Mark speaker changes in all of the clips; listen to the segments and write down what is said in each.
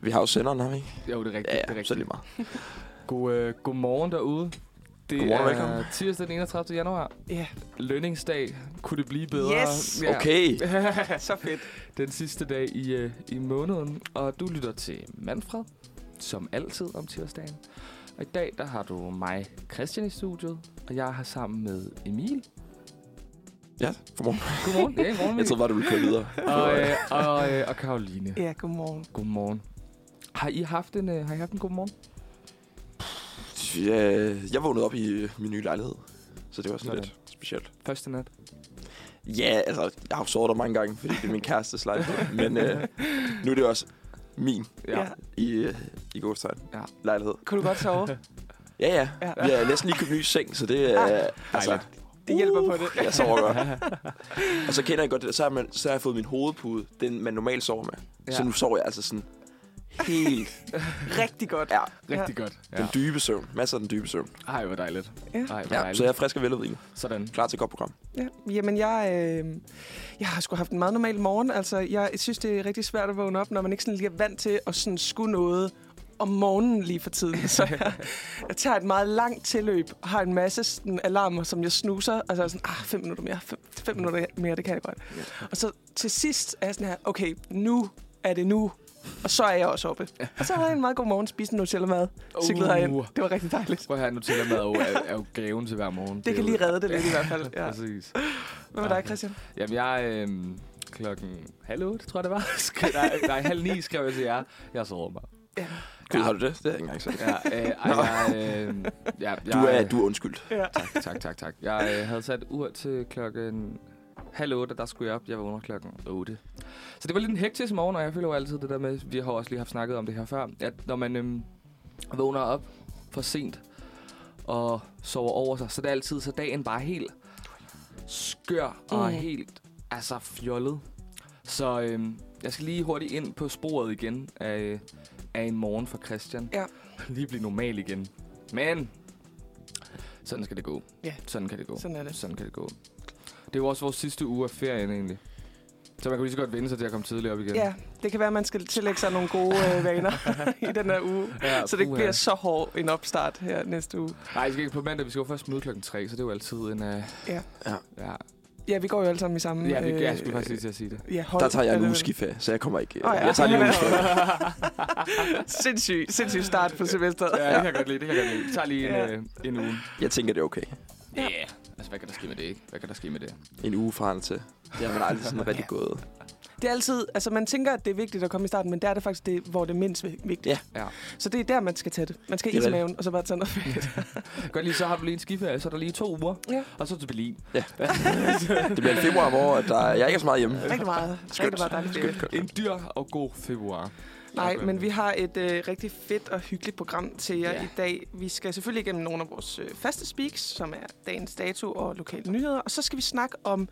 Speaker 1: Vi har jo senderen, har vi ikke?
Speaker 2: Jo, det er rigtigt.
Speaker 1: Ja,
Speaker 2: det er
Speaker 1: ja, så er det
Speaker 2: rigtigt.
Speaker 1: lige meget.
Speaker 2: God, øh, god morgen derude. Det
Speaker 1: Godmorgen og
Speaker 2: er
Speaker 1: velkommen.
Speaker 2: tirsdag den 31. januar. Ja, lønningsdag. Kunne det blive bedre?
Speaker 3: Yes!
Speaker 2: Ja.
Speaker 1: Okay.
Speaker 3: Så fedt.
Speaker 2: den sidste dag i, øh, i måneden. Og du lytter til Manfred, som altid om tirsdagen. Og i dag, der har du mig, Christian, i studiet. Og jeg er her sammen med Emil.
Speaker 1: Ja, godmorgen.
Speaker 2: Godmorgen. Ja, godmorgen,
Speaker 1: Jeg
Speaker 2: Emil.
Speaker 1: troede bare, du ville køre videre.
Speaker 2: Og, øh, og, øh, og Karoline.
Speaker 3: Ja, godmorgen.
Speaker 2: Godmorgen. Har I haft en, øh, har I haft en god morgen?
Speaker 1: Ja, jeg vågnede op i øh, min nye lejlighed, så det var sådan
Speaker 2: Sådan.
Speaker 1: lidt specielt.
Speaker 2: Første nat.
Speaker 1: Ja, altså, jeg har jo sovet der mange gange, fordi det er min kærestes lejlighed. Men øh, nu er det også min
Speaker 3: Ja.
Speaker 1: i, øh, i godstegn
Speaker 2: Ja.
Speaker 1: ja. lejlighed.
Speaker 3: Kunne du godt sove?
Speaker 1: Ja, ja.
Speaker 3: Ja.
Speaker 1: Vi har næsten lige købt ny seng, så det er...
Speaker 3: Ah.
Speaker 1: Øh, altså,
Speaker 3: Det hjælper på det.
Speaker 1: jeg sover godt. Og så kender jeg godt det der. Så har, man, så har jeg fået min hovedpude, den man normalt sover med. Ja. Så
Speaker 2: Ja.
Speaker 1: nu sover jeg altså sådan helt...
Speaker 3: Rigtig godt.
Speaker 1: Ja,
Speaker 2: Rigtig godt. Ja.
Speaker 1: den dybe søvn. Masser af den dybe søvn.
Speaker 2: Ej, hvor dejligt.
Speaker 3: Ja.
Speaker 2: Ej, hvor
Speaker 1: Ja,
Speaker 2: dejligt.
Speaker 1: så jeg er frisk og veludvidet.
Speaker 2: Sådan.
Speaker 1: Klar til et godt program.
Speaker 3: Ja. Jamen, jeg, øh, jeg har sgu haft en meget normal morgen. Altså, jeg synes, det er rigtig svært at vågne op, når man ikke sådan lige er vant til at sådan skulle noget om morgenen lige for tiden. Så jeg, jeg tager et meget langt tilløb og har en masse sådan, alarmer, som jeg snuser. Og så er jeg sådan, ah, fem minutter mere, fem, fem minutter mere, det kan jeg godt. Og så til sidst er jeg sådan her, okay, nu er det nu. Og så er jeg også oppe. Og så havde jeg en meget god morgen, spiste en Nutella-mad, cyklede
Speaker 2: Uh.
Speaker 3: herind. Det var rigtig dejligt.
Speaker 2: Prøv at høre, Nutella mad er jo, er, er jo gaven til hver morgen.
Speaker 3: Det kan
Speaker 2: er jo-
Speaker 3: lige redde det lidt i hvert fald. Ja.
Speaker 2: Præcis.
Speaker 3: Hvad med dig, Christian?
Speaker 2: Jamen, jeg... Øh, klokken halv otte, tror jeg det var. Skrev- nej, nej, halv ni skrev jeg til jer. Jeg sover mig.
Speaker 1: Gud, har du det? Det har jeg ikke engang sagt.
Speaker 2: Ja, øh, ej, jeg, øh, ja, jeg,
Speaker 1: Du er, du er undskyldt.
Speaker 2: Tak, tak, tak, tak. Jeg øh, havde sat ur til klokken halv otte, og der skulle jeg op. Jeg vågner klokken 8. Så det var lidt en hektisk morgen, og jeg føler jo altid det der med, vi har også lige haft snakket om det her før, at når man øhm, vågner op for sent og sover over sig, så det er altid så dagen bare helt skør og
Speaker 3: Mm.
Speaker 2: helt altså fjollet. Så øhm, jeg skal lige hurtigt ind på sporet igen af, af en morgen for Christian.
Speaker 3: Ja.
Speaker 2: Lige blive normal igen. Men sådan skal det gå.
Speaker 3: Ja.
Speaker 2: Sådan kan det gå.
Speaker 3: Sådan er det.
Speaker 2: Sådan kan det gå. Det er jo også vores sidste uge af ferien egentlig. Så man kan lige så godt vende sig til at komme tidligere op igen.
Speaker 3: Ja, det kan være, at man skal tillægge sig nogle gode øh, vaner i den her uge.
Speaker 2: ja
Speaker 3: Så det ikke
Speaker 2: puha.
Speaker 3: bliver så hård en opstart her næste uge.
Speaker 2: Nej, vi skal ikke på mandag. Vi skal jo først møde klokken 3, så det er jo altid en... Uh...
Speaker 3: Ja.
Speaker 1: Ja.
Speaker 2: Ja,
Speaker 3: Ja, vi går jo alle sammen i samme...
Speaker 2: ja det,
Speaker 3: øh,
Speaker 2: jeg skulle faktisk lige til at sige det.
Speaker 3: Ja, hold,
Speaker 1: Der tager jeg en
Speaker 3: Eller-
Speaker 1: uge skiferie, så jeg kommer ikke. øh,
Speaker 3: Åh, ja.
Speaker 1: Jeg tager lige en uge skiferie.
Speaker 3: Sindssyg, sindssyg start på semesteret.
Speaker 2: Ja, det kan jeg godt lide. Det kan jeg godt lide. Vi tager lige en,
Speaker 3: Ja.
Speaker 2: øh, en uge.
Speaker 1: Jeg tænker, det er okay.
Speaker 2: Ja. Yeah. Altså, hvad kan der ske med det, ikke? Hvad kan der ske med det?
Speaker 1: En uge fra han til. Det har man aldrig sådan rigtig gået.
Speaker 3: Det er altid... Altså, man tænker, at det er vigtigt at komme i starten, men der er det faktisk det, hvor det er mindst vi- vigtigt.
Speaker 1: Ja.
Speaker 2: Ja.
Speaker 3: Så det er der, man skal tage det. Man skal
Speaker 1: Det er
Speaker 3: is i
Speaker 1: rigtigt.
Speaker 3: maven, og så bare tage noget fedt.
Speaker 2: Godt lige, så har du lige en skiferie, så er der lige to uger.
Speaker 3: Ja.
Speaker 2: Og så til Berlin.
Speaker 1: Det bliver en februar, hvor at der, jeg ikke er så meget hjemme.
Speaker 3: Rigtig meget. Rigtig meget dejligt. fedt.
Speaker 2: En dyr og god februar.
Speaker 3: Nej,
Speaker 2: Tak,
Speaker 3: men vi har et øh, rigtig fedt og hyggeligt program til jer
Speaker 2: Ja.
Speaker 3: ja. i dag. Vi skal selvfølgelig igennem nogle af vores øh, faste speaks, som er dagens dato og lokale nyheder. Og så skal vi snakke om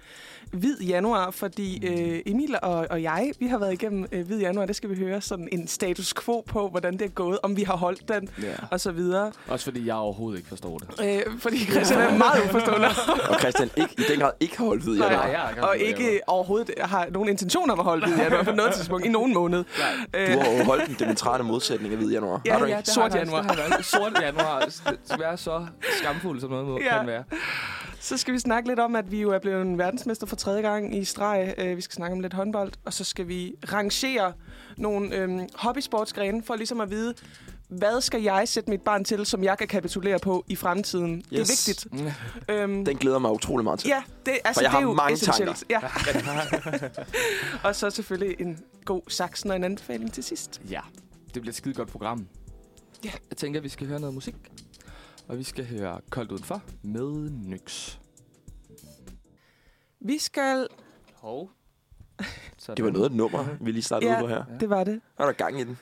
Speaker 3: hvid januar, fordi
Speaker 2: Mm.
Speaker 3: øh, Emil og, og jeg, vi har været igennem øh, hvid januar. Det skal vi høre sådan en status quo på, hvordan det er gået, om vi har holdt den
Speaker 2: Ja.
Speaker 3: og så videre.
Speaker 2: Også fordi jeg overhovedet ikke forstår det.
Speaker 3: Øh, fordi Christian er meget uforstående.
Speaker 1: Og Christian ikke, i den grad ikke har holdt hvid
Speaker 3: Nej,
Speaker 1: januar.
Speaker 2: jeg
Speaker 3: og ikke overhovedet har nogen intention om at holde hvid januar på noget tidspunkt i nogen måned. Øh,
Speaker 1: Du har jo holdt den demonstrerende modsætning af hvid januar.
Speaker 3: Ja,
Speaker 1: har du
Speaker 3: ja.
Speaker 1: ikke?
Speaker 2: det har
Speaker 3: Sort
Speaker 2: jeg faktisk,
Speaker 3: januar.
Speaker 2: det har jeg faktisk. Sort januar. Det skal være så skamfuld, som noget må,
Speaker 3: Ja.
Speaker 2: kan være.
Speaker 3: Så skal vi snakke lidt om, at vi jo er blevet en verdensmester for tredje gang i streg. Øh, Vi skal snakke om lidt håndbold, og så skal vi rangere nogle øhm, hobbysportsgrene for ligesom at vide, hvad skal jeg sætte mit barn til, som jeg kan kapitulere på i fremtiden? Yes. Det er
Speaker 1: Yes.
Speaker 3: vigtigt. Øhm,
Speaker 1: Den glæder mig utrolig meget til.
Speaker 3: ja, det,
Speaker 1: For
Speaker 3: altså,
Speaker 1: jeg
Speaker 3: det er
Speaker 1: har
Speaker 3: jo
Speaker 1: mange
Speaker 3: essentielt. Ja. og så selvfølgelig en god saksen og en anbefaling til sidst.
Speaker 2: Ja, det bliver et skide godt program.
Speaker 3: Ja.
Speaker 2: Jeg tænker, at vi skal høre noget musik. Og vi skal høre Koldt Udenfor med Nyx.
Speaker 3: Vi skal...
Speaker 2: Hov. Sådan.
Speaker 1: Det var noget af et nummer, vi lige startede
Speaker 3: Ja.
Speaker 1: ud på her.
Speaker 3: Det var det.
Speaker 1: Er der gang i den?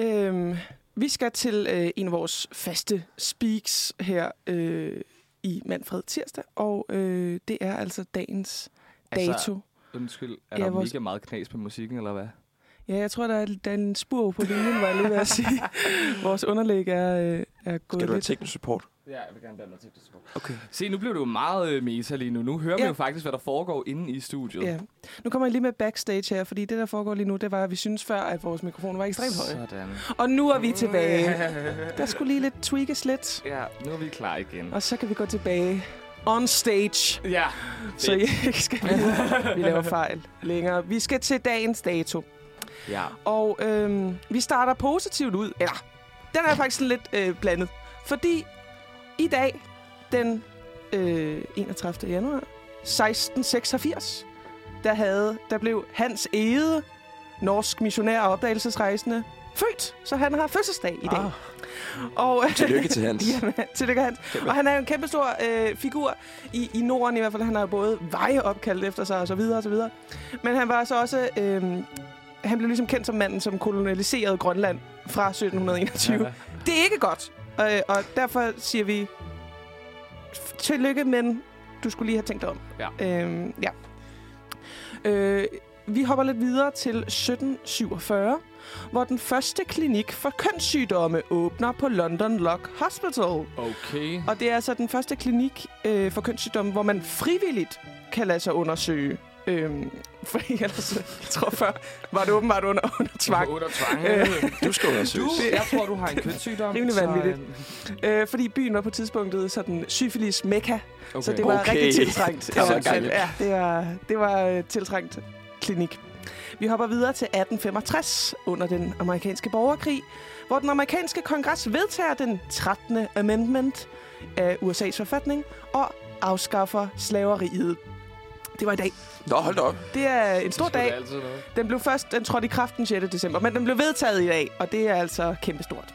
Speaker 3: Øhm, vi skal til øh, en af vores faste speaks her øh, i Manfred Tirsdag, og øh, det er altså dagens
Speaker 2: Altså,
Speaker 3: dato.
Speaker 2: Undskyld, er
Speaker 3: Ja,
Speaker 2: der
Speaker 3: vores-
Speaker 2: mega meget knas på musikken, eller hvad?
Speaker 3: Ja, jeg tror, der er, der er en spur på linjen, var jeg lige ved at sige. Vores underlæg er, øh, er gået
Speaker 1: Skal du have
Speaker 3: lidt.
Speaker 1: teknisk support?
Speaker 2: Ja, jeg vil gerne blande mig til det.
Speaker 1: Okay.
Speaker 2: Se, nu blev det jo meget øh, meta lige nu. Nu hører ja.
Speaker 3: Ja.
Speaker 2: vi jo faktisk, hvad der foregår inde i studiet.
Speaker 3: Ja. Nu kommer jeg lige med backstage her, fordi det, der foregår lige nu, det var, at vi synes før, at vores mikrofoner var ekstremt høje.
Speaker 2: Sådan.
Speaker 3: Og nu er vi tilbage. Der skulle lige lidt tweakes lidt,
Speaker 2: Ja, nu er vi klar igen.
Speaker 3: og så kan vi gå tilbage on stage.
Speaker 2: Ja.
Speaker 3: Så I ikke skal vi laver fejl længere. Vi skal til dagens dato.
Speaker 2: Ja.
Speaker 3: Og øhm, vi starter positivt ud. Eller, den er faktisk sådan lidt øh, blandet. Fordi i dag, den øh, 31. januar 1686, der, havde, der blev Hans Ede, norsk missionær og opdagelsesrejsende, født. Så han har fødselsdag i dag.
Speaker 1: Ah.
Speaker 3: Og, øh,
Speaker 1: Tillykke til Hans.
Speaker 3: Jamen, tillykke Hans. Og han er jo en kæmpe stor øh, figur i, i Norden i hvert fald. Han har jo både veje opkaldt efter sig og så videre og så videre. Men han var så også... Øh, han blev ligesom kendt som manden, som kolonialiserede Grønland fra 1721.
Speaker 2: Ja.
Speaker 3: Det er ikke godt. Øh, og derfor siger vi... f- Tillykke, men du skulle lige have tænkt dig om. Ja. Øh, ja. Øh, vi hopper lidt videre til 1747 hvor den første klinik for kønssygdomme åbner på London Lock Hospital.
Speaker 2: Okay.
Speaker 3: Og det er altså den første klinik øh, for kønssygdomme, hvor man frivilligt kan lade sig undersøge. Øhm, for ellers, øh, jeg tror før, var det åbenbart under, under tvang.
Speaker 2: Under tvang.
Speaker 3: Øh,
Speaker 1: Du skal
Speaker 2: Du,
Speaker 1: undersøges.
Speaker 2: jeg tror, du har en kønssygdom.
Speaker 3: Rimelig
Speaker 2: så, øh,
Speaker 3: vanvittigt. Øh, fordi byen var på tidspunktet sådan syfilis mekka,
Speaker 2: Okay.
Speaker 3: så det var
Speaker 1: Okay.
Speaker 3: rigtig tiltrængt.
Speaker 1: Der var
Speaker 3: Ja,
Speaker 1: gang i den.
Speaker 3: ja, det var, det var øh, tiltrængt klinik. Vi hopper videre til 1865 under den amerikanske borgerkrig, hvor den amerikanske kongres vedtager den 13. amendment af USA's forfatning og afskaffer slaveriet. Det var i dag.
Speaker 1: Nå, hold da op.
Speaker 3: Det er en stor dag.
Speaker 2: Altid noget.
Speaker 3: Den blev først, den trådte i kraft den 6. december, men den blev vedtaget i dag, og det er altså kæmpestort.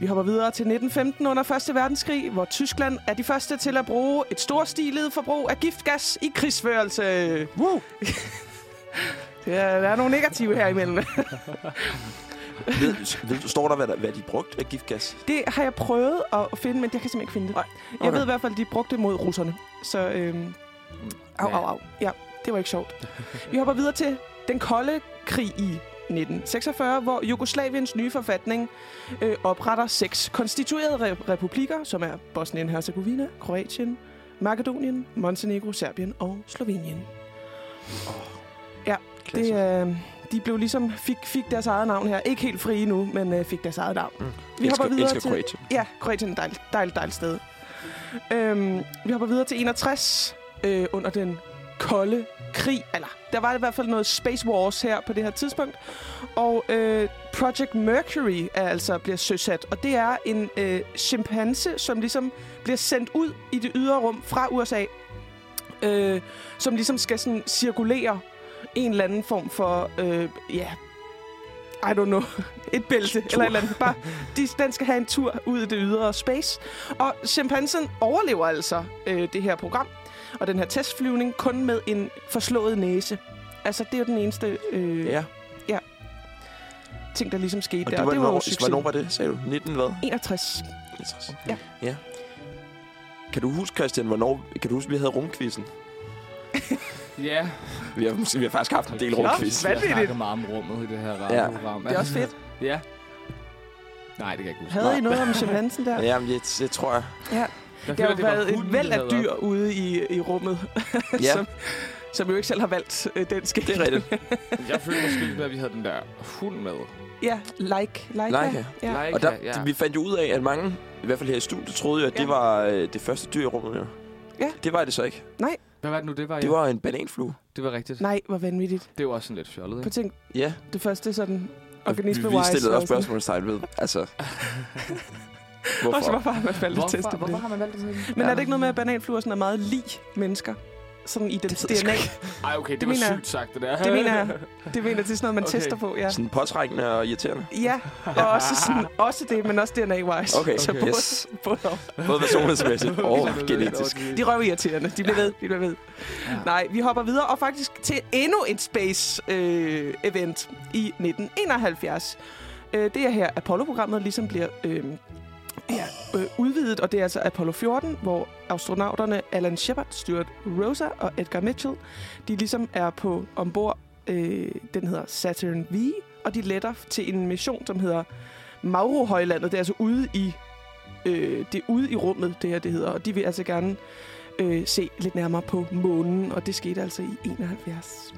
Speaker 3: Vi hopper videre til 1915 under 1. verdenskrig, hvor Tyskland er de første til at bruge et storstilet forbrug af giftgas i krigsførelse. Woo! ja, der er nogle negative her imellem.
Speaker 1: Ved, ved, du- står der, hvad, der, hvad de brugte af giftgas?
Speaker 3: Det har jeg prøvet at finde, men jeg kan simpelthen ikke finde det.
Speaker 1: Nej,
Speaker 3: Jeg ved i hvert fald, at de brugte det mod russerne. Så øhm, Au, au, au. Ja, det var ikke sjovt. Vi hopper videre til den kolde krig i 1946, hvor Jugoslaviens nye forfatning øh, opretter seks konstituerede re- republikker, som er Bosnien-Herzegovina, Kroatien, Makedonien, Montenegro, Serbien og Slovenien. Det,
Speaker 1: Klasse.
Speaker 3: øh, de blev ligesom fik, fik deres eget navn her. Ikke helt frie nu, men øh, fik deres eget navn.
Speaker 1: Mm.
Speaker 3: Vi hopper videre
Speaker 1: elsker
Speaker 3: til...
Speaker 1: Kroatien.
Speaker 3: Ja, Kroatien er et dejligt, dejligt, dejligt sted. Øhm, vi hopper videre til 61 øh, under den kolde krig. Eller, der var i hvert fald noget Space Wars her på det her tidspunkt. Og øh, Project Mercury er altså bliver søsat. Og det er en øh, chimpanse, som ligesom bliver sendt ud i det ydre rum fra USA. Øh, som ligesom skal sådan cirkulere en eller anden form for, øh, ja, I don't know, et bælte eller et eller andet. Bare, de, den skal have en tur ud i det ydre space. Og chimpansen overlever altså øh, det her program og den her testflyvning kun med en forslået næse. Altså, det er jo den eneste øh, ja.
Speaker 1: Ja,
Speaker 3: ting, der ligesom skete
Speaker 1: og
Speaker 3: der.
Speaker 1: det var,
Speaker 3: og det var jo succes.
Speaker 1: hvornår var det, sagde du? 19 hvad?
Speaker 3: 61.
Speaker 1: 50.
Speaker 3: Ja.
Speaker 1: ja. Kan du huske, Christian, hvornår... Kan du huske, vi havde rumquizzen?
Speaker 2: Ja.
Speaker 1: Vi har, vi har faktisk haft en del rumquiz.
Speaker 3: Nå,
Speaker 2: Jeg
Speaker 3: vanvittigt.
Speaker 2: snakker meget om rummet i det her radioprogram.
Speaker 3: Det er også fedt.
Speaker 2: Ja. Nej, det kan jeg ikke huske.
Speaker 3: Havde I noget om chimpansen der?
Speaker 1: Ja, men jeg, jeg tror jeg.
Speaker 2: Jeg
Speaker 3: Det har
Speaker 2: føler,
Speaker 3: jo været
Speaker 2: hunden,
Speaker 3: et væld
Speaker 2: der
Speaker 3: af
Speaker 2: havde
Speaker 3: dyr ude i, i rummet,
Speaker 1: Ja,
Speaker 3: som, som jo ikke selv har valgt øh, den skæbne.
Speaker 1: det er rigtigt.
Speaker 2: været- Jeg føler måske, at vi havde den der hund med.
Speaker 3: Ja, like. Like.
Speaker 1: Laika.
Speaker 3: Ja.
Speaker 2: Leica,
Speaker 1: Og der,
Speaker 2: ja.
Speaker 1: vi fandt jo ud af, at mange, i hvert fald her i studiet, troede jo, at det
Speaker 3: Ja.
Speaker 1: var øh, det første dyr i rummet. Jo.
Speaker 3: Ja.
Speaker 1: Det var det så ikke.
Speaker 2: Hvad var det nu, det var?
Speaker 1: Det
Speaker 2: ja?
Speaker 1: var en bananflue.
Speaker 2: det var rigtigt.
Speaker 3: Nej, hvor vanvittigt.
Speaker 2: Det var også sådan lidt fjollet,
Speaker 3: På
Speaker 2: ikke?
Speaker 3: tænk,
Speaker 1: Ja,
Speaker 3: det første sådan
Speaker 1: og vi, vi
Speaker 3: organisme-wise.
Speaker 1: stillede
Speaker 3: var
Speaker 1: også
Speaker 3: sådan-
Speaker 1: spørgsmålstegn ved. Altså,
Speaker 3: Og så
Speaker 1: hvorfor?
Speaker 3: hvorfor har man valgt at teste
Speaker 2: Hvorfor,
Speaker 3: på
Speaker 2: hvorfor
Speaker 3: det?
Speaker 2: har man valgt det sådan?
Speaker 3: Men
Speaker 1: Ja.
Speaker 3: er det ikke noget med, at bananfluer sådan er meget lig mennesker? Sådan i dens
Speaker 1: ved jeg sgu
Speaker 3: DNA.
Speaker 2: Ej, okay, det,
Speaker 3: Det
Speaker 2: var
Speaker 3: mener jeg.
Speaker 2: sygt sagt, det der.
Speaker 3: Det mener jeg. Det mener jeg, det er sådan noget, man
Speaker 2: Okay.
Speaker 3: okay. tester på, ja.
Speaker 1: Sådan påtrækkende og irriterende.
Speaker 3: Ja, og også, sådan, også det, men også DNA-wise.
Speaker 1: Okay,
Speaker 2: Så
Speaker 1: okay.
Speaker 2: både-
Speaker 1: yes.
Speaker 3: Både og.
Speaker 1: Både personlighedsmæssigt og Altså, genetisk.
Speaker 3: De røver irriterende. De bliver ved, de bliver ved.
Speaker 2: Ja.
Speaker 3: Nej, vi hopper videre og faktisk til endnu et space-event i 1971. Øh, det er her, Apollo-programmet ligesom bliver øh, ja, øh, udvidet, og det er altså Apollo 14, hvor astronauterne Alan Shepard, Stuart Rosa og Edgar Mitchell, de ligesom er på ombord Øh, den hedder Saturn V, og de letter til en mission, som hedder Mauro-højlandet. Det er altså ude i, øh, det er ude i rummet, det her det hedder. Og de vil altså gerne øh, se lidt nærmere på månen, og det skete altså i 71.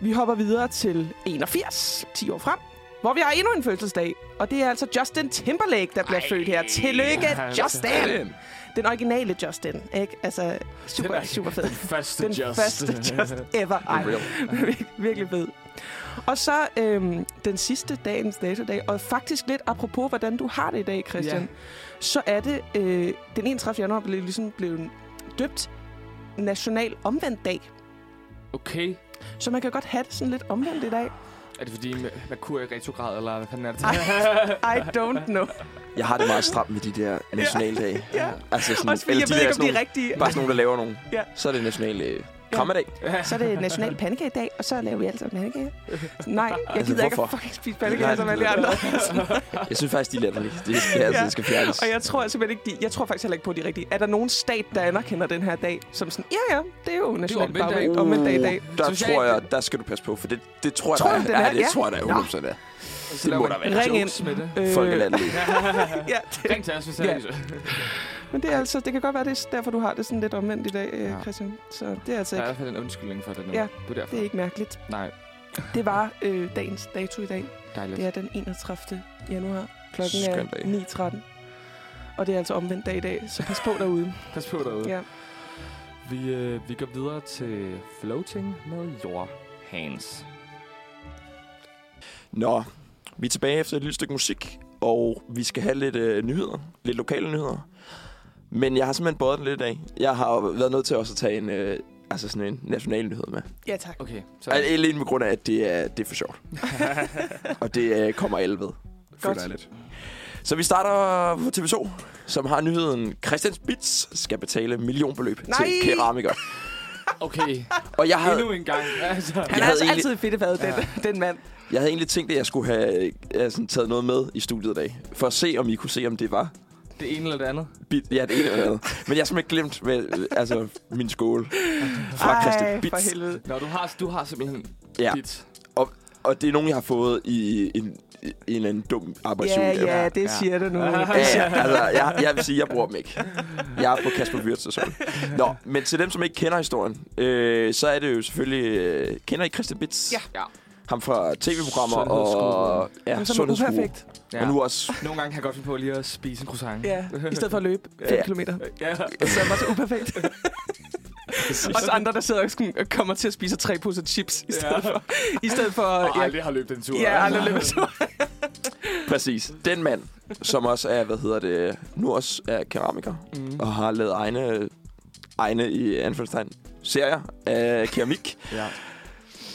Speaker 3: Vi hopper videre til 81, 10 år frem, hvor vi har endnu en fødselsdag. Og det er altså Justin Timberlake, der bliver Ej, født her. Tillykke,
Speaker 2: altså.
Speaker 3: Justin! Den originale Justin, ikke? Altså,
Speaker 2: Den
Speaker 3: super,
Speaker 2: er-
Speaker 3: super fed.
Speaker 2: Første
Speaker 3: Den første Just ever. Ej,
Speaker 1: Real.
Speaker 3: vir- virkelig fed. Og så øhm, den sidste dagens datodag, og faktisk lidt apropos, hvordan du har det i dag, Christian,
Speaker 2: Ja.
Speaker 3: så er det øh, den 31. januar blev ligesom blevet døbt National Omvendt Dag.
Speaker 2: Okay.
Speaker 3: Så man kan godt have det sådan lidt omvendt i dag.
Speaker 2: Er det fordi, Ma- Merkur er i retrograd, eller hvad fanden er det?
Speaker 3: Ej, I don't know.
Speaker 1: Jeg har det meget stramt med de der nationaldage.
Speaker 3: Ja.
Speaker 1: Altså sådan,
Speaker 3: Også fordi jeg
Speaker 1: de
Speaker 3: ved
Speaker 1: der
Speaker 3: ikke, om
Speaker 1: sådan
Speaker 3: de er
Speaker 1: nogle-
Speaker 3: rigtige.
Speaker 1: Bare sådan nogle, der laver nogle.
Speaker 3: Ja.
Speaker 1: Så er det national øh, krammedag.
Speaker 3: Så er det National Pandekagedag, og så laver vi altså pandekager. Nej, jeg
Speaker 1: Altså,
Speaker 3: gider ikke at
Speaker 1: hvorfor?
Speaker 3: fucking spise pandekager
Speaker 1: Nej,
Speaker 3: som
Speaker 1: det
Speaker 3: alle
Speaker 1: lyder-
Speaker 3: andre.
Speaker 1: Jeg synes faktisk, de er latterlige. Det skal, altså,
Speaker 3: Ja.
Speaker 1: det skal fjernes.
Speaker 3: Og jeg tror simpelthen ikke, de, jeg tror faktisk heller ikke på, at de er rigtige. Er der nogen stat, der anerkender den her dag, som sådan, ja ja, det er jo national
Speaker 2: omvendt dag.
Speaker 3: dag, omvendt dag i dag.
Speaker 1: Uh, Der
Speaker 2: Synes jeg
Speaker 1: tror
Speaker 2: ikke-
Speaker 1: jeg, der skal du passe på, for det, det tror jeg,
Speaker 3: Tror
Speaker 1: der
Speaker 3: du,
Speaker 1: er.
Speaker 3: den er?
Speaker 1: Ja, det
Speaker 3: Ja.
Speaker 1: tror jeg, der er
Speaker 3: Nå. Øh.
Speaker 1: 100% er.
Speaker 2: Så laver
Speaker 1: må
Speaker 2: man
Speaker 1: der være.
Speaker 3: Ring
Speaker 2: jokes
Speaker 3: ind.
Speaker 2: Med det.
Speaker 1: Folk er latterlige.
Speaker 3: Øh, ja, det,
Speaker 2: Ring til os, hvis
Speaker 3: Ja.
Speaker 2: det er
Speaker 3: men det er altså, det kan godt være, det er derfor, du har det sådan lidt omvendt i dag,
Speaker 2: Ja.
Speaker 3: ja. Christian. Så det er altså
Speaker 2: Der er i
Speaker 3: ikke,
Speaker 2: hvert fald en undskyldning for det nu.
Speaker 3: Ja,
Speaker 2: Det er derfor.
Speaker 3: det er ikke mærkeligt.
Speaker 2: Nej,
Speaker 3: Det var øh, dagens dato i dag.
Speaker 2: dejligt.
Speaker 3: Det er den 31. januar. Klokken
Speaker 1: Skøn dag.
Speaker 3: er 9.13. Og det er altså omvendt dag i dag, så pas på derude.
Speaker 2: Pas på derude.
Speaker 3: Ja.
Speaker 2: Vi, øh, vi går videre til floating med your hands.
Speaker 1: Nå, vi er tilbage efter et lille stykke musik, og vi skal have lidt øh, nyheder. Lidt lokale nyheder. Men jeg har simpelthen båret den lidt af. Jeg har jo været nødt til også at tage en, øh, altså sådan en national nyhed med.
Speaker 3: ja, tak.
Speaker 2: Okay, så
Speaker 1: Altså, alene på grund af, at det er, det er for sjovt. og det øh, kommer alle ved.
Speaker 3: Godt.
Speaker 1: jeg lidt. Så vi starter på TV2, som har nyheden. Christian Spitz skal betale millionbeløb
Speaker 3: Nej!
Speaker 1: til keramikere.
Speaker 2: okay.
Speaker 1: Og jeg havde,
Speaker 2: Endnu en gang. Altså.
Speaker 3: Han
Speaker 1: Jeg
Speaker 3: er
Speaker 1: havde
Speaker 3: altså
Speaker 1: egentlig-
Speaker 3: altid fedtefadet, den, den mand.
Speaker 1: jeg havde egentlig tænkt, at jeg skulle have øh, sådan, taget noget med i studiet i dag. For at se, om I kunne se, om det var
Speaker 2: Det ene eller det andet.
Speaker 1: bit, ja, det ene eller andet. Men jeg har simpelthen glemt med, øh, altså, min skål fra Ej, Christian
Speaker 3: Ej, for
Speaker 1: Bitz.
Speaker 3: helvede.
Speaker 2: Nå, du har, du har simpelthen
Speaker 1: Ja.
Speaker 2: dit.
Speaker 1: Og det er nogen, jeg har fået i en, i en eller anden dum arbejdsuge.
Speaker 3: Ja, ja,
Speaker 2: Ja.
Speaker 3: det siger du nu.
Speaker 1: Ja, ja, altså, jeg, jeg vil sige, jeg bruger dem ikke. Jeg er på Kasper Wirtz og sådan. Nå, men til dem, som ikke kender historien, øh, så er det jo selvfølgelig... Øh, kender I Christian Bitz?
Speaker 3: Ja.
Speaker 2: Ja.
Speaker 1: Ham fra tv-programmer og...
Speaker 2: Sundhedsguru.
Speaker 1: Ja,
Speaker 3: Ham, som er
Speaker 1: sundhedsguru.
Speaker 3: uperfekt.
Speaker 1: Og nu også...
Speaker 2: Nogle gange kan jeg godt finde på lige at spise en croissant.
Speaker 3: Ja, i stedet for at løbe 5
Speaker 1: Ja.
Speaker 3: kilometer.
Speaker 2: ja.
Speaker 3: Så er det bare så uperfekt. Også andre, der sidder og sådan- og kommer til at spise tre poser chips, i stedet
Speaker 2: Ja.
Speaker 3: for... I stedet for
Speaker 2: Og
Speaker 3: ja,
Speaker 2: aldrig har løbet en tur.
Speaker 3: ja, aldrig løbe så.
Speaker 1: Præcis. Den mand, som også er, hvad hedder det... Nu også er keramiker
Speaker 2: Mm.
Speaker 1: og har lavet egne... Egne i Anfølgelstegn serier af keramik.
Speaker 2: Ja.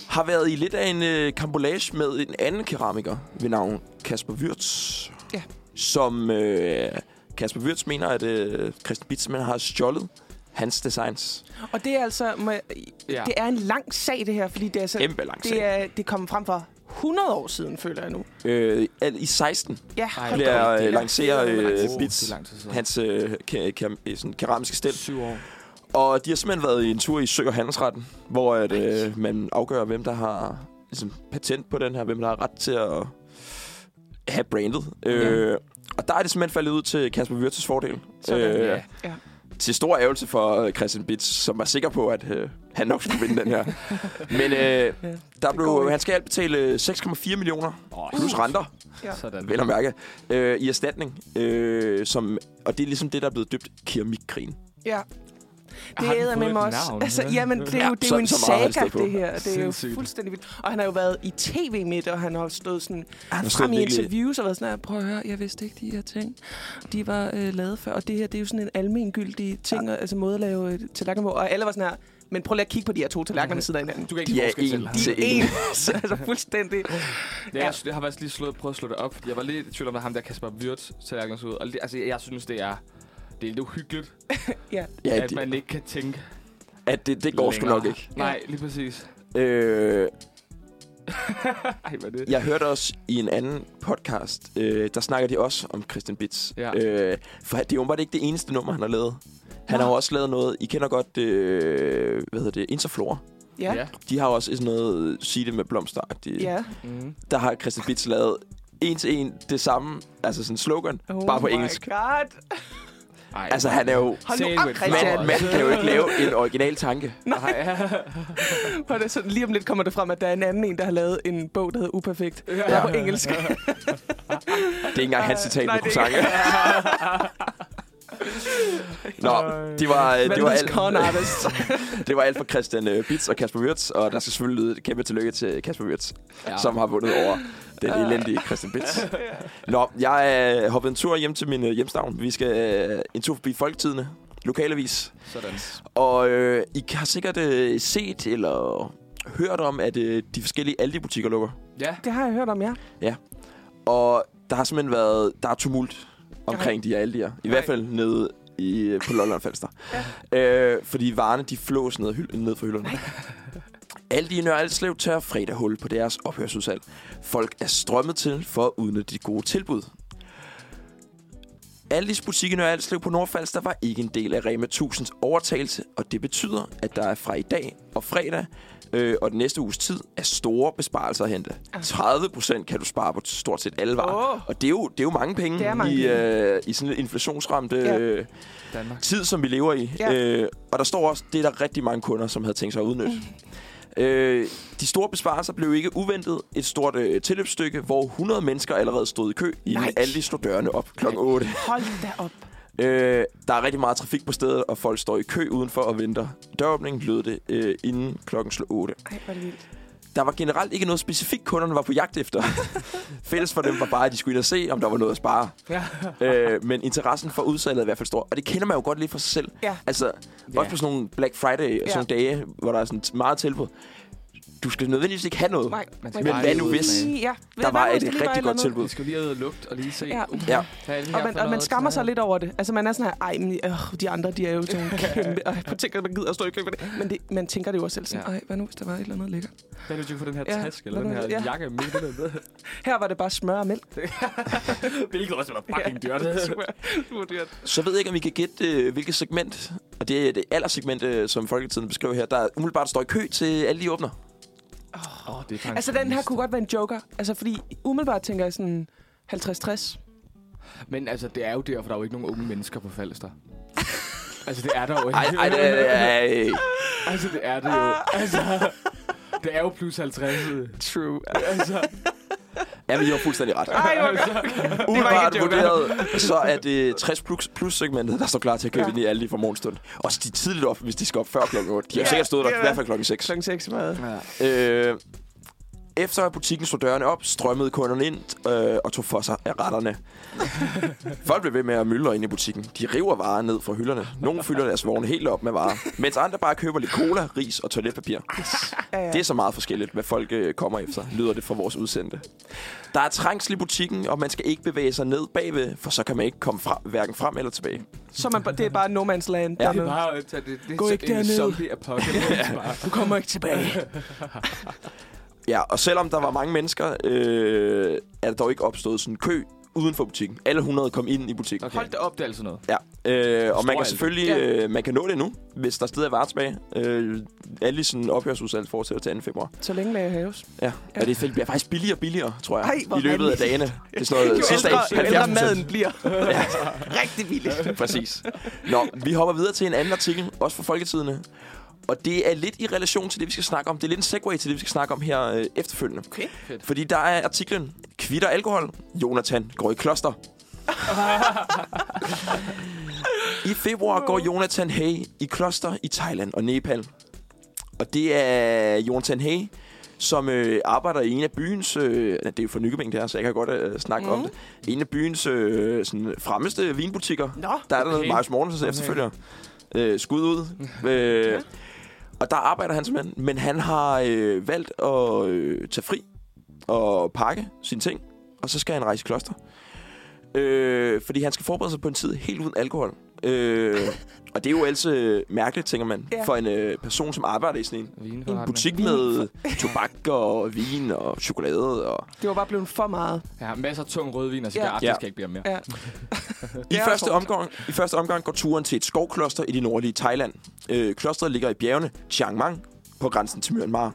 Speaker 1: har været i lidt af en øh, kambolage med en anden keramiker ved navn Kasper Wirtz.
Speaker 3: Ja.
Speaker 1: Som øh, Kasper Wirtz mener, at øh, Christian Bitzmann har stjålet hans designs.
Speaker 3: Og det er altså... Må jeg,
Speaker 2: Ja.
Speaker 3: det er en lang sag, det her, fordi det er, så,
Speaker 1: Kæmpe lang
Speaker 3: det
Speaker 1: sag.
Speaker 3: er, det er kommet frem for 100 år siden, føler jeg nu.
Speaker 1: Øh, al- I 16
Speaker 3: Ja,
Speaker 2: Ej,
Speaker 3: hold da
Speaker 1: bliver
Speaker 3: op, det er
Speaker 1: øh,
Speaker 3: lang-
Speaker 1: lanceret
Speaker 3: det er lang
Speaker 1: øh,
Speaker 3: tid.
Speaker 1: Bitz, hans øh, ke- ke- sådan, keramiske stil.
Speaker 2: Syv år.
Speaker 1: Og de har simpelthen været i en tur i Sø- og Handelsretten, hvor at, øh, man afgør, hvem der har ligesom, patent på den her, hvem der har ret til at have brandet. Øh, og der er det simpelthen faldet ud til Kasper Wirtz' fordel. Øh,
Speaker 3: Sådan,
Speaker 2: ja.
Speaker 3: Ja.
Speaker 1: Til stor ærgelse for øh, Christian Bitz, som var sikker på, at øh, han nok skulle vinde den her. Men øh, der
Speaker 3: går
Speaker 1: blev,
Speaker 3: ikke.
Speaker 1: han skal alt betale øh, 6,4 millioner
Speaker 2: Oh,
Speaker 1: plus renter,
Speaker 2: Sådan.
Speaker 1: vel at mærke, øh, i erstatning. Øh, som, og det er ligesom det, der er blevet døbt keramikkeren.
Speaker 3: ja. Det
Speaker 2: Har den
Speaker 3: æder
Speaker 2: fået
Speaker 3: med
Speaker 2: et
Speaker 3: mig også.
Speaker 2: navn?
Speaker 3: Altså, jamen, det er jo,
Speaker 1: Ja,
Speaker 3: det er
Speaker 1: så-
Speaker 3: jo en
Speaker 1: så meget har det
Speaker 3: saga,
Speaker 1: stået på.
Speaker 3: det her. Det er jo
Speaker 2: Sindssygt.
Speaker 3: fuldstændig vildt. Og han har jo været i tv med det, og han har stået sådan
Speaker 1: Han
Speaker 3: frem i interviews og været sådan her, prøv at høre, jeg vidste ikke de her ting. De var øh, lavet før, og det her, det er jo sådan en almengyldig ting, ja. altså måde at lave øh, tallerkener på. Og alle var sådan her, men prøv lige at kigge på de her to tallerkener ved siden af hinanden.
Speaker 2: Du kan ikke
Speaker 1: De er
Speaker 2: forskel selv.
Speaker 1: en
Speaker 3: De er
Speaker 1: til
Speaker 3: en, altså fuldstændig.
Speaker 2: Ja, jeg, jeg har faktisk lige slået, prøvet at slå det op, fordi jeg var lidt i tvivl om, hvad ham der Kasper Wirtz tallerkenen så ud. Og det, altså, jeg synes, det er, det er lidt uhyggeligt,
Speaker 3: Ja.
Speaker 1: Ja,
Speaker 2: at
Speaker 1: det-
Speaker 2: man ikke kan tænke
Speaker 1: at det, det går sgu
Speaker 2: længere.
Speaker 1: nok ikke.
Speaker 2: Nej, lige præcis.
Speaker 1: Øh,
Speaker 2: Ej, hvad er det?
Speaker 1: jeg hørte også i en anden podcast, øh, der snakker de også om Christian Bitz.
Speaker 2: Ja.
Speaker 1: Øh, for det er åbenbart ikke det eneste nummer, han har lavet. Han har jo også lavet noget, I kender godt, øh, hvad hedder det, Interflora.
Speaker 3: Ja. ja.
Speaker 1: De har jo også sådan noget sige det med blomster ja.
Speaker 3: ja.
Speaker 2: Mm.
Speaker 1: Der har Christian Bitz lavet en til en det samme, altså sådan slogan, oh bare på
Speaker 3: my
Speaker 1: engelsk.
Speaker 3: God.
Speaker 2: Ej,
Speaker 1: Altså han er jo...
Speaker 3: Hold nu
Speaker 2: Say
Speaker 3: op,
Speaker 2: with
Speaker 3: Christian.
Speaker 1: Man,
Speaker 2: flowers.
Speaker 1: man kan jo ikke lave en original tanke.
Speaker 2: Nej.
Speaker 3: Hvor det er sådan, lige om lidt kommer det frem, at der er en anden en, der har lavet en bog, der hedder Uperfekt. Ja. Der er på engelsk.
Speaker 1: Det er ikke engang hans citat,
Speaker 3: Nej,
Speaker 1: man kunne
Speaker 3: det er
Speaker 1: sange. Nå, det var, øh, det var,
Speaker 3: Verdens con
Speaker 1: alt,
Speaker 3: artist.
Speaker 1: det var alt for Christian øh, Bitz og Kasper Wirtz, og der skal selvfølgelig lyde et kæmpe tillykke til Kasper Wirtz, ja. som har vundet over den elendige Christian Bitz. Nå, jeg øh, hoppede en tur hjem til min øh, hjemstavn. Vi skal øh, en tur forbi Folketidene, lokalavis.
Speaker 2: Sådan.
Speaker 1: Og øh, I har sikkert øh, set eller hørt om, at øh, de forskellige Aldi-butikker lukker.
Speaker 2: Ja.
Speaker 3: Det har jeg hørt om, ja.
Speaker 1: Og der har simpelthen været... Der er tumult omkring de her Aldi'er. I hvert fald nede i, øh, på Lolland Falster. ja. øh, fordi varerne, de flås ned, ad hyld, ned fra hylderne. Aldi i Nørre Alslev tager fredag hul på deres ophørsudsalg. Folk er strømmet til for at udnytte de gode tilbud. Aldis butik i Nørre Alslev på Nordfalster var ikke en del af Rema 1000's overtagelse, og det betyder, at der er fra i dag og fredag øh, og den næste uges tid er store besparelser at hente. 30 procent kan du spare på stort set alle varer.
Speaker 3: Åh.
Speaker 1: Og det er jo, det er jo mange penge
Speaker 3: Det er mange
Speaker 1: i,
Speaker 3: penge.
Speaker 1: øh, i sådan en inflationsramt
Speaker 3: Ja.
Speaker 1: øh,
Speaker 2: Danmark.
Speaker 1: tid, som vi lever i.
Speaker 3: Ja.
Speaker 1: Øh, og der står også, det er der rigtig mange kunder, som havde tænkt sig at udnytte.
Speaker 3: Mm.
Speaker 1: Øh, de store besparelser blev ikke uventet. Et stort øh, tilløbsstykke, hvor 100 mennesker allerede stod i kø,
Speaker 3: Nej.
Speaker 1: inden Aldi slog dørene op kl. 8.
Speaker 3: Hold da op.
Speaker 1: Øh, der er rigtig meget trafik på stedet, og folk står i kø udenfor og venter. Døråbningen lød det øh, inden klokken slog 8.
Speaker 3: Ej, hvor er det vildt.
Speaker 1: Der var generelt ikke noget specifikt, kunderne var på jagt efter. Fælles for dem var bare, at de skulle ind og se, om der var noget at spare.
Speaker 2: Ja.
Speaker 1: Øh, men interessen for udsalget er i hvert fald stor. Og det kender man jo godt lidt for sig selv.
Speaker 3: Ja.
Speaker 1: Altså,
Speaker 2: Ja.
Speaker 1: også på sådan nogle Black Friday og
Speaker 3: Ja.
Speaker 1: sådan nogle dage, hvor der er sådan meget tilbud. Du skal nødvendigvis ikke have noget.
Speaker 3: Nej,
Speaker 2: Men
Speaker 3: hvor er
Speaker 1: Men
Speaker 3: det
Speaker 1: hvad
Speaker 3: vildt.
Speaker 1: nu hvis?
Speaker 3: Ja.
Speaker 1: Der
Speaker 3: Hvad
Speaker 1: var
Speaker 3: nu, hvis
Speaker 1: et
Speaker 3: det lige var
Speaker 1: rigtig
Speaker 3: eller
Speaker 1: godt
Speaker 3: andet?
Speaker 1: tilbud.
Speaker 2: Vi skal lige ud og lugte og lige se.
Speaker 3: Ja.
Speaker 2: Uh,
Speaker 1: Ja.
Speaker 2: hvad er det her
Speaker 3: Og man,
Speaker 2: for
Speaker 3: og man
Speaker 2: noget?
Speaker 3: skammer sig lidt over det. Altså, man er sådan her, ej, men, øh, de andre, de er jo sådan nogle kæmpe. Ej, på tænker, man gider at stå i kø for det. Men det, man tænker det jo også selv sådan,
Speaker 2: Ja.
Speaker 3: ej, hvad nu, hvis der var et eller andet lækkert?
Speaker 2: Hvad vil du få den her
Speaker 3: Ja,
Speaker 2: taske, eller
Speaker 3: hvad
Speaker 2: den
Speaker 3: nu-
Speaker 2: her
Speaker 3: ja.
Speaker 2: jakke med den her?
Speaker 3: Her var det bare smør og mælk.
Speaker 2: Hvilket også var fucking dyrt.
Speaker 3: Super, super dyrt.
Speaker 1: Så ved jeg ikke, om I kan gætte, øh, hvilket segment, og det er det alderssegment, øh, som Folketiden beskriver her, der umiddelbart står i kø til alle de åbner.
Speaker 2: Åh, det er faktisk...
Speaker 3: Altså, den her kunne godt være en joker. Altså, fordi umiddelbart tænker jeg sådan 50-60.
Speaker 2: Men altså, det er jo derfor, der er jo ikke nogen unge mennesker på Falster. altså, det er der jo ikke.
Speaker 1: Ej, ej, ej, ej, ej.
Speaker 2: Altså, det er det jo.
Speaker 3: Ah.
Speaker 2: Altså, det er jo plus 50.
Speaker 3: True.
Speaker 2: Altså,
Speaker 1: Ja, men I har fuldstændig ret.
Speaker 3: Ej, hvor godt.
Speaker 1: Umiddelbart
Speaker 3: det var ikke en
Speaker 1: vurderet, så er det 60 plus, plus segmentet, der står klar til at købe
Speaker 3: Ja.
Speaker 1: ja. ind i alle lige fra morgenstund. Også de er tidligt op, hvis de skal op før klokken 8. De har
Speaker 3: Ja,
Speaker 1: ja, sikkert stået der
Speaker 3: det
Speaker 1: i
Speaker 3: er
Speaker 1: hvert fald klokken 6.
Speaker 3: Klokken 6 meget.
Speaker 2: ja.
Speaker 1: Øh, efter at butikken slog dørene op, strømmede kunderne ind øh, og tog for sig af retterne. Folk blev ved med at myldre ind i butikken. De river varer ned fra hylderne. Nogle fylder deres vogne helt op med varer, mens andre bare køber lidt cola, ris og toiletpapir.
Speaker 3: Ja, ja.
Speaker 1: Det er så meget forskelligt, hvad folk øh, kommer efter, lyder det fra vores udsendte. Der er trængsel i butikken, og man skal ikke bevæge sig ned bagved, for så kan man ikke komme frem, hverken frem eller tilbage.
Speaker 3: Så er man, bare- det er bare no man's land.
Speaker 1: Ja.
Speaker 2: Det er
Speaker 3: dernede.
Speaker 2: bare at tage det, det er
Speaker 3: Gå
Speaker 2: sådan
Speaker 3: ikke
Speaker 2: en
Speaker 3: derned.
Speaker 2: zombie apocalypse bare.
Speaker 3: Du kommer ikke tilbage.
Speaker 1: Ja, og selvom der var mange mennesker, øh, er der dog ikke opstået sådan en kø uden for butikken. Alle 100 kom ind i butikken.
Speaker 2: Okay. Hold da op, det er altså noget.
Speaker 1: Ja, øh, og man
Speaker 2: Stor
Speaker 1: kan
Speaker 2: alt.
Speaker 1: selvfølgelig
Speaker 3: Ja.
Speaker 1: øh, man kan nå det nu, hvis der stadig er varer tilbage. Øh, alle sådan ophørsudsalg fortsætter til 2. februar.
Speaker 3: Så længe lager haves.
Speaker 1: Ja, ja. og det er- bliver faktisk billigere og billigere, tror jeg,
Speaker 3: Ej, hvor
Speaker 1: i løbet af
Speaker 3: vanvittigt.
Speaker 1: dagene. Det er sådan
Speaker 3: Jo
Speaker 1: noget sidste
Speaker 3: ældre, jo ældre
Speaker 1: 70
Speaker 3: maden bliver.
Speaker 1: Ja.
Speaker 3: Rigtig billigt.
Speaker 1: Præcis. Nå, vi hopper videre til en anden artikel, også fra Folketidene. Og det er lidt i relation til det, vi skal snakke om. Det er lidt en segue til det, vi skal snakke om her øh, efterfølgende.
Speaker 3: Okay.
Speaker 1: Fordi der er artiklen, kvitter alkohol, Jonathan går i kloster. I februar går Jonathan Hay i kloster i Thailand og Nepal. Og det er Jonathan Hay, som øh, arbejder i en af byens... Øh, det er jo for Nykøbing, det her, så jeg kan godt øh, snakke mm. om det. En af byens øh, sådan, fremmeste vinbutikker.
Speaker 3: Nå,
Speaker 1: Der er der
Speaker 2: Okay.
Speaker 1: okay. Marius Mortensens okay. efterfølger. Øh, skud ud. Øh, og der arbejder han simpelthen, men han har øh, valgt at øh, tage fri og pakke sine ting, og så skal han rejse i kloster. Øh, fordi han skal forberede sig på en tid helt uden alkohol. Øh, og det er jo altså øh, mærkeligt, tænker man,
Speaker 3: Ja.
Speaker 1: ja. for en øh, person, som arbejder i sådan en, en
Speaker 2: Vinforretning.
Speaker 1: butik med tobak og vin og chokolade. Og
Speaker 3: det var bare blevet for meget.
Speaker 2: Ja, masser af tung rødvin og cigaret,
Speaker 1: Ja.
Speaker 2: det skal ikke blive mere.
Speaker 3: Ja.
Speaker 1: I,
Speaker 3: Det er
Speaker 1: første
Speaker 3: hårdt.
Speaker 1: omgang, I første omgang går turen til et skovkloster i det nordlige Thailand. Øh, klosteret ligger i bjergene Chiang Mai på grænsen til Myanmar.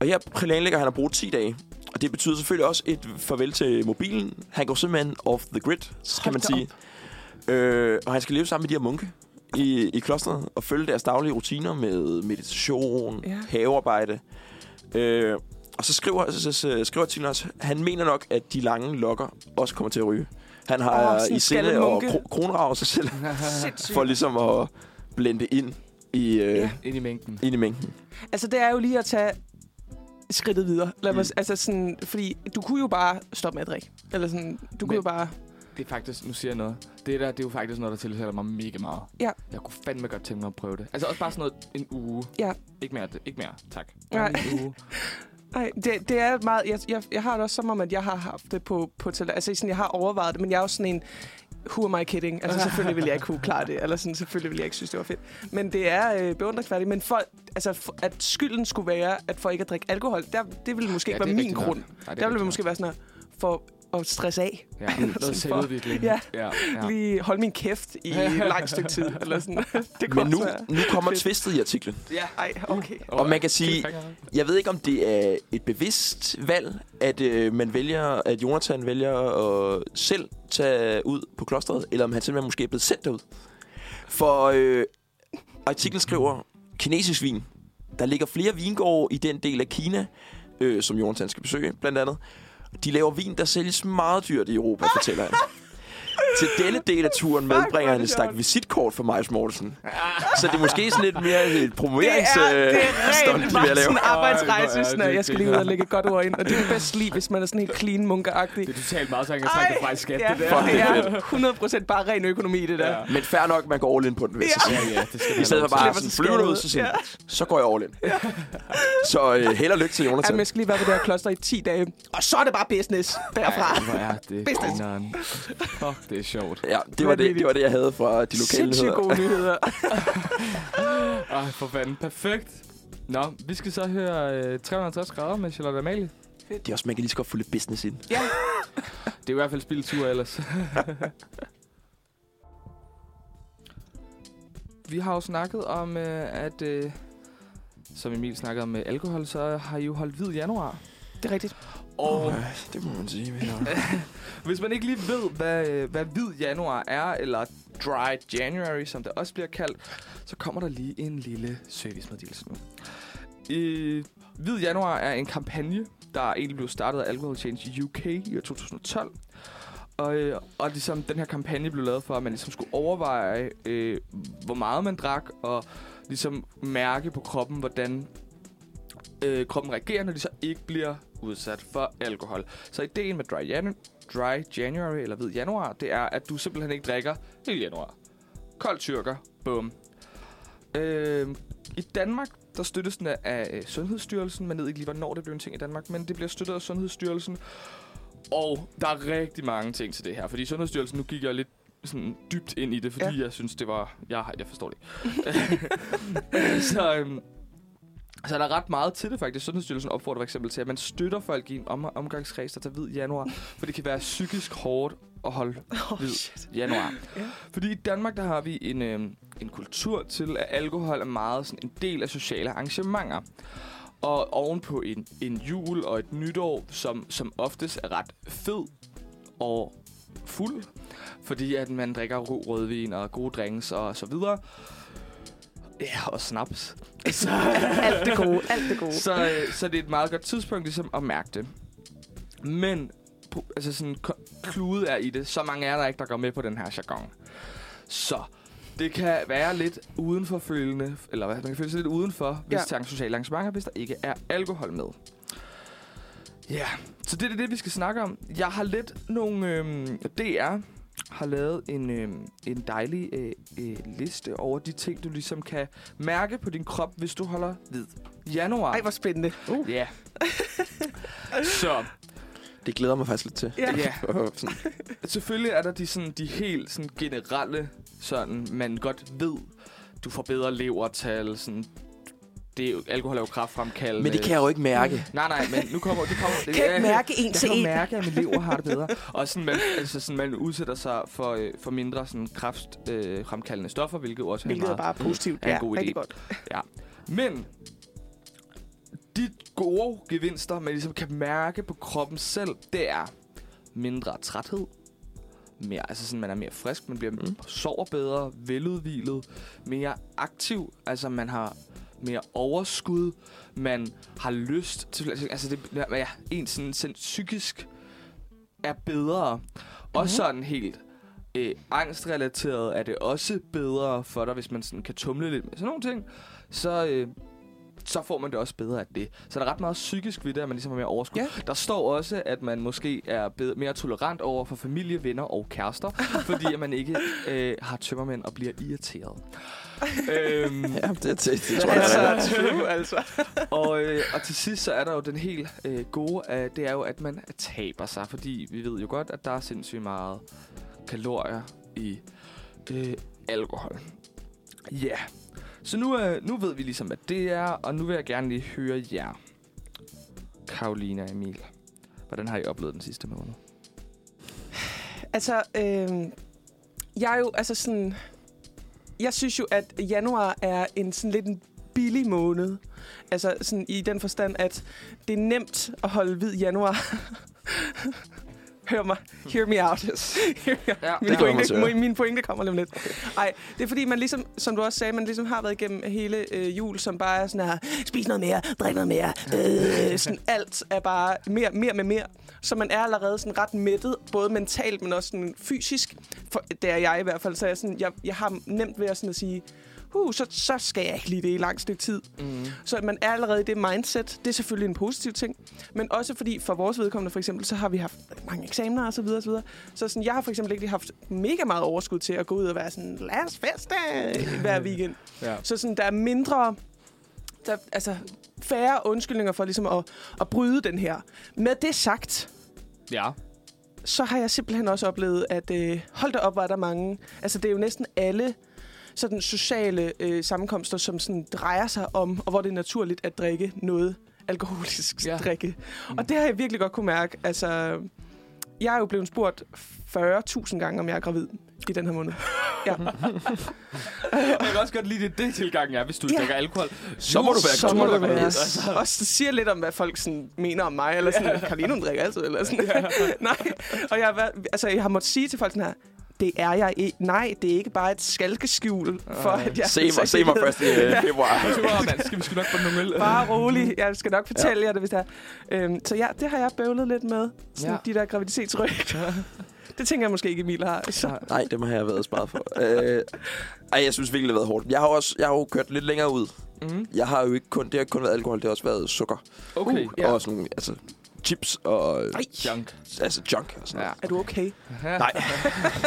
Speaker 1: Og her planlægger han at bruge 10 dage. Og det betyder selvfølgelig også et farvel til mobilen. Han går simpelthen off the grid, kan
Speaker 3: Hold
Speaker 1: man
Speaker 3: da
Speaker 1: sige. Øh, og han skal leve sammen med de her munke i, i klosteret og følge deres daglige rutiner med meditation,
Speaker 3: Ja.
Speaker 1: ja. havearbejde. Øh, og så skriver, så, så, så skriver artiklen også, han mener nok, at de lange lokker også kommer til at ryge. Han
Speaker 3: Åh,
Speaker 1: har
Speaker 3: sådan
Speaker 1: oh,
Speaker 3: en
Speaker 1: i sinde
Speaker 3: skaldet
Speaker 1: og
Speaker 3: munke.
Speaker 1: kro- kronrave sig selv
Speaker 3: Sindssygt.
Speaker 1: for ligesom at blende ind i, øh,
Speaker 3: Ja.
Speaker 1: ja.
Speaker 2: Ind i mængden.
Speaker 1: ind i mængden.
Speaker 3: Altså, det er jo lige at tage skridtet videre. Lad mig,
Speaker 1: Mm.
Speaker 3: altså sådan, fordi du kunne jo bare stoppe med at drikke. Eller sådan, du kunne
Speaker 2: Men-
Speaker 3: jo bare...
Speaker 2: Det er faktisk, nu siger jeg noget. Det der, det er jo faktisk noget, der tiltaler mig mega meget.
Speaker 3: Ja.
Speaker 2: Jeg kunne fandme godt tænke mig at prøve det. Altså også bare sådan noget en uge.
Speaker 3: Ja.
Speaker 2: Ikke mere, ikke mere. Tak.
Speaker 3: Nej.
Speaker 2: Bare En uge.
Speaker 3: Nej, det, det er meget... Jeg, jeg, jeg har det også som om, at jeg har haft det på, på tele, Altså, sådan, jeg har overvejet det, men jeg er også sådan en... Who am I kidding? Altså, selvfølgelig ville jeg ikke kunne klare det. Eller sådan, selvfølgelig ville jeg ikke synes, det var fedt. Men det er øh, beundringsværdigt. Men for, altså, for, at skylden skulle være, at for ikke at drikke alkohol, der, det ville måske
Speaker 2: Ja,
Speaker 3: ja, ikke
Speaker 2: det
Speaker 3: være
Speaker 2: er
Speaker 3: min
Speaker 2: rigtigt nok.
Speaker 3: grund.
Speaker 2: Nej, det er
Speaker 3: Der ville det
Speaker 2: rigtigt
Speaker 3: måske være sådan her, for at stresse af.
Speaker 2: nok. Ja, noget
Speaker 3: sådan for-
Speaker 2: selvudvikling.
Speaker 3: Ja.
Speaker 2: ja,
Speaker 3: Ja. Lige holde min kæft i et langt stykke tid. Eller sådan. det kunne
Speaker 1: Men nu,
Speaker 3: også være.
Speaker 1: nu kommer
Speaker 3: Fedt.
Speaker 1: tvistet i artiklen.
Speaker 2: ja.
Speaker 3: Ej, okay.
Speaker 1: Og man kan sige,
Speaker 2: Cliffhanger.
Speaker 1: Jeg ved ikke, om det er et bevidst valg, at øh, man vælger, at Jonathan vælger at selv tage ud på klosteret, eller om han simpelthen måske er blevet sendt derud. For øh, artiklen skriver, kinesisk vin. Der ligger flere vingårde i den del af Kina, øh, som Jonathan skal besøge, blandt andet. De laver vin, der sælges meget dyrt i Europa, fortæller han. Til denne del af turen
Speaker 3: hvor er
Speaker 1: medbringer han
Speaker 3: det
Speaker 1: et stak
Speaker 3: sjovt.
Speaker 1: visitkort for Majs Mortensen. Så det er måske sådan lidt mere et
Speaker 3: Det er,
Speaker 1: promoverings...
Speaker 3: det
Speaker 1: øh,
Speaker 3: er
Speaker 1: stunt,
Speaker 3: rent
Speaker 1: de
Speaker 3: bare
Speaker 1: vil lave.
Speaker 3: sådan en
Speaker 2: Ej, hvor
Speaker 3: arbejdsrejse.
Speaker 2: er
Speaker 3: Sådan, at
Speaker 2: det
Speaker 3: jeg skal lige ud og lægge et godt ord ind. Og det er bedst lige, hvis man er sådan helt clean munkeragtig.
Speaker 2: Det er totalt meget sang, jeg snakker fra skat,
Speaker 3: ja,
Speaker 2: det der.
Speaker 1: Fuck,
Speaker 3: det
Speaker 1: det er
Speaker 3: er 100% bare ren økonomi, det der.
Speaker 2: Ja.
Speaker 3: Ja.
Speaker 1: Men fair nok, man går all in på den, hvis ja.
Speaker 2: Ja, ja, det skal
Speaker 1: I stedet for bare
Speaker 3: Slipper
Speaker 1: sådan,
Speaker 3: sig
Speaker 1: flyver du
Speaker 3: skade
Speaker 1: ud,
Speaker 3: ud.
Speaker 1: så siger ja. så går jeg all in. Ja. Så øh, held og lykke til
Speaker 3: Jamen,
Speaker 2: altså-
Speaker 1: Jonathan.
Speaker 3: jeg skal lige være på det her kloster i 10 dage. Og så er det bare business derfra.
Speaker 2: Ej, hvor er det
Speaker 3: Business.
Speaker 2: grineren. Fuck, det er sjovt.
Speaker 1: Ja, det var det,
Speaker 3: Vanvittigt.
Speaker 1: det var det, jeg havde fra de lokale
Speaker 3: Sindssygt
Speaker 1: nyheder.
Speaker 3: gode nyheder.
Speaker 2: Ej, for fanden. Perfekt. Nå, vi skal så høre øh, 360 grader med Charlotte Amalie.
Speaker 1: Det er også, man kan lige så godt få lidt business ind.
Speaker 3: ja.
Speaker 2: Det er i hvert fald spildetur ellers. vi har jo snakket om, øh, at øh, som Emil snakkede om med alkohol, så har I jo holdt hvid januar.
Speaker 3: Det er rigtigt.
Speaker 2: Og
Speaker 1: Øh, det må man sige. Ja.
Speaker 2: Hvis man ikke lige ved, hvad, øh, hvad hvid januar er, eller dry January, som det også bliver kaldt, så kommer der lige en lille servicemeddelelse nu. Øh, hvid januar er en kampagne, der egentlig blev startet af Alcohol Change UK i år 2012. Og, øh, og ligesom, den her kampagne blev lavet for, at man ligesom skulle overveje, øh, hvor meget man drak, og ligesom mærke på kroppen, hvordan øh, kroppen reagerer, når de så ikke bliver udsat for alkohol. Så ideen med dry, janu- dry January, eller hvid januar, det er, at du simpelthen ikke drikker hele januar. Kold tyrker, bum. Øh, I Danmark, der støttes den af øh, Sundhedsstyrelsen. Man ved ikke lige, hvornår det blev en ting i Danmark, men det bliver støttet af Sundhedsstyrelsen. Og der er rigtig mange ting til det her, fordi Sundhedsstyrelsen, nu gik jeg lidt sådan dybt ind i det, fordi ja. jeg synes, det var... Jeg, jeg forstår det ikke. så, øhm, så er der ret meget til det faktisk. Sundhedsstyrelsen opfordrer for eksempel til, at man støtter folk i en om- omgangskreds, der tager hvid januar, for det kan være psykisk hårdt at holde
Speaker 3: Oh,
Speaker 2: hvid
Speaker 3: shit.
Speaker 2: januar.
Speaker 3: Ja.
Speaker 2: Fordi i Danmark, der har vi en, øh, en kultur til, at alkohol er meget sådan en del af sociale arrangementer. Og ovenpå en, en jul og et nytår, som, som oftest er ret fed og fuld, fordi at man drikker god rødvin og gode drinks og så videre. Ja, og snaps. Så,
Speaker 3: Alt det gode. Alt det gode.
Speaker 2: så, øh, så det er et meget godt tidspunkt ligesom, at mærke det. Men pro- altså sådan, ko- kludet er i det. Så mange er der ikke, der går med på den her jargon. Så det kan være lidt udenforfølgende, eller hvad, man kan føle sig lidt udenfor, hvis
Speaker 3: Ja.
Speaker 2: ja. til sociale arrangementer, hvis der ikke er alkohol med. Ja, så det er det, vi skal snakke om. Jeg har lidt nogle... Øhm, DR har lavet en, øhm, en dejlig øh, øh, liste over de ting, du ligesom kan mærke på din krop, hvis du holder hvid. Januar.
Speaker 3: Ej, hvor spændende.
Speaker 2: Uh. Ja. Så,
Speaker 1: Det glæder mig faktisk lidt til.
Speaker 3: Ja.
Speaker 2: ja.
Speaker 1: Sådan,
Speaker 2: Selvfølgelig er der de, sådan, de helt sådan, generelle, sådan, man godt ved, du får bedre levertal, sådan, det er jo, alkohol er jo kraftfremkaldende.
Speaker 1: men det kan jeg jo ikke mærke.
Speaker 2: Nej, nej, men nu kommer... Det kommer det,
Speaker 3: Kan ikke
Speaker 2: ja,
Speaker 3: mærke en
Speaker 2: jeg
Speaker 3: til
Speaker 2: kan
Speaker 3: en.
Speaker 2: mærke, at min lever har det bedre. Og sådan, man, altså, sådan, man udsætter sig for, øh, for mindre sådan, kraftfremkaldende øh, fremkaldende stoffer, hvilket jo også
Speaker 3: Hvilket
Speaker 2: er
Speaker 3: er
Speaker 2: meget
Speaker 3: bare positivt.
Speaker 2: er en god idé.
Speaker 3: rigtig godt.
Speaker 2: Men de gode gevinster, man ligesom kan mærke på kroppen selv, det er mindre træthed. Mere, altså sådan, man er mere frisk, man bliver mm. sover bedre, veludvilet, mere aktiv. Altså, man har mere overskud, man har lyst til... Altså, det, ja, en sådan, sådan psykisk er bedre. Mm-hmm. Og sådan helt øh, angstrelateret er det også bedre for dig, hvis man sådan kan tumle lidt med sådan nogle ting. Så, øh, så får man det også bedre af det. Så der er ret meget psykisk ved det, at man ligesom har mere overskud.
Speaker 3: Ja.
Speaker 2: Der står også, at man måske er bedre, mere tolerant over for familie, venner og kærester, fordi at man ikke øh, har tømmermænd og bliver irriteret. øhm,
Speaker 1: Ja, det, det, det tror jeg,
Speaker 3: Altså,
Speaker 1: der er.
Speaker 3: true, altså.
Speaker 2: og, øh, og til sidst så er der jo den helt øh, gode, øh, det er jo, at man taber sig, fordi vi ved jo godt, at der er sindssygt meget kalorier i øh, alkohol. Ja, yeah. så nu, øh, nu ved vi ligesom, hvad det er, og nu vil jeg gerne lige høre jer, Karolina og Emil. Hvordan har I oplevet den sidste måned?
Speaker 3: Altså, øh, jeg er jo, altså sådan... Jeg synes jo, at januar er en sådan lidt en billig måned. Altså sådan i den forstand, at det er nemt at holde hvid januar. Hør mig. Hear me out. Hear me out.
Speaker 2: Ja,
Speaker 3: Min
Speaker 1: det kommer
Speaker 3: pointe,
Speaker 1: til.
Speaker 3: min, min pointe kommer lige om lidt. Nej, det er fordi, man ligesom, som du også sagde, man ligesom har været igennem hele øh, jul, som bare er sådan her, spis noget mere, drik noget mere, øh, sådan alt er bare mere, mere med mere. Så man er allerede sådan ret mættet, både mentalt, men også sådan fysisk. For, det er jeg i hvert fald, så jeg, sådan, jeg, jeg har nemt ved at, sådan at sige, uh, så, så skal jeg ikke lide det i lang stykke tid.
Speaker 2: Mm.
Speaker 3: Så at man er allerede i det mindset, det er selvfølgelig en positiv ting. Men også fordi for vores vedkommende for eksempel, så har vi haft mange eksamener og så videre, og så videre. Så sådan, jeg har for eksempel ikke lige haft mega meget overskud til at gå ud og være sådan, lad os feste hver weekend.
Speaker 2: Ja.
Speaker 3: Så sådan, der er mindre... Der, altså, færre undskyldninger for ligesom at, at bryde den her. Med det sagt,
Speaker 2: ja.
Speaker 3: så har jeg simpelthen også oplevet, at øh, hold da op, var der mange. Altså, det er jo næsten alle sådan sociale øh, sammenkomster, som sådan drejer sig om, og hvor det er naturligt at drikke noget alkoholisk
Speaker 2: Ja.
Speaker 3: ja. drikke. Og det har jeg virkelig godt kunne mærke. Altså, jeg er jo blevet spurgt 40.000 gange, om jeg er gravid i den her måned. Ja.
Speaker 2: Jeg kan også godt lide det, det tilgangen er, hvis du
Speaker 3: Ja.
Speaker 2: ja. drikker alkohol.
Speaker 1: Så må du være
Speaker 3: så må
Speaker 1: gravid.
Speaker 3: du være.
Speaker 2: Altså.
Speaker 3: Også det siger lidt om, hvad folk sådan mener om mig, eller sådan, Karline, hun drikker altid, eller sådan. Nej, og jeg, har været- altså, jeg har måttet sige til folk sådan her, det er jeg ikke. Nej, det er ikke bare et skalkeskjul for,
Speaker 2: Ej.
Speaker 3: at jeg...
Speaker 1: Se mig, se mig først i øh, februar.
Speaker 2: Du er, mand. Skal vi sgu nok få nogle øl?
Speaker 3: Bare rolig. Jeg skal nok fortælle ja. jer det, hvis det er. Øhm, så ja, det har jeg bøvlet lidt med. Sådan
Speaker 2: Ja.
Speaker 3: ja. de der graviditetsryg. det tænker jeg måske ikke, Emil har. Så.
Speaker 2: Nej.
Speaker 1: Nej, det må jeg have været sparet for. Øh, ej, jeg synes virkelig, det har været hårdt. Jeg har, også, jeg har jo kørt lidt længere ud.
Speaker 2: Mm.
Speaker 1: Jeg har jo ikke kun, det har ikke kun været alkohol, det har også været sukker.
Speaker 2: Okay.
Speaker 1: Uh,
Speaker 3: ja.
Speaker 1: Og sådan nogle, altså, chips og øh,
Speaker 3: Ej,
Speaker 2: Junk.
Speaker 1: altså junk og sådan noget.
Speaker 2: Ja.
Speaker 3: er du okay?
Speaker 1: Nej.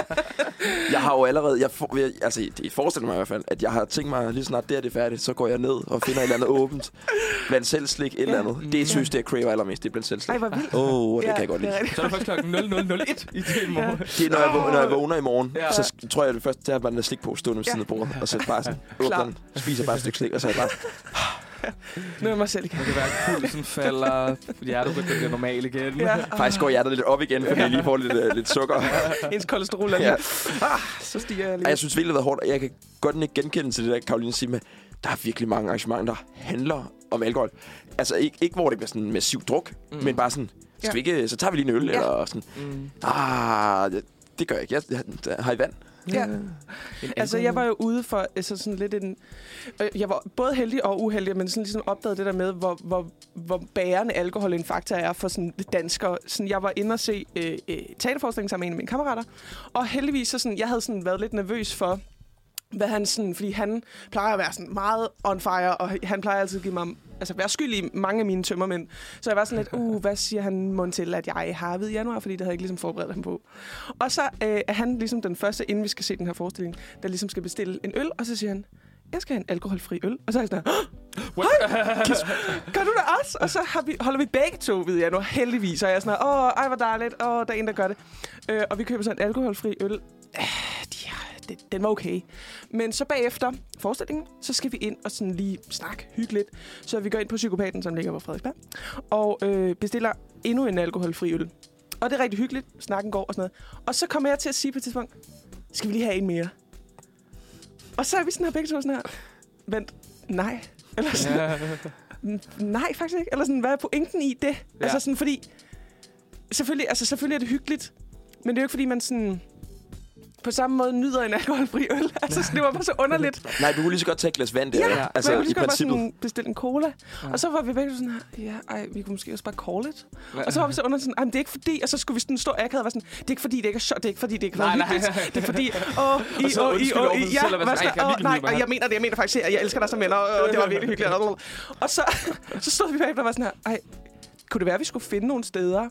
Speaker 1: jeg har jo allerede... Jeg for, jeg, altså, det forestiller mig i hvert fald, at jeg har tænkt mig, lige snart det er det færdigt, så går jeg ned og finder et eller andet åbent. Blandt selv slik, et eller andet. Det synes jeg, jeg craver allermest. Det er blandt selv
Speaker 3: Ej,
Speaker 1: slik.
Speaker 3: hvor vildt.
Speaker 1: Åh, oh, det
Speaker 3: Ja,
Speaker 1: kan jeg godt
Speaker 3: det
Speaker 1: lide.
Speaker 3: er rigtigt.
Speaker 2: Så er det faktisk klokken 0001 i det morgen. Ja.
Speaker 1: Det er, når, jeg, vå- når jeg vågner i morgen,
Speaker 2: Ja.
Speaker 1: ja. så sk- tror jeg, det første, det er bare den der slikpose stående ved siden af bordet. Og så bare sådan, åbner
Speaker 3: Klar.
Speaker 1: den, spiser bare et stykke slik, og så er jeg bare...
Speaker 3: Nu er jeg mig selv igen.
Speaker 2: Man kan være, at pulsen falder, hjerterytmen bliver normal igen.
Speaker 3: Ja,
Speaker 1: Faktisk går hjertet lidt op igen, fordi jeg lige får lidt, øh, lidt sukker.
Speaker 3: ens kolesterol er lige.
Speaker 1: Ja.
Speaker 3: Ja. Ah, så stiger jeg lige.
Speaker 1: Ej, jeg synes virkelig, det har været hårdt, og jeg kan godt ikke genkende til det der, Karoline siger med, der er virkelig mange arrangementer, der handler om alkohol. Altså ikke, ikke hvor det bliver sådan massiv druk,
Speaker 2: Mm.
Speaker 1: mm. men bare sådan, skal
Speaker 3: Ja.
Speaker 1: vi ikke, så tager vi lige en øl,
Speaker 3: Ja.
Speaker 1: ja. eller sådan,
Speaker 2: Mm.
Speaker 1: ah, det, det gør jeg ikke, jeg, jeg, jeg har I vand.
Speaker 3: Ja.
Speaker 2: En
Speaker 3: Altså, jeg var jo ude for altså, sådan lidt en... øh, Jeg var både heldig og uheldig, men sådan ligesom opdagede det der med, hvor, hvor, hvor bærende alkohol en faktor er for sådan danskere. Sådan, jeg var inde og se øh, øh, teaterforestillingen sammen med en af mine kammerater, og heldigvis så sådan, jeg havde sådan været lidt nervøs for, hvad han sådan, fordi han plejer at være sådan meget on fire, og han plejer altid at give mig, altså være skyld i mange af mine tømmermænd. Så jeg var sådan lidt, uh, hvad siger han mund til, at jeg har ved januar, fordi det havde jeg ikke ligesom forberedt ham på. Og så øh, er han ligesom den første, inden vi skal se den her forestilling, der ligesom skal bestille en øl, og så siger han, jeg skal have en alkoholfri øl. Og så er jeg sådan, her,
Speaker 2: What?
Speaker 3: gør du det også? Og så har vi, holder vi begge to ved januar, heldigvis. Og jeg er sådan, her, åh, ej, hvor dejligt, åh, der er en, der gør det. Øh, og vi køber så en alkoholfri øl. Øh, de har- det- den var okay. Men så bagefter forestillingen, så skal vi ind og sådan lige snakke hyggeligt. Så vi går ind på Psykopaten, som ligger på Frederiksberg, og øh, bestiller endnu en alkoholfri øl. Og det er rigtig hyggeligt. Snakken går og sådan noget. Og så kommer jeg til at sige på et tidspunkt, skal vi lige have en mere? Og så er vi sådan her begge to sådan her. Vent, nej. Eller sådan,
Speaker 2: Ja.
Speaker 3: "N- nej, faktisk ikke. Eller sådan, hvad er pointen i det? Ja.
Speaker 2: Ja.
Speaker 3: Altså sådan, fordi... Selvfølgelig, altså, selvfølgelig er det hyggeligt, men det er jo ikke, fordi man sådan på samme måde nyder en alkoholfri øl. Altså, sådan, det var bare så underligt.
Speaker 1: Nej, du kunne lige så godt tage et glas vand der.
Speaker 2: Ja,
Speaker 1: ikke?
Speaker 3: Altså,
Speaker 1: altså,
Speaker 3: man kunne
Speaker 1: i
Speaker 3: lige så godt bare
Speaker 1: princippet.
Speaker 3: sådan bestille en cola. Ja.
Speaker 2: Ja.
Speaker 3: Og så var vi begge sådan her, ja, ej, vi kunne måske også bare call it. Og så var vi så under sådan, ej, men det er ikke fordi, og så skulle vi sådan stå akavet og være sådan, det er ikke fordi, det ikke er sjovt, det er ikke fordi, det ikke var
Speaker 2: Nej, nej.
Speaker 3: hyggeligt. Det er fordi, åh, i,
Speaker 2: Og så
Speaker 3: åh, i,
Speaker 2: undskyld
Speaker 3: åh,
Speaker 2: over for
Speaker 3: i,
Speaker 2: sig
Speaker 3: ja,
Speaker 2: selv og være
Speaker 3: var
Speaker 2: sådan, "Ej, jeg kan
Speaker 3: sådan, åh,
Speaker 2: virkelig
Speaker 3: nej,
Speaker 2: lide
Speaker 3: og
Speaker 2: mig."
Speaker 3: jeg mener det, jeg mener faktisk, at jeg elsker dig som venner, og det var virkelig hyggeligt. Og så, så stod vi bagefter og var sådan her, ej, kunne det være, at vi skulle finde nogle steder,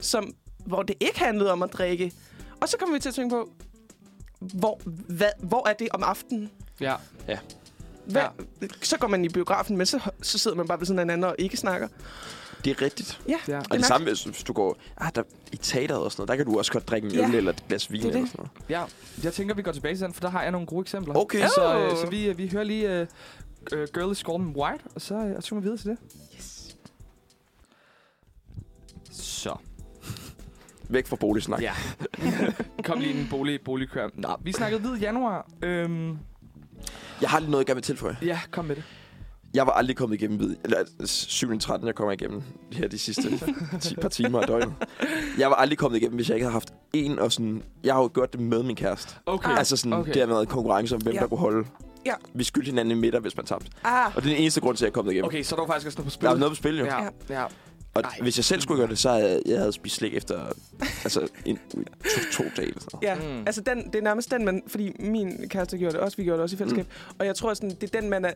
Speaker 3: som, hvor det ikke handlede om at drikke? Og så kom vi til at tænke på, hvor, hvad, hvor er det om aftenen?
Speaker 2: Ja.
Speaker 3: Hvad? Ja. Så går man i biografen med, så, så sidder man bare ved siden af hinanden og ikke snakker.
Speaker 1: Det er rigtigt.
Speaker 3: Ja,
Speaker 2: Ja.
Speaker 1: Og det
Speaker 3: mærkeligt.
Speaker 1: samme, hvis hvis du går ah, der, i teateret og sådan noget, der kan du også godt drikke en
Speaker 3: Ja.
Speaker 1: øl eller et glas vin
Speaker 3: Det er det.
Speaker 1: eller sådan noget.
Speaker 2: ja. Jeg tænker, vi går tilbage til den, for der har jeg nogle gode eksempler.
Speaker 1: Okay.
Speaker 2: Så,
Speaker 3: Oh.
Speaker 2: øh, så vi, øh, vi hører lige øh, øh, Girl is Gone White, og så, øh, og så kommer vi videre til det.
Speaker 3: Yes.
Speaker 2: Så.
Speaker 1: Væk fra boligsnak.
Speaker 2: Ja. Kom lige en bolig, boligkør. Nå, vi snakkede hvid januar. Øhm,
Speaker 1: Jeg har lige noget, jeg gerne vil tilføje.
Speaker 2: ja, kom med det.
Speaker 1: Jeg var aldrig kommet igennem vid. Eller 7. 13. jeg kommer igennem her de sidste 10 par timer af døgnet. Jeg var aldrig kommet igennem, hvis jeg ikke havde haft en og sådan... Jeg har jo gjort det med min kæreste.
Speaker 2: Okay.
Speaker 1: Okay. Altså sådan, okay.
Speaker 2: okay.
Speaker 1: det har været en konkurrence om, hvem
Speaker 3: Ja.
Speaker 1: ja. der kunne holde.
Speaker 3: Ja.
Speaker 1: Vi skyldte hinanden i midter, hvis man tabte.
Speaker 3: Ah,
Speaker 1: Og det er den eneste grund til, at jeg er kommet igennem. Okay.
Speaker 2: Okay, så er der var faktisk også noget på spil.
Speaker 1: Der er noget på spil, jo. Ja.
Speaker 2: Ja, ja.
Speaker 1: Og
Speaker 2: Ej.
Speaker 1: hvis jeg selv skulle gøre det, så havde jeg havde spist slik efter altså, en, to, to dage. Eller sådan noget.
Speaker 3: ja. Mm.
Speaker 2: Mm.
Speaker 3: Altså, den, det er nærmest den, man... Fordi min kæreste gjorde det også, vi gjorde det også i fællesskab. Mm. Og jeg tror, sådan, det er den, man er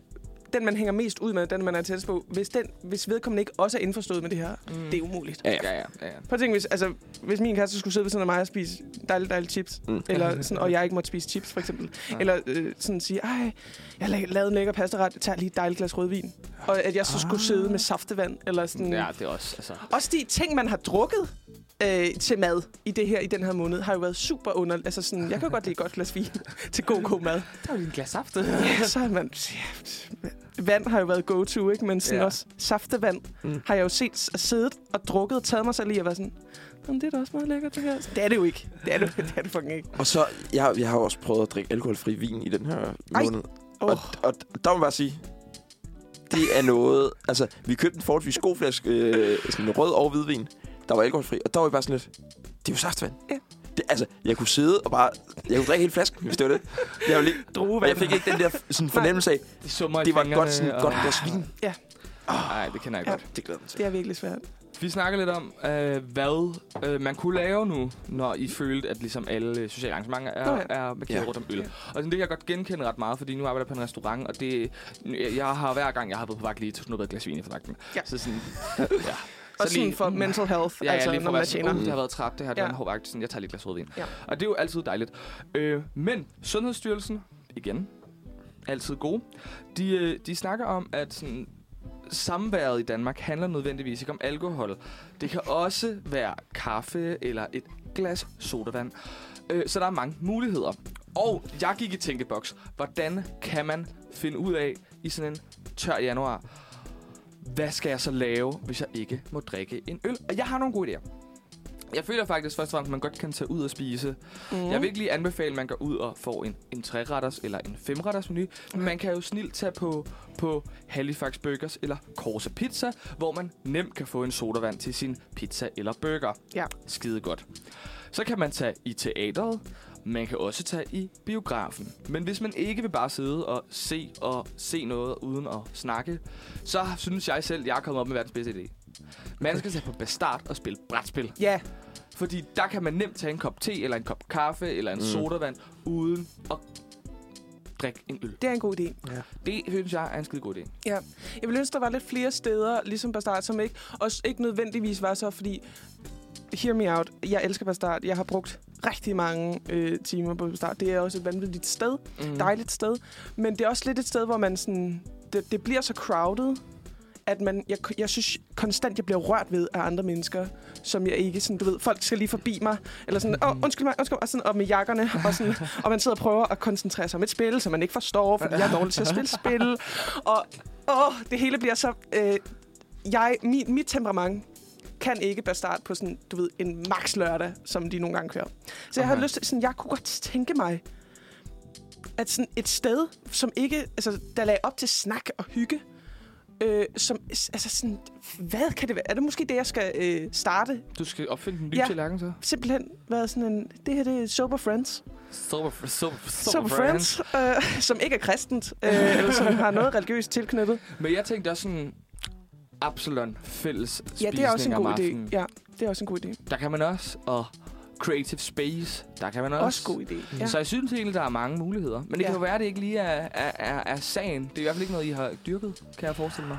Speaker 3: den, man hænger mest ud med, den, man er tættest på. Hvis, den, hvis vedkommende ikke også er indforstået med det her, mm. det er umuligt.
Speaker 1: Ja, ja.
Speaker 2: Ja, ja, ja. ja.
Speaker 3: Prøv at tænke, hvis, altså, hvis min kæreste skulle sidde ved siden af mig og spise dejlige, dejlige chips, mm.
Speaker 1: Mm.
Speaker 3: eller sådan, og jeg ikke måtte spise chips, for eksempel.
Speaker 2: Ja.
Speaker 3: Eller øh, sådan sige, ej, jeg har la- lavet en lækker pastaret, jeg tager lige et dejligt glas rødvin. Og at jeg så skulle sidde med saftevand, eller sådan...
Speaker 2: Ja, det er også, altså...
Speaker 3: Også de ting, man har drukket øh, til mad i det her i den her måned, har jo været super under... Altså sådan, jeg kan jo godt lide et godt glas vin til god, god mad.
Speaker 2: Der var lige en glas saft.
Speaker 3: Ja, så har man... ja, Vand har jo været go-to, ikke? Men sådan ja.
Speaker 2: Ja.
Speaker 3: også saftevand mm.
Speaker 1: Mm.
Speaker 3: har jeg jo set s- siddet og drukket, taget mig selv i og været sådan... Jamen, det er da også meget lækkert, det her. Det er det jo ikke. Det er det, det, er det fucking ikke.
Speaker 1: Og så, jeg, jeg har jo også prøvet at drikke alkoholfri vin i den her
Speaker 3: Ej.
Speaker 1: måned.
Speaker 3: Åh,
Speaker 1: Og, og der må man bare sige, det er noget... Altså, vi købte en forholdsvis god flaske øh, sådan rød og hvidvin, der var alkoholfri. Og der var jeg bare sådan lidt, det er jo saftvand.
Speaker 3: Ja.
Speaker 1: Det, altså, jeg kunne sidde og bare... Jeg kunne drikke hele flasken, hvis det var det. Jeg, ville, ikke- og
Speaker 3: druevand.
Speaker 1: jeg fik ikke den der sådan, fornemmelse af,
Speaker 2: Det summer i
Speaker 1: det var et
Speaker 2: fingrene,
Speaker 1: godt, sådan,
Speaker 2: og- Ah,
Speaker 1: godt glas vin.
Speaker 2: Nej, det kender jeg
Speaker 3: Ja.
Speaker 2: godt.
Speaker 1: Det glæder jeg mig til.
Speaker 3: Det er virkelig svært.
Speaker 2: Vi snakker lidt om, øh, hvad øh, man kunne lave nu, når I følte, at ligesom alle øh, sociale arrangementer er,
Speaker 3: Nå ja.
Speaker 2: er markeret
Speaker 1: Ja.
Speaker 2: rundt om øl.
Speaker 3: Ja.
Speaker 2: Og sådan, det kan jeg godt genkende ret meget, fordi nu arbejder jeg på en restaurant, og det, jeg- jeg har hver gang, jeg har været på vagt lige snuppet et glas vin i fornagten.
Speaker 3: Ja.
Speaker 2: Så sådan, ja.
Speaker 3: Og sådan for mental health,
Speaker 2: Ja,
Speaker 3: altså
Speaker 2: ja, lige for
Speaker 3: når
Speaker 2: at
Speaker 3: man
Speaker 2: være sådan,
Speaker 3: tjener.
Speaker 2: uh, det har været træt, det her, det
Speaker 3: Ja.
Speaker 2: var en hård vagt. Sådan, jeg tager lige et glas rødvin.
Speaker 3: Ja.
Speaker 2: Og det er jo altid dejligt. Øh, men Sundhedsstyrelsen, igen, altid god. De, øh, de snakker om, at sådan, samværet i Danmark handler nødvendigvis ikke om alkohol. Det kan også være kaffe eller et glas sodavand. Øh, så der er mange muligheder. Og jeg gik i tænkeboks. Hvordan kan man finde ud af i sådan en tør januar, hvad skal jeg så lave, hvis jeg ikke må drikke en øl? Og jeg har nogle gode idéer. Jeg føler faktisk først og fremmest, at man godt kan tage ud og spise. Mm. Jeg vil ikke lige anbefale, at man går ud og får en, en 3-retters eller en 5-retters menu. Men man kan jo snilt tage på, på Halifax Burgers eller Korse Pizza, hvor man nemt kan få en sodavand til sin pizza eller burger.
Speaker 3: Ja.
Speaker 2: Skide godt. Så kan man tage i teateret. Man kan også tage i biografen. Men hvis man ikke vil bare sidde og se og se noget uden at snakke, så synes jeg selv, at jeg er kommet op med verdens bedste idé. Man skal tage på Bastard og spille brætspil.
Speaker 3: Ja,
Speaker 2: Fordi der kan man nemt tage en kop te, eller en kop kaffe, eller en mm. sodavand, uden at drikke en øl.
Speaker 3: det er en god idé.
Speaker 2: Det synes jeg er en skide god idé.
Speaker 3: Ja, jeg ville ønske, der var lidt flere steder, ligesom Bastard, som ikke, også ikke nødvendigvis var så, fordi, hear me out, jeg elsker Bastard, jeg har brugt rigtig mange øh, timer på Bastard, det er også et vanvittigt sted, mm. dejligt sted, men det er også lidt et sted, hvor man sådan, det, det bliver så crowded, at man, jeg, jeg synes konstant, jeg bliver rørt ved af andre mennesker, som jeg ikke sådan, du ved, folk skal lige forbi mig, eller sådan, åh, undskyld mig, undskyld mig, og, sådan, og med jakkerne, og, sådan, og man sidder og prøver at koncentrere sig om et spil, som man ikke forstår, fordi jeg er dårlig til at spille spil, og åh, det hele bliver så, øh, jeg, mit, mit temperament kan ikke bare starte på sådan, du ved, en max lørdag, som de nogle gange kører. Så jeg har
Speaker 2: Okay.
Speaker 3: lyst til, sådan, jeg kunne godt tænke mig, at sådan et sted, som ikke, altså, der lagde op til snak og hygge, øh, som, altså sådan, hvad kan det være? Er det måske det, jeg skal øh, starte?
Speaker 2: Du skal opfinde en ny
Speaker 3: Ja.
Speaker 2: ja. tallerken, så.
Speaker 3: Simpelthen været sådan en, det her det er Sober Friends.
Speaker 2: Sober, sober, sober,
Speaker 3: Sober Friends, øh, som ikke er kristent, øh, eller som har noget religiøst tilknyttet.
Speaker 2: Men jeg tænkte også sådan... Absalon fælles spisning
Speaker 3: Ja, det er også en
Speaker 2: om
Speaker 3: god
Speaker 2: aftenen.
Speaker 3: idé. Ja, det er også en god idé.
Speaker 2: Der kan man også. Og Creative Space, der kan man også.
Speaker 3: Også god idé. Ja.
Speaker 2: Så jeg synes egentlig, der er mange muligheder. Men det ja.
Speaker 3: Ja.
Speaker 2: kan jo være, at det ikke lige er, er, er, er sagen. Det er i hvert fald ikke noget, I har dyrket, kan jeg forestille mig.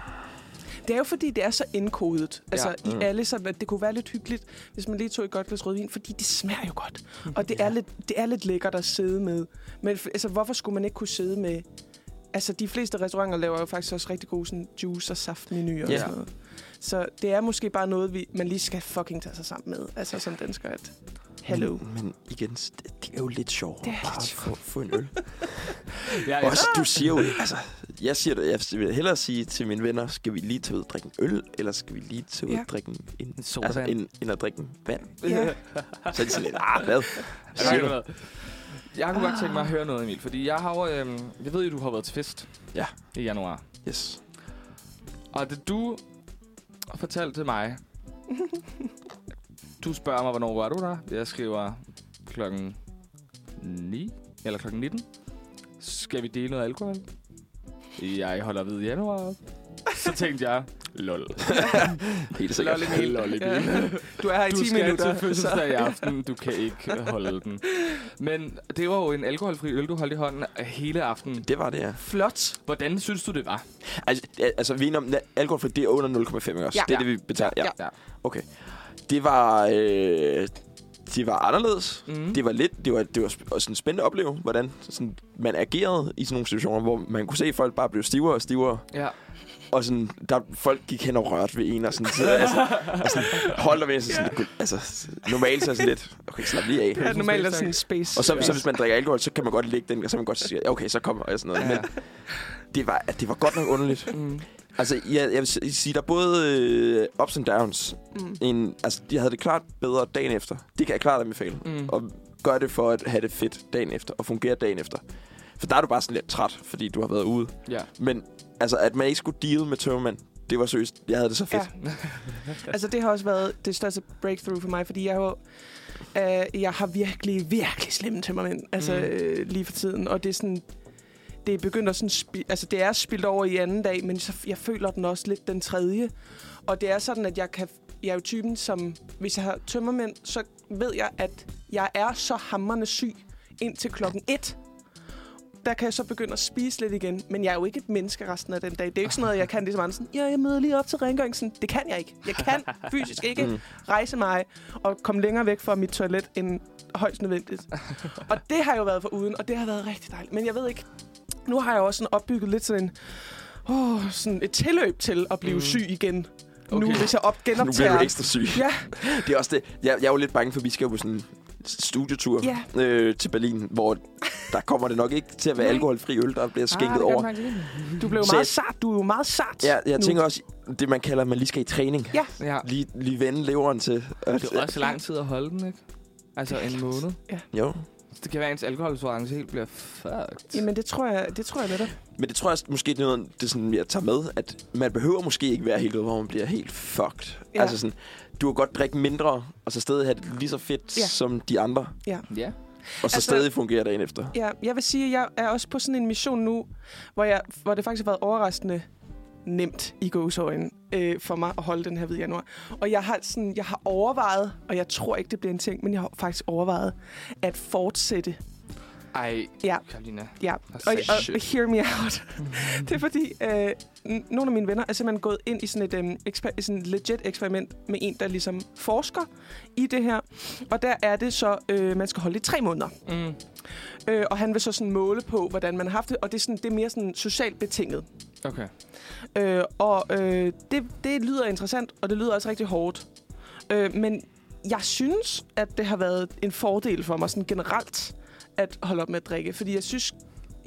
Speaker 3: Det er jo fordi, det er så indkodet. Altså
Speaker 1: Ja.
Speaker 3: ja.
Speaker 1: Mm.
Speaker 3: i alle sådan, at det kunne være lidt hyggeligt, hvis man lige tog et godt glas rødvin, fordi det smager jo godt. Og det, ja. er, lidt, det er lidt lækkert at sidde med. Men f- altså, hvorfor skulle man ikke kunne sidde med... Altså, de fleste restauranter laver jo faktisk også rigtig gode sådan, juice- og saftmenuer
Speaker 2: Ja.
Speaker 3: og sådan noget. Så det er måske bare noget, vi, man lige skal fucking tage sig sammen med. Altså som dansker, at... Hello.
Speaker 1: Men, men igen, s- det, det er jo lidt sjovt.
Speaker 3: Det er
Speaker 1: bare
Speaker 3: lidt
Speaker 1: at få, få en øl.
Speaker 2: Ja,
Speaker 1: Også, du siger jo, altså, jeg siger det, jeg vil hellere sige til mine venner, skal vi lige tage ud og drikke en øl, eller skal vi lige tage ud og
Speaker 3: Ja.
Speaker 1: drikke en, en,
Speaker 2: En sodavand.
Speaker 1: altså, en, end at drikke en vand?
Speaker 3: Ja.
Speaker 1: Så er de sådan lidt, ah, hvad?
Speaker 2: Jeg, ved hvad. jeg kunne godt tænke mig at høre noget, Emil, fordi jeg har jo, øhm, jeg ved jo, du har været til fest
Speaker 1: Ja.
Speaker 2: i januar.
Speaker 1: Yes.
Speaker 2: Og det du fortalte mig, du spørger mig, hvornår var du der? Jeg skriver klokken 9, eller klokken 19. Skal vi dele noget alkohol? Jeg holder ved i januar. op. Så tænkte jeg, lol.
Speaker 1: Helt sikkert.
Speaker 2: Lol, Emil, lol, Emil.
Speaker 3: Ja. Du er her i
Speaker 2: Du
Speaker 3: 10
Speaker 2: skal
Speaker 3: minutter.
Speaker 2: til fødselsdag i aften, du kan ikke holde den. Men det var jo en alkoholfri øl, du holdt i hånden hele aftenen.
Speaker 1: Det var det, ja.
Speaker 3: Flot.
Speaker 2: Hvordan synes du, det var?
Speaker 1: Altså, det er- altså vi er enige om, at alkoholfri, det er under 0,5, ikke også?
Speaker 3: Ja.
Speaker 1: Det er det, vi betaler. Ja.
Speaker 3: Ja.
Speaker 2: Ja.
Speaker 1: Okay. Det var... Øh, det var anderledes.
Speaker 2: Mm.
Speaker 1: Det var lidt, det var, det var sp- også en spændende at opleve, hvordan sådan, man agerede i sådan nogle situationer, hvor man kunne se folk bare blive stivere og stivere,
Speaker 2: ja.
Speaker 1: og sådan, der, folk gik hen og rørte ved en, og sådan, så, altså, og sådan holdt der ved, så sådan, gud, altså, normalt så er jeg sådan lidt, okay, slap lige af.
Speaker 3: Det er normalt er sådan en space. øh,
Speaker 1: Og så, så hvis man drikker alkohol, så kan man godt ligge den, og så kan man godt sige, okay, så kommer jeg sådan noget. Men det var, det var godt nok underligt.
Speaker 2: Mm.
Speaker 1: Altså, jeg, jeg vil s- sige, der er både øh, ups and downs.
Speaker 3: Mm.
Speaker 1: En, altså, jeg havde det klart bedre dagen efter. Det kan jeg klart anbefale.
Speaker 2: Mm.
Speaker 1: Og gør det for at have det fedt dagen efter, og fungere dagen efter. For der er du bare sådan lidt træt, fordi du har været ude.
Speaker 2: ja.
Speaker 1: Men altså, at man ikke skulle deal med tømmermand, det var seriøst. Jeg havde det så fedt.
Speaker 3: Ja. altså, det har også været det største breakthrough for mig, fordi jeg har, øh, jeg har virkelig, virkelig slemme tømmermænd altså,
Speaker 2: Mm.
Speaker 3: mm. øh, lige for tiden. Og det er sådan... Det er begyndt at sådan... Spi- altså, det er spildt over i anden dag, men så, jeg føler den også lidt den tredje. Og det er sådan, at jeg kan... Jeg er jo typen, som... Hvis jeg har tømmermænd, så ved jeg, at jeg er så hammerne syg indtil klokken 1. Der kan jeg så begynde at spise lidt igen, men jeg er jo ikke et menneske resten af den dag. Det er jo ikke sådan noget, jeg kan ligesom andre. sådan, Ja, jeg møder lige op til rengøringen. Sådan, Det kan jeg ikke. Jeg kan fysisk ikke
Speaker 1: Mm.
Speaker 3: rejse mig og komme længere væk fra mit toilet end højst nødvendigt. og det har jeg jo været for uden, og det har været rigtig dejligt. Men jeg ved ikke, nu har jeg jo også sådan opbygget lidt sådan, en, åh, sådan et tilløb til at blive
Speaker 2: Mm.
Speaker 3: mm. syg igen. Okay. Nu,
Speaker 2: Okay.
Speaker 3: hvis jeg op
Speaker 1: Nu bliver
Speaker 3: genoptager.
Speaker 1: du ekstra syg.
Speaker 3: Ja,
Speaker 1: Det er også det. Jeg, jeg er jo lidt bange for, at vi skal jo på sådan en studietur
Speaker 3: Ja.
Speaker 1: øh, til Berlin, hvor der kommer det nok ikke til at være
Speaker 3: Nej. Ah,
Speaker 1: alkoholfri øl, der bliver skænket over.
Speaker 3: du blev jo
Speaker 1: Så
Speaker 3: meget
Speaker 1: jeg-
Speaker 3: sart. Du er jo meget sart.
Speaker 1: Ja, jeg
Speaker 3: nu.
Speaker 1: tænker også, det man kalder, at man lige skal i træning.
Speaker 3: Ja,
Speaker 2: Ja.
Speaker 1: Lige, lige vende leveren til. At,
Speaker 2: Det er også lang tid at holde den, ikke? Altså en måned.
Speaker 1: Jo.
Speaker 2: Det kan være, at ens alkoholtolerance helt bliver fucked.
Speaker 3: jamen det tror jeg, det tror jeg netop.
Speaker 1: Men det tror jeg også, måske, det er noget, det er sådan, jeg tager med, at man behøver måske ikke være helt ude, hvor man bliver helt fucked.
Speaker 3: Ja.
Speaker 1: Altså sådan, du kan godt drikke mindre, og så stadig have det lige så fedt
Speaker 3: Ja.
Speaker 1: som de andre,
Speaker 2: Ja.
Speaker 1: og så
Speaker 3: Altså-
Speaker 1: stadig fungere dagen efter.
Speaker 3: Ja, jeg vil sige, at jeg er også på sådan en mission nu, hvor, jeg, hvor det faktisk har været overraskende nemt i gåsøjen øh, for mig at holde den her hvid januar. Og jeg har, sådan, jeg har overvejet, og jeg tror ikke, det bliver en ting, men jeg har faktisk overvejet at fortsætte.
Speaker 2: Ej,
Speaker 3: Ja.
Speaker 2: Karolina.
Speaker 3: Ja, og, og hear me out. det er fordi, øh, n- nogle af mine venner er simpelthen gået ind i sådan et, øh, eksper- i sådan et legit eksperiment med en, der ligesom forsker i det her. Og der er det så, øh, man skal holde det i tre måneder.
Speaker 2: Mm.
Speaker 3: Øh, og han vil så sådan måle på, hvordan man har haft det, og det er, sådan, det er mere sådan socialt betinget.
Speaker 2: Okay.
Speaker 3: Øh, og øh, det, det lyder interessant, og det lyder også rigtig hårdt. Øh, men jeg synes, at det har været en fordel for mig sådan generelt at holde op med at drikke, fordi jeg synes,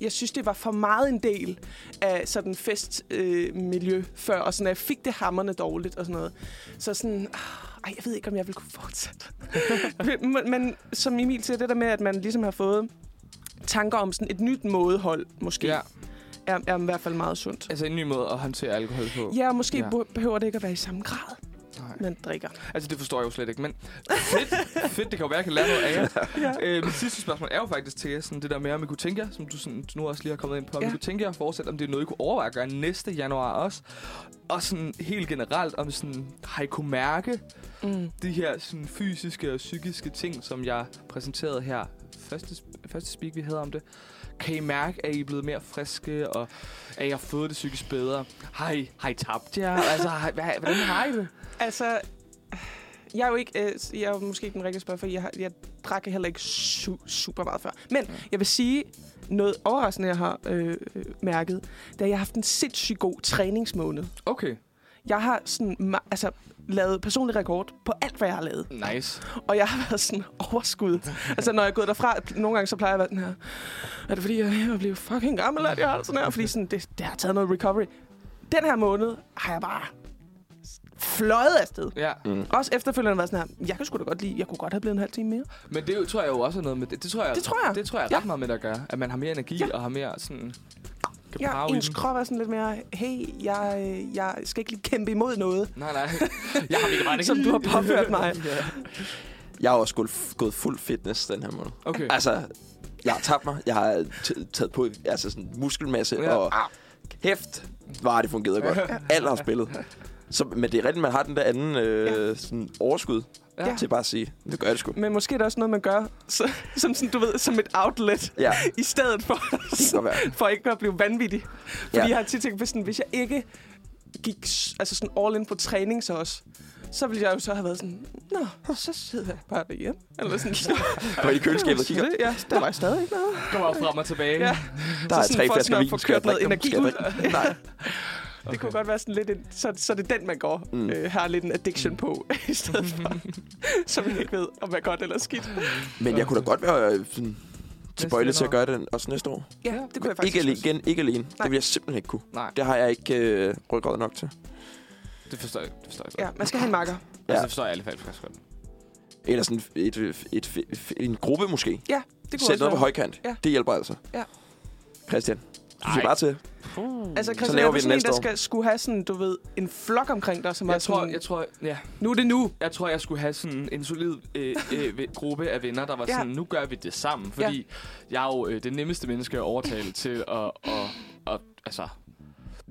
Speaker 3: jeg synes, det var for meget en del af sådan festmiljø øh, miljø før, og sådan, at jeg fik det hammerne dårligt og sådan noget. Så sådan, ah, ej, jeg ved ikke, om jeg vil kunne fortsætte. men, men som Emil siger, det der med, at man ligesom har fået tanker om sådan et nyt mådehold, måske
Speaker 2: Ja.
Speaker 3: er, er i hvert fald meget sundt.
Speaker 2: Altså en ny måde at håndtere alkohol på.
Speaker 3: Ja, måske
Speaker 2: Ja.
Speaker 3: ja. behøver det ikke at være i samme grad,
Speaker 2: Nej.
Speaker 3: man drikker.
Speaker 2: Altså, det forstår jeg jo slet ikke, men fedt, fedt det kan jo være, jeg kan lære noget af jer.
Speaker 3: Ja.
Speaker 2: Øh, mit sidste spørgsmål er jo faktisk til jer, sådan det der med, om I kunne tænke jer, som du sådan, nu også lige har kommet ind på, om ja. I
Speaker 3: Ja.
Speaker 2: kunne tænke jer at fortsætte, om det er noget, I kunne overveje at gøre næste januar også. Og sådan helt generelt, om sådan, har I kunne mærke
Speaker 3: Mm.
Speaker 2: de her sådan, fysiske og psykiske ting, som jeg præsenterede her første, sp- første speak, vi havde om det. Kan I mærke, at I er blevet mere friske, og at I har fået det psykisk bedre? Har I, har I tabt jer? altså, har, I- hvad, hvordan har I det?
Speaker 3: Altså, jeg er jo ikke, øh, jeg er jo måske ikke den rigtige spørger, for jeg, har- jeg drak heller ikke su- super meget før. Men
Speaker 2: Ja.
Speaker 3: jeg vil sige noget overraskende, jeg har øh, øh, mærket, da jeg har haft en sindssygt god træningsmåned.
Speaker 2: Okay,
Speaker 3: Jeg har sådan, ma- altså, lavet personlig rekord på alt, hvad jeg har lavet.
Speaker 2: nice.
Speaker 3: Og jeg har været sådan overskud. Altså, når jeg er gået derfra, nogle gange så plejer jeg at være sådan her. Er det fordi, jeg er ved at blive fucking gammel, at jeg har det sådan her? Fordi sådan, det, det har taget noget recovery. Den her måned har jeg bare fløjet afsted.
Speaker 2: Ja,
Speaker 1: Mm.
Speaker 3: Også efterfølgende været sådan her, jeg kan sgu da godt lide, jeg kunne godt have blevet en halv time mere.
Speaker 2: men det er jo- tror jeg jo også er noget med det. Det tror jeg,
Speaker 3: Det tror jeg.
Speaker 2: Det tror jeg
Speaker 3: Ja.
Speaker 2: ret meget med at gøre. At man har mere energi
Speaker 3: Ja.
Speaker 2: og har mere sådan... kan
Speaker 3: Ja,
Speaker 2: power i
Speaker 3: ens
Speaker 2: den.
Speaker 3: krop er sådan lidt mere, hey, jeg, øh, jeg skal ikke lige kæmpe imod noget,
Speaker 2: Nej, nej. Jeg har ikke ret
Speaker 3: som du har påført mig.
Speaker 2: ja.
Speaker 1: Jeg har også gået, gået fuld fitness den her måned.
Speaker 2: Okay.
Speaker 1: Altså, jeg har tabt mig. Jeg har t- taget på altså sådan muskelmasse,
Speaker 2: Ja.
Speaker 1: ja. og hæft, var det fungeret godt. Alt har spillet. Så, men det er rigtigt, man har den der anden øh, sådan overskud
Speaker 2: Ja.
Speaker 1: ja. til bare at sige, nu gør jeg det sgu.
Speaker 3: Men måske er det også noget, man gør så, som, sådan, du ved, som et outlet,
Speaker 1: Ja,
Speaker 3: i stedet for,
Speaker 1: det kan godt være.
Speaker 3: for ikke at blive vanvittig. Fordi
Speaker 1: Ja.
Speaker 3: ja. jeg har tit tænkt, hvis, sådan, hvis jeg ikke gik s- altså sådan all in på træning så også, så ville jeg jo så have været sådan, nå, så sidder jeg bare derhjemme. Eller sådan,
Speaker 1: Gå ind i køleskabet og kigger.
Speaker 3: Ja, der var jeg stadig ikke noget.
Speaker 2: Kommer jo frem og tilbage.
Speaker 3: Ja.
Speaker 1: Der er
Speaker 3: sådan
Speaker 1: tre
Speaker 3: for
Speaker 1: flasker
Speaker 3: sådan at
Speaker 1: vin.
Speaker 3: få
Speaker 1: Skal jeg
Speaker 3: kørt noget
Speaker 1: drikke dem? Skal jeg drikke
Speaker 3: energi
Speaker 1: dem? Nej.
Speaker 3: Okay. Det kunne godt være sådan lidt en, så, så det er den, man går,
Speaker 1: Mm.
Speaker 3: mm. øh, har lidt en addiction på, i stedet for, så man ikke ved, om er godt eller skidt.
Speaker 1: Men jeg kunne da godt være øh, sådan, tilbøjelig til at
Speaker 2: januar.
Speaker 1: gøre det også næste år.
Speaker 3: Ja, det kunne jeg
Speaker 1: Ikke
Speaker 3: faktisk
Speaker 1: alene,
Speaker 3: også.
Speaker 1: igen, ikke alene. Det
Speaker 3: Nej.
Speaker 1: vil jeg simpelthen ikke kunne.
Speaker 2: Nej,
Speaker 1: Det har jeg ikke øh, ryggrad nok til.
Speaker 2: det forstår jeg. Det forstår jeg. Ja.
Speaker 3: Ja, man skal have en makker.
Speaker 2: Altså, det forstår jeg i hvert fald faktisk godt.
Speaker 1: Eller sådan et, et, et, et, en gruppe måske.
Speaker 3: Ja, det kunne
Speaker 1: Sæt
Speaker 3: også
Speaker 1: noget på
Speaker 3: være.
Speaker 1: højkant.
Speaker 3: Ja.
Speaker 1: Ja. Det hjælper altså.
Speaker 3: Ja.
Speaker 1: Christian, du
Speaker 2: Ej.
Speaker 1: siger bare til.
Speaker 3: Altså, Christian,
Speaker 1: laver
Speaker 3: er
Speaker 1: vi den
Speaker 3: du sådan en,
Speaker 1: næste
Speaker 3: der
Speaker 1: år.
Speaker 3: skal, skulle have sådan, du ved, en flok omkring dig, som var
Speaker 2: Jeg tror,
Speaker 3: sådan,
Speaker 2: jeg tror, ja,
Speaker 3: nu er det nu.
Speaker 2: jeg tror, jeg skulle have sådan en solid øh, øh, ve- gruppe af venner, der var
Speaker 3: Ja.
Speaker 2: sådan, nu gør vi det sammen. Fordi jeg er jo øh, det nemmeste menneske at overtale til at, og, og, altså,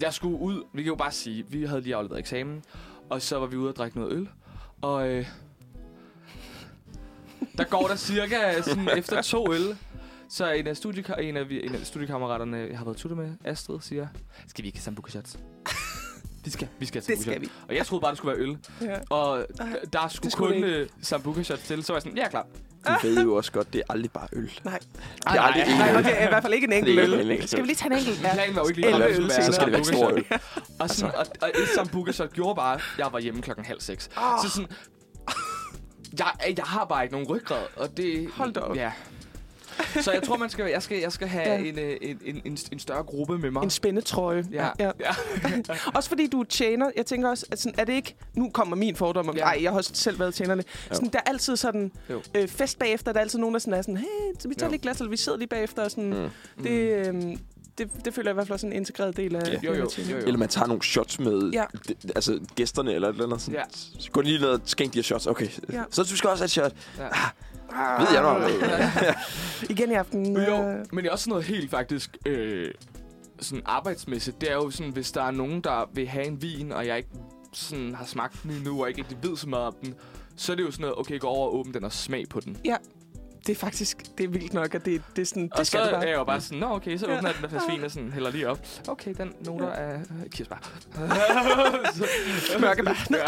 Speaker 2: jeg skulle ud, vi kan jo bare sige, vi havde lige afleveret eksamen, og så var vi ude og drikke noget øl, og øh, der går der cirka sådan efter to øl, så en af, studieka- en af, vi- en af studiekammeraterne, jeg har været tutor med, Astrid, siger, skal vi ikke have sambuca shots? Vi skal, vi skal have
Speaker 3: Det
Speaker 2: sambuca
Speaker 3: skal
Speaker 2: shots."
Speaker 3: vi.
Speaker 2: Og jeg troede bare, det skulle være øl.
Speaker 3: Ja.
Speaker 2: Og
Speaker 3: Nej,
Speaker 2: d- der skulle
Speaker 3: skulle
Speaker 2: kun
Speaker 3: det
Speaker 2: øh, sambuca shots til, så var jeg sådan, ja, klar.
Speaker 1: Du ved jo også godt, det er aldrig bare øl.
Speaker 3: Nej.
Speaker 1: Det er aldrig
Speaker 3: Nej,
Speaker 1: en øl.
Speaker 3: okay, i hvert fald ikke en enkelt
Speaker 1: Det er ikke
Speaker 3: øl.
Speaker 1: en enkelt
Speaker 3: Skal vi
Speaker 1: øl.
Speaker 3: lige tage en enkelt? Ja.
Speaker 2: Planen var jo ikke lige,
Speaker 3: Eller
Speaker 2: at der skulle
Speaker 3: øl til.
Speaker 2: være
Speaker 1: Så skal det være Altså. stor
Speaker 2: sambuca
Speaker 1: øl.
Speaker 2: shot. Og, sådan, og, og et sambuca shot gjorde bare, at jeg var hjemme klokken halv seks.
Speaker 3: Ah.
Speaker 2: Så sådan, jeg, jeg har bare ikke nogen ryggrad, og det...
Speaker 3: Hold da op.
Speaker 2: Ja. Så jeg tror, man skal, jeg skal, jeg skal have
Speaker 3: Ja.
Speaker 2: en, øh, en, en, en, en større gruppe med mig.
Speaker 3: En spændetrøje.
Speaker 2: ja.
Speaker 3: ja.
Speaker 2: ja.
Speaker 3: Også fordi du er tjener. Jeg tænker også, at sådan, er det ikke... Nu kommer min fordom om...
Speaker 2: Ja.
Speaker 3: Nej, jeg har også selv været tjenerlig. Sådan, der er altid sådan...
Speaker 2: Jo.
Speaker 3: Øh, fest bagefter, der er altid nogen, der sådan er sådan... Hey, så vi tager
Speaker 2: Jo.
Speaker 3: lige et glas, eller vi sidder lige bagefter. Og sådan,
Speaker 1: Mm.
Speaker 3: det, øh, det, det føler jeg i hvert fald også en integreret del af...
Speaker 1: Ja.
Speaker 2: Jo, jo, jo, jo.
Speaker 1: Eller man tager nogle shots med
Speaker 3: Ja.
Speaker 1: ja. d- altså gæsterne eller et eller andet. Sådan.
Speaker 2: Ja.
Speaker 1: Ja. Så gå lige ned og skænk de her shots. Okay,
Speaker 3: Ja.
Speaker 1: ja. så du skal også have et shot.
Speaker 2: Ja.
Speaker 1: Ja. Ah, ved jeg nok.
Speaker 3: Igen i aften.
Speaker 2: Men
Speaker 3: øh,
Speaker 2: jo, men det er også sådan noget helt faktisk øh, sådan arbejdsmæssigt. Det er jo sådan, hvis der er nogen, der vil have en vin, og jeg ikke sådan har smagt den endnu, og ikke rigtig ved så meget om den, så er det jo sådan noget, okay, gå over og åbne den og smag på den.
Speaker 3: Det er faktisk... Det er vildt nok, at det, det er sådan...
Speaker 2: og
Speaker 3: Det
Speaker 2: så
Speaker 3: skal det
Speaker 2: er
Speaker 3: bare.
Speaker 2: jeg jo bare sådan, nå okay, så
Speaker 3: Ja.
Speaker 2: åbner jeg den der flaske vin og sådan hælder lige op. Okay, den noter
Speaker 3: Ja.
Speaker 2: er øh, kirsebær.
Speaker 3: Mørkebær.
Speaker 2: Ja.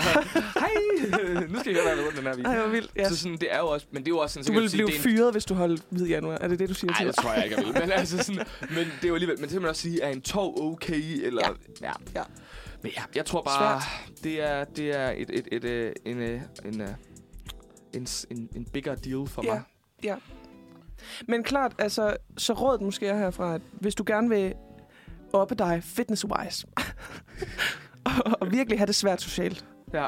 Speaker 2: Hej, nu skal I høre, hvad jeg ved om den her vin.
Speaker 3: Ej, hvor vildt. Ja.
Speaker 2: øh, Så sådan, det er jo også, men det er jo også sådan, så
Speaker 3: Du
Speaker 2: kan
Speaker 3: ville
Speaker 2: sige,
Speaker 3: blive
Speaker 2: det er en-
Speaker 3: fyret, hvis du holdt hvid januar. Er det det, du siger
Speaker 2: Nej,
Speaker 3: til
Speaker 2: det
Speaker 3: mig?
Speaker 2: tror jeg ikke, jeg vil. Men, altså sådan, men det er jo alligevel... Men det kan man også sige, er en tog okay? Eller, ja. ja.
Speaker 3: Ja.
Speaker 2: Men ja, jeg tror bare, det er, det er et, et, et, øh, en, øh, en, øh, en, s- en, en bigger deal for
Speaker 3: Ja.
Speaker 2: mig.
Speaker 3: Men klart, altså, så rådet måske er herfra, at hvis du gerne vil oppe dig fitness-wise, og, og virkelig have det svært socialt.
Speaker 2: Ja.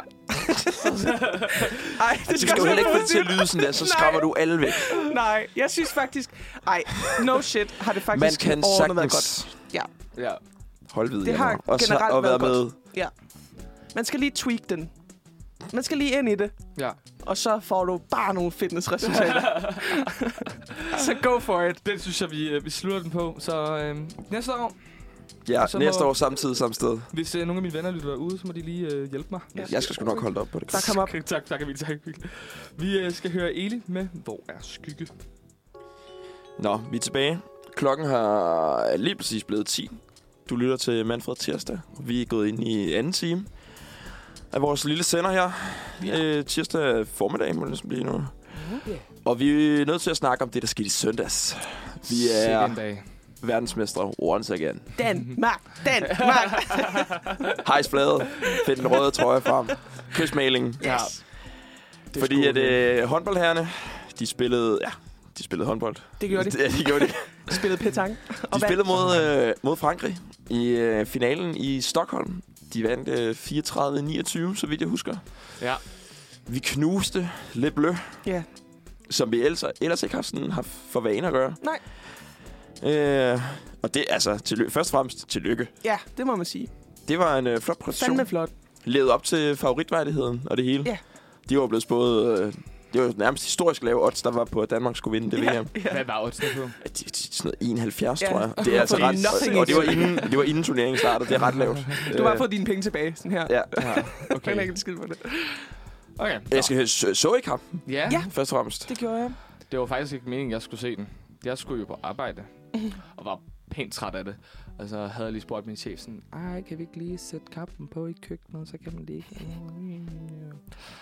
Speaker 3: Nej, det
Speaker 1: Du skal jo heller ikke få det til at lyde sådan der, så
Speaker 3: Nej.
Speaker 1: skræmmer du alle væk.
Speaker 3: Nej, jeg synes faktisk... Ej, no shit, har det
Speaker 1: Man
Speaker 3: faktisk
Speaker 1: kan
Speaker 3: overordnet været
Speaker 1: sagtens
Speaker 3: godt. Ja,
Speaker 2: Ja.
Speaker 1: Hold ved
Speaker 3: Det har
Speaker 1: januar. Og, så,
Speaker 3: generelt
Speaker 1: og
Speaker 3: været
Speaker 1: været med.
Speaker 3: Man skal lige tweak den. Man skal lige ind i det,
Speaker 2: ja.
Speaker 3: og så får du bare nogle fitnessresultater. så go for it.
Speaker 2: Den synes jeg, vi, øh, vi slutter den på. Så øh, næste år,
Speaker 1: Ja,
Speaker 2: Og så
Speaker 1: næste
Speaker 2: må-
Speaker 1: år samtidig samme sted.
Speaker 2: hvis øh, nogle af mine venner lytter derude, så må de lige øh, hjælpe mig.
Speaker 3: Ja.
Speaker 1: Jeg skal sgu nok holde op på det.
Speaker 3: Der kom op.
Speaker 2: tak, tak, Emil, tak. Vi øh, skal høre Eli med Hvor er skygge?
Speaker 1: Nå, vi er tilbage. Klokken har lige præcis blevet 10. Du lytter til Manfred Tirsdag. Vi er gået ind i anden time af vores lille sender her. Øh, tirsdag formiddag må det næsten blive nu. Og vi er nødt til at snakke om det, der skete i søndags. Vi
Speaker 2: Sikke en
Speaker 1: er
Speaker 2: dag.
Speaker 1: verdensmestre once again.
Speaker 3: Den, mark, den, mark.
Speaker 1: Hejs flaget. Find den røde trøje frem. Kysmalingen.
Speaker 3: Ja.
Speaker 1: Det Fordi at øh, håndboldherrene, de spillede... Ja, de spillede håndbold.
Speaker 3: Det gjorde de.
Speaker 1: Ja, de gjorde det.
Speaker 3: De spillede petang.
Speaker 1: De
Speaker 3: Og vandt.
Speaker 1: spillede mod, øh, mod Frankrig i øh, finalen i Stockholm. De vandt øh, 34-29, så vidt jeg husker.
Speaker 2: Ja.
Speaker 1: Vi knuste Le Bleu,
Speaker 3: Ja.
Speaker 1: som vi ellers, ellers ikke har sådan haft for vane at gøre.
Speaker 3: Nej.
Speaker 1: Øh, og det altså, tilly- først og fremmest tillykke.
Speaker 3: ja, det må man sige.
Speaker 1: Det var en øh, flot præstation.
Speaker 3: Fandme flot.
Speaker 1: Levede op til favoritværdigheden og det hele.
Speaker 3: Ja.
Speaker 1: De var blevet spået... Øh, det var nærmest historisk lave odds, der var på, at Danmark skulle vinde det
Speaker 3: Ja,
Speaker 1: VM.
Speaker 3: ja.
Speaker 2: Hvad var oddsene på?
Speaker 1: Ja, det- det- Sådan noget 71,
Speaker 3: Ja.
Speaker 1: tror jeg. Det er altså
Speaker 3: For
Speaker 1: ret...
Speaker 3: nothing.
Speaker 1: Og, og det, var inden, det var inden turneringen startede. Det er ret lavt.
Speaker 3: Du har
Speaker 1: Øh,
Speaker 3: fået dine penge tilbage, sådan her.
Speaker 1: Ja.
Speaker 2: Ja,
Speaker 3: Okay. Jeg
Speaker 2: okay.
Speaker 3: kan ikke skide på det.
Speaker 2: okay.
Speaker 1: Jeg skal, så, så I kampen,
Speaker 2: Ja,
Speaker 3: Ja.
Speaker 2: ja,
Speaker 1: først og fremmest.
Speaker 3: Det gjorde jeg.
Speaker 2: det var faktisk ikke meningen, jeg skulle se den. Jeg skulle jo på arbejde, og var pænt træt af det. Og så havde jeg lige spurgt min chef sådan, ej, kan vi ikke lige sætte kampen på i køkkenet, så kan man lige...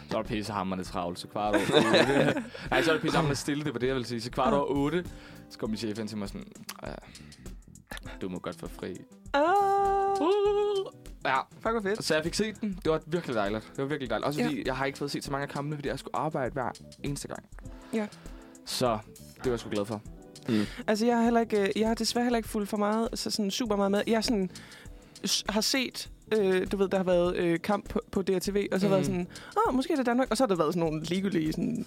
Speaker 2: Så var det pissehammerende travlt, så kvart over otte. Nej, så var det pissehammerende stille, det var det, jeg ville sige. Så kvart over otte, så kom min chef ind til mig sådan, "Ja, du må godt få fri.
Speaker 3: Ah,
Speaker 2: Ja,
Speaker 3: fuck, hvor fedt.
Speaker 2: Så jeg fik set den. Det var virkelig dejligt. Det var virkelig dejligt. Også
Speaker 3: Ja.
Speaker 2: fordi jeg har ikke fået set så mange af kampene, fordi jeg skulle arbejde hver eneste gang.
Speaker 3: Ja.
Speaker 2: Så det var jeg sgu glad for.
Speaker 3: Altså, jeg har, heller ikke, øh, jeg har desværre heller ikke fulgt for meget, så sådan super meget med. Jeg er sådan, s- har set, øh, du ved, der har været øh, kamp på, på DRTV, og så
Speaker 2: Mm.
Speaker 3: har været sådan, åh, oh, måske er det Danmark, og så har der været sådan nogle ligegyldige, sådan,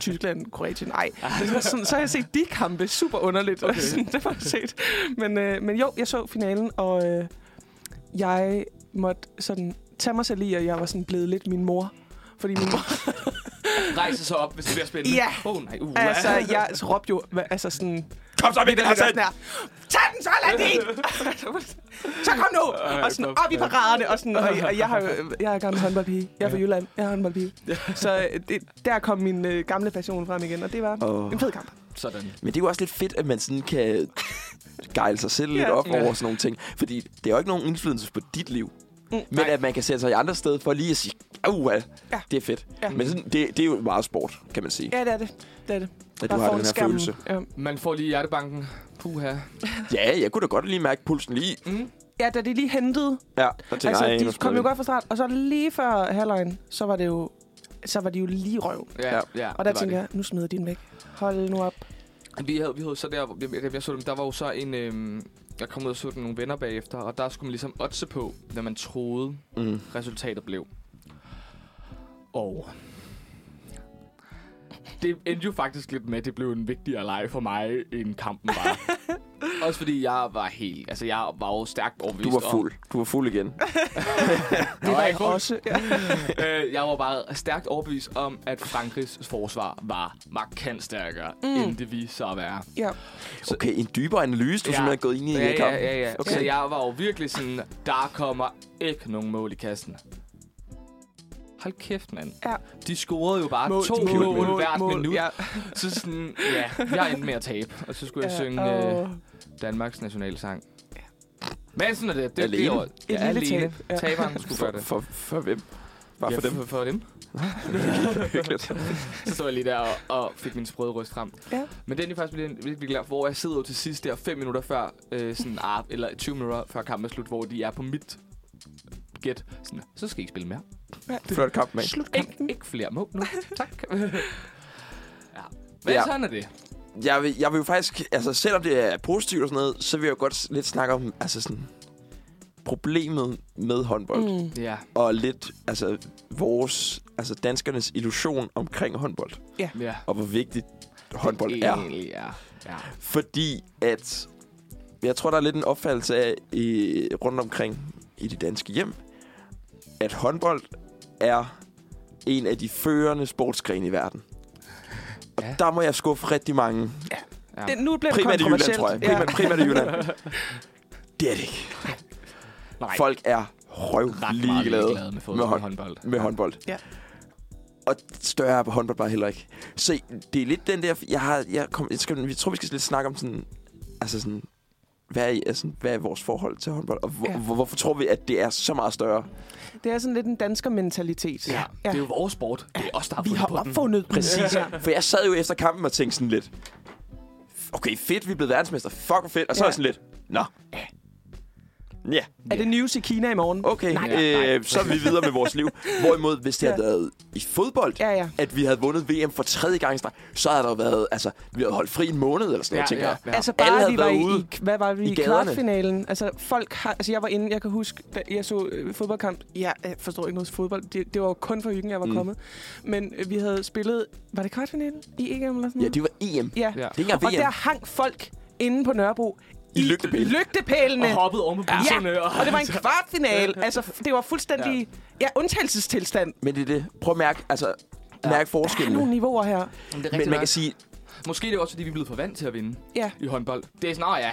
Speaker 3: Tyskland, Kroatien, nej. Så, sådan, så har jeg set de kampe, super underligt, okay.
Speaker 2: Okay.
Speaker 3: sådan, det var set. Men, øh, men jo, jeg så finalen, og øh, jeg måtte sådan tage mig selv i, og jeg var sådan blevet lidt min mor. Fordi min mor,
Speaker 2: Rejse så op, hvis det bliver spændende.
Speaker 3: Ja.
Speaker 2: Åh oh, nej, uh.
Speaker 3: altså, jeg råbte jo, hva- altså sådan,
Speaker 1: Kom så, Mikkel
Speaker 3: Altså,
Speaker 1: Hansen!
Speaker 3: sådan her, Tag den så, Landin! så kom nu! Og sådan op i paraderne. Og, sådan, og, og jeg, har, jo- jeg er gammel håndboldpige. Jeg er fra Jylland. Jeg er håndboldpige. Så øh, det, der kom min øh, gamle passion frem igen, og det var
Speaker 1: Åh.
Speaker 3: en fed kamp.
Speaker 2: Sådan.
Speaker 1: Men det er jo også lidt fedt, at man sådan kan gejle sig selv lidt
Speaker 3: Ja.
Speaker 1: op
Speaker 2: Ja.
Speaker 1: over sådan nogle ting. Fordi det er jo ikke nogen indflydelse på dit liv.
Speaker 3: Mm.
Speaker 1: Men at man kan sætte sig i andre steder for lige at sige, uh,
Speaker 3: Ja.
Speaker 1: det er fedt.
Speaker 3: Ja.
Speaker 1: Men sådan, det, det er jo meget sport, kan man sige.
Speaker 3: Ja, det er det. Det er det.
Speaker 1: At
Speaker 3: Bare
Speaker 1: du har
Speaker 3: foran
Speaker 1: den her
Speaker 3: skærmen.
Speaker 1: følelse.
Speaker 3: Ja.
Speaker 2: Man får lige hjertebanken. Puha.
Speaker 1: Ja, jeg kunne da godt lige mærke pulsen lige.
Speaker 2: Mm.
Speaker 3: ja, da de lige hentede.
Speaker 1: Ja, der tænker,
Speaker 3: altså,
Speaker 1: jeg, nu
Speaker 3: de
Speaker 1: skal
Speaker 3: kom jo
Speaker 1: jeg
Speaker 3: godt fra start. Og så lige før halvlejen, så var det jo så var de jo lige røv.
Speaker 2: Ja,
Speaker 1: Ja.
Speaker 2: ja. ja
Speaker 3: Og der tænker jeg, nu smider de den væk. Hold nu op.
Speaker 2: Vi havde, vi havde så der, hvor- jeg, jeg, jeg så dem, der var jo så en... Øhm, jeg kom ud og så dem nogle venner bagefter, og der skulle man ligesom otte på, hvad man troede
Speaker 1: Mm.
Speaker 2: resultatet blev. Og det endte jo faktisk lidt med, at det blev en vigtigere leg for mig, end kampen var. Også fordi jeg var helt... Altså, jeg var jo stærkt overbevist
Speaker 1: Du var fuld. Du var fuld igen.
Speaker 3: Det var
Speaker 2: jeg
Speaker 3: jeg
Speaker 2: fuld.
Speaker 3: også. Ja.
Speaker 2: Om, øh, jeg var bare stærkt overbevist om, at Frankrigs forsvar var markant stærkere, mm. end det viste sig at være.
Speaker 3: ja.
Speaker 1: Okay, en dybere analyse, du ja. simpelthen er gået ind i
Speaker 2: ja,
Speaker 1: i
Speaker 2: ja,
Speaker 1: kampen.
Speaker 2: ja, ja.
Speaker 1: Okay.
Speaker 2: Okay. Så jeg var jo virkelig sådan, der kommer ikke nogen mål i kassen. Hold kæft, mand.
Speaker 3: Ja.
Speaker 2: De scorede jo bare
Speaker 3: Mål,
Speaker 2: to
Speaker 3: mål,
Speaker 2: mål,
Speaker 3: mål,
Speaker 2: hvert
Speaker 3: mål,
Speaker 2: minut.
Speaker 3: ja.
Speaker 2: Så sådan, ja, jeg endte med at tabe. Og så skulle jeg
Speaker 3: Ja,
Speaker 2: synge
Speaker 3: åh.
Speaker 2: øh, Danmarks nationalsang. Men sådan er det. det
Speaker 1: Alene?
Speaker 2: Det, er jo- ja,
Speaker 3: lille
Speaker 2: alene.
Speaker 3: tab, ja.
Speaker 2: Taberen skulle gøre
Speaker 1: For, for,
Speaker 2: det.
Speaker 1: for hvem? Bare for
Speaker 2: ja,
Speaker 1: dem.
Speaker 2: For, for dem.
Speaker 1: Hyggeligt.
Speaker 2: Så stod jeg lige der og, og fik min sprøde ryst frem.
Speaker 3: Ja.
Speaker 2: Men den er faktisk blevet virkelig glad, hvor jeg sidder jo til sidst der 5 minutter før, øh, sådan, ah, eller 20 minutter før kampen er slut, hvor de er på mit gæt. Sådan, så skal I ikke spille mere.
Speaker 1: Flot kamp, mand.
Speaker 3: Slut
Speaker 2: Ikke,
Speaker 3: kampen.
Speaker 2: ikke flere mål nu. tak. ja. Men
Speaker 1: Ja.
Speaker 2: ja. sådan er det.
Speaker 1: jeg vil, jeg vil jo faktisk, altså selvom det er positivt og sådan noget, så vil jeg jo godt s- lidt snakke om, altså sådan, problemet med håndbold. Mm.
Speaker 3: Mm.
Speaker 2: Ja.
Speaker 1: Og lidt, altså vores, altså danskernes illusion omkring håndbold.
Speaker 2: ja.
Speaker 1: Og hvor vigtigt håndbold er.
Speaker 2: Egentlig, ja. ja.
Speaker 1: Fordi at jeg tror, der er lidt en opfattelse af i, rundt omkring i de danske hjem, at håndbold er en af de førende sportsgrene i verden. Og
Speaker 2: Ja.
Speaker 1: ja. der må jeg skuffe rigtig mange.
Speaker 2: Ja.
Speaker 3: Det, nu bliver det
Speaker 1: Primært i Jylland,
Speaker 3: kontroversielt.
Speaker 1: tror jeg. Primært, primært i Jylland. Det er det ikke.
Speaker 2: Nej,
Speaker 1: Folk er røv ligeglade
Speaker 2: med,
Speaker 1: med hånd-
Speaker 2: håndbold.
Speaker 1: med håndbold.
Speaker 3: Ja.
Speaker 1: Og større er håndbold bare heller ikke. Så det er lidt den der... Jeg, har, jeg, kom, jeg, skal, jeg tror, vi skal lidt snakke om sådan... Altså sådan... Hvad er, altså, hvad er vores forhold til håndbold? Og hvor,
Speaker 3: Ja.
Speaker 1: ja. hvor, hvorfor tror vi, at det er så meget større?
Speaker 3: Det er sådan lidt en dansker mentalitet.
Speaker 2: Ja, det er jo vores sport. Det er os, der har
Speaker 3: Vi
Speaker 2: fundet
Speaker 3: har
Speaker 2: på den.
Speaker 3: opfundet
Speaker 1: Præcis.
Speaker 3: Ja.
Speaker 1: For jeg sad jo efter kampen og tænkte sådan lidt... Okay, fedt, vi er blevet verdensmester. Fuck, hvor fedt. Og så
Speaker 3: Ja.
Speaker 1: er jeg sådan lidt... Nå. Ja,
Speaker 3: Er det news i Kina i morgen?
Speaker 1: okay.
Speaker 2: Nej, nej.
Speaker 1: øh, så er vi videre med vores liv. Hvorimod, hvis det havde været i fodbold,
Speaker 3: Ja, ja.
Speaker 1: at vi havde vundet VM for tredje gang, i streg, så havde der jo været, altså, vi havde holdt fri en måned eller sådan noget, tænker jeg.
Speaker 2: ja.
Speaker 3: Altså
Speaker 1: Alle
Speaker 3: bare, at
Speaker 1: havde
Speaker 3: vi var
Speaker 1: været
Speaker 3: i,
Speaker 1: ude
Speaker 3: i, hvad var vi i,
Speaker 1: i
Speaker 3: i
Speaker 1: gaderne.
Speaker 3: kvartfinalen. Altså folk har, altså jeg var inde, jeg kan huske, da jeg så øh, fodboldkamp, jeg øh, forstår ikke noget til fodbold, det, det var jo kun for hyggen, jeg var mm.
Speaker 1: Mm.
Speaker 3: kommet. Men øh, vi havde spillet, var det kvartfinalen i EM eller sådan
Speaker 1: Ja,
Speaker 3: noget?
Speaker 1: det var EM.
Speaker 3: ja.
Speaker 2: Ja.
Speaker 3: ja.
Speaker 1: Det er ikke engang
Speaker 3: Og
Speaker 1: VM.
Speaker 3: der hang folk inde på Nørrebro
Speaker 1: I lygtepæle.
Speaker 3: lygtepælene.
Speaker 2: Og hoppede oven på busserne.
Speaker 3: Ja, og det var en kvartfinal. Altså, f- det var fuldstændig ja. ja, undtagelsestilstand.
Speaker 1: Men det er det. Prøv at mærke, altså,
Speaker 2: Ja.
Speaker 1: ja. mærke
Speaker 3: Der er nogle
Speaker 1: forskellen.
Speaker 3: niveauer her.
Speaker 2: Men det
Speaker 1: Men
Speaker 2: er
Speaker 1: man kan
Speaker 2: rigtigt
Speaker 1: sige,
Speaker 2: nok. Måske er det også, fordi vi er blevet for vant til at vinde
Speaker 3: Ja,
Speaker 2: i håndbold. Det er sådan, "Nå ja.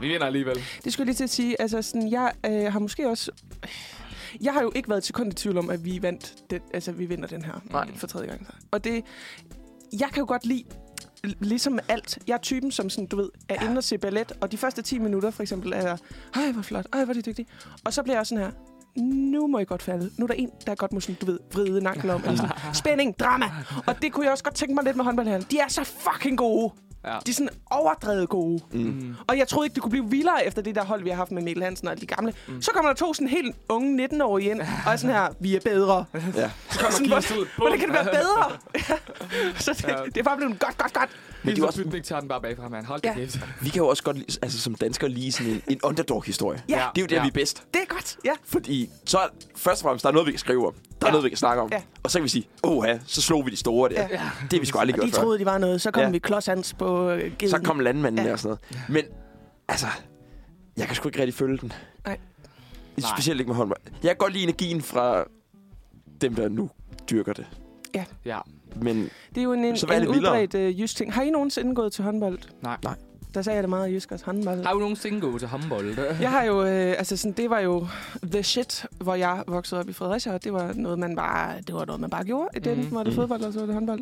Speaker 2: Vi vinder alligevel.
Speaker 3: det skulle jeg lige til at sige. Altså, sådan, jeg øh, har måske også... Jeg har jo ikke været til sekund i tvivl om, at vi vandt den, altså, vi vinder den her
Speaker 2: Nej.
Speaker 3: for tredje gang. Og det... Jeg kan jo godt lide l- ligesom alt. Jeg er typen, som sådan, du ved, er inde og se ballet, og de første 10 minutter for eksempel er jeg, ej, hvor flot, ej, hvor er de dygtige. Og så bliver jeg sådan her, nu må I godt falde. Nu er der en, der godt må sådan, du ved, vride nakken om. Eller sådan. Spænding, drama. Og det kunne jeg også godt tænke mig lidt med håndbold her. De er så fucking gode.
Speaker 2: Ja.
Speaker 3: De er sådan overdrevet gode.
Speaker 2: Mm.
Speaker 3: Og jeg troede ikke, det kunne blive vildere efter det der hold, vi har haft med Mikkel Hansen og alle de gamle. Mm. Så kommer der to sådan helt unge 19-årige ind, og er sådan her, vi er bedre.
Speaker 1: ja.
Speaker 2: Så kommer
Speaker 3: Sådan,
Speaker 2: Kies ud.
Speaker 3: Hvordan kan det være bedre? så det,
Speaker 2: Ja.
Speaker 3: ja. det er bare blevet godt, godt, godt.
Speaker 1: Men det er
Speaker 2: Men
Speaker 1: jo
Speaker 2: også...
Speaker 1: også-
Speaker 2: Bytning tager den bare bagfra, mand. Hold da
Speaker 3: Ja.
Speaker 2: kæft.
Speaker 1: vi kan jo også godt, lide- altså som danskere, lige sådan en, en underdog-historie.
Speaker 3: Ja,
Speaker 1: Det er jo der, vi er bedst.
Speaker 3: det er godt. Ja,
Speaker 1: Fordi så er- først og fremmest, der er noget, vi kan skrive om. Der er
Speaker 3: Ja.
Speaker 1: ja. noget, vi kan snakke om.
Speaker 3: Ja.
Speaker 1: Ja. Og så kan vi sige, åh ja, så slog vi de store der.
Speaker 3: Ja.
Speaker 1: Ja. Det har vi sgu aldrig
Speaker 3: og de
Speaker 1: gjort før.
Speaker 3: troede, de var noget. Så kom ja.
Speaker 1: Ja.
Speaker 3: vi klodshands på øh, geden.
Speaker 1: Så kom landmanden
Speaker 3: Ja.
Speaker 1: ja. og sådan noget. Men altså, jeg kan sgu ikke rigtig følge den.
Speaker 3: Nej.
Speaker 2: Nej.
Speaker 1: Specielt ikke med håndbold. Jeg kan godt lide energien fra dem, der nu dyrker det.
Speaker 2: Ja.
Speaker 1: Men
Speaker 3: Det er jo en, en,
Speaker 1: Så hvad er
Speaker 3: en
Speaker 1: det vildere?
Speaker 3: udbredt øh, jysk ting. Har I nogensinde gået til håndbold?
Speaker 2: Nej.
Speaker 1: Nej.
Speaker 3: Der sagde jeg det meget jysk også, håndbold.
Speaker 2: Har du nogensinde gået til håndbold?
Speaker 3: Jeg har jo, øh, altså sådan, det var jo the shit, hvor jeg voksede op i Fredericia, og det var noget, man bare, det var noget, man bare gjorde. Mm. Den
Speaker 2: Mhm.
Speaker 3: var det
Speaker 1: Mhm.
Speaker 3: fodbold, og så var det håndbold.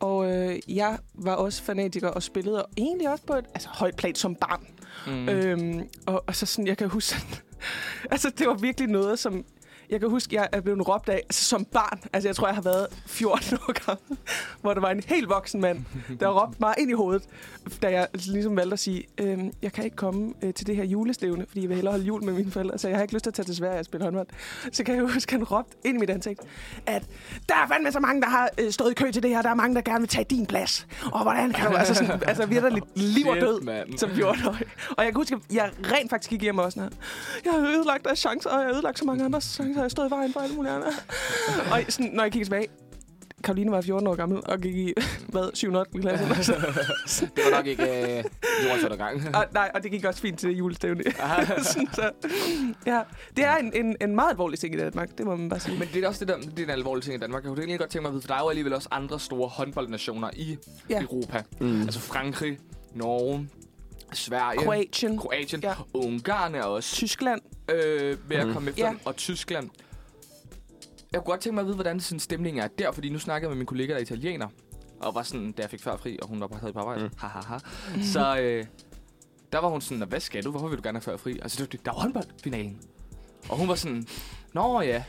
Speaker 3: Og øh, jeg var også fanatiker og spillede egentlig også på et altså, højt plan som barn.
Speaker 2: Mm.
Speaker 3: Mm. Øhm, og, og, så sådan, jeg kan huske sådan, altså det var virkelig noget, som jeg kan huske, jeg er blevet råbt af altså, som barn. Altså, jeg tror, jeg har været 14 år gammel, hvor der var en helt voksen mand, der råbte mig ind i hovedet, da jeg ligesom valgte at sige, øhm, jeg kan ikke komme øh, til det her julestævne, fordi jeg vil hellere holde jul med mine forældre, så jeg har ikke lyst til at tage til Sverige og spille håndbold. Så kan jeg huske, han råbte ind i mit ansigt, at der er fandme så mange, der har øh, stået i kø til det her, der er mange, der gerne vil tage din plads. Og hvordan kan du? Altså, sådan, altså virkelig liv og
Speaker 2: Shit,
Speaker 3: død
Speaker 2: mand.
Speaker 3: som 14-årig. Og jeg kan huske, at jeg rent faktisk gik hjem og var sådan her. Jeg har ødelagt deres chancer, og jeg har ødelagt så mange andres chancer, og jeg stod i vejen for alle mulige andre. Og sådan, når jeg kigger tilbage, Karoline var 14 år gammel og gik i, hvad, 7. og 8. klasse. eller sådan noget.
Speaker 2: Det var nok ikke øh, jordens undergang.
Speaker 3: og, nej, og det gik også fint til julestævne. sådan, så, ja. Det er en, en, en meget alvorlig ting i Danmark, det må man bare sige.
Speaker 2: Men det er også det der, det er en alvorlig ting i Danmark. Jeg kunne egentlig godt tænke mig at vide, for der er jo alligevel også andre store håndboldnationer i
Speaker 3: Ja.
Speaker 2: ja. Europa.
Speaker 1: Mm.
Speaker 2: Altså Frankrig, Norge, Sverige,
Speaker 3: Kroatien,
Speaker 2: Kroatien
Speaker 3: Ja.
Speaker 2: ja. Ungarn er også
Speaker 3: Tyskland.
Speaker 2: øh, ved at
Speaker 1: Mm.
Speaker 2: komme efter,
Speaker 3: Ja.
Speaker 2: ja. og Tyskland. Jeg kunne godt tænke mig at vide, hvordan sådan stemningen er der, fordi nu snakkede jeg med min kollega, der er italiener, og var sådan, da jeg fik før fri, og hun var bare taget på arbejde,
Speaker 1: Mm.
Speaker 2: mm. hahaha. Så øh, der var hun sådan, hvad skal du? Hvorfor vil du gerne have før fri? Altså, der er jo håndboldfinalen. Og hun var sådan, nå ja,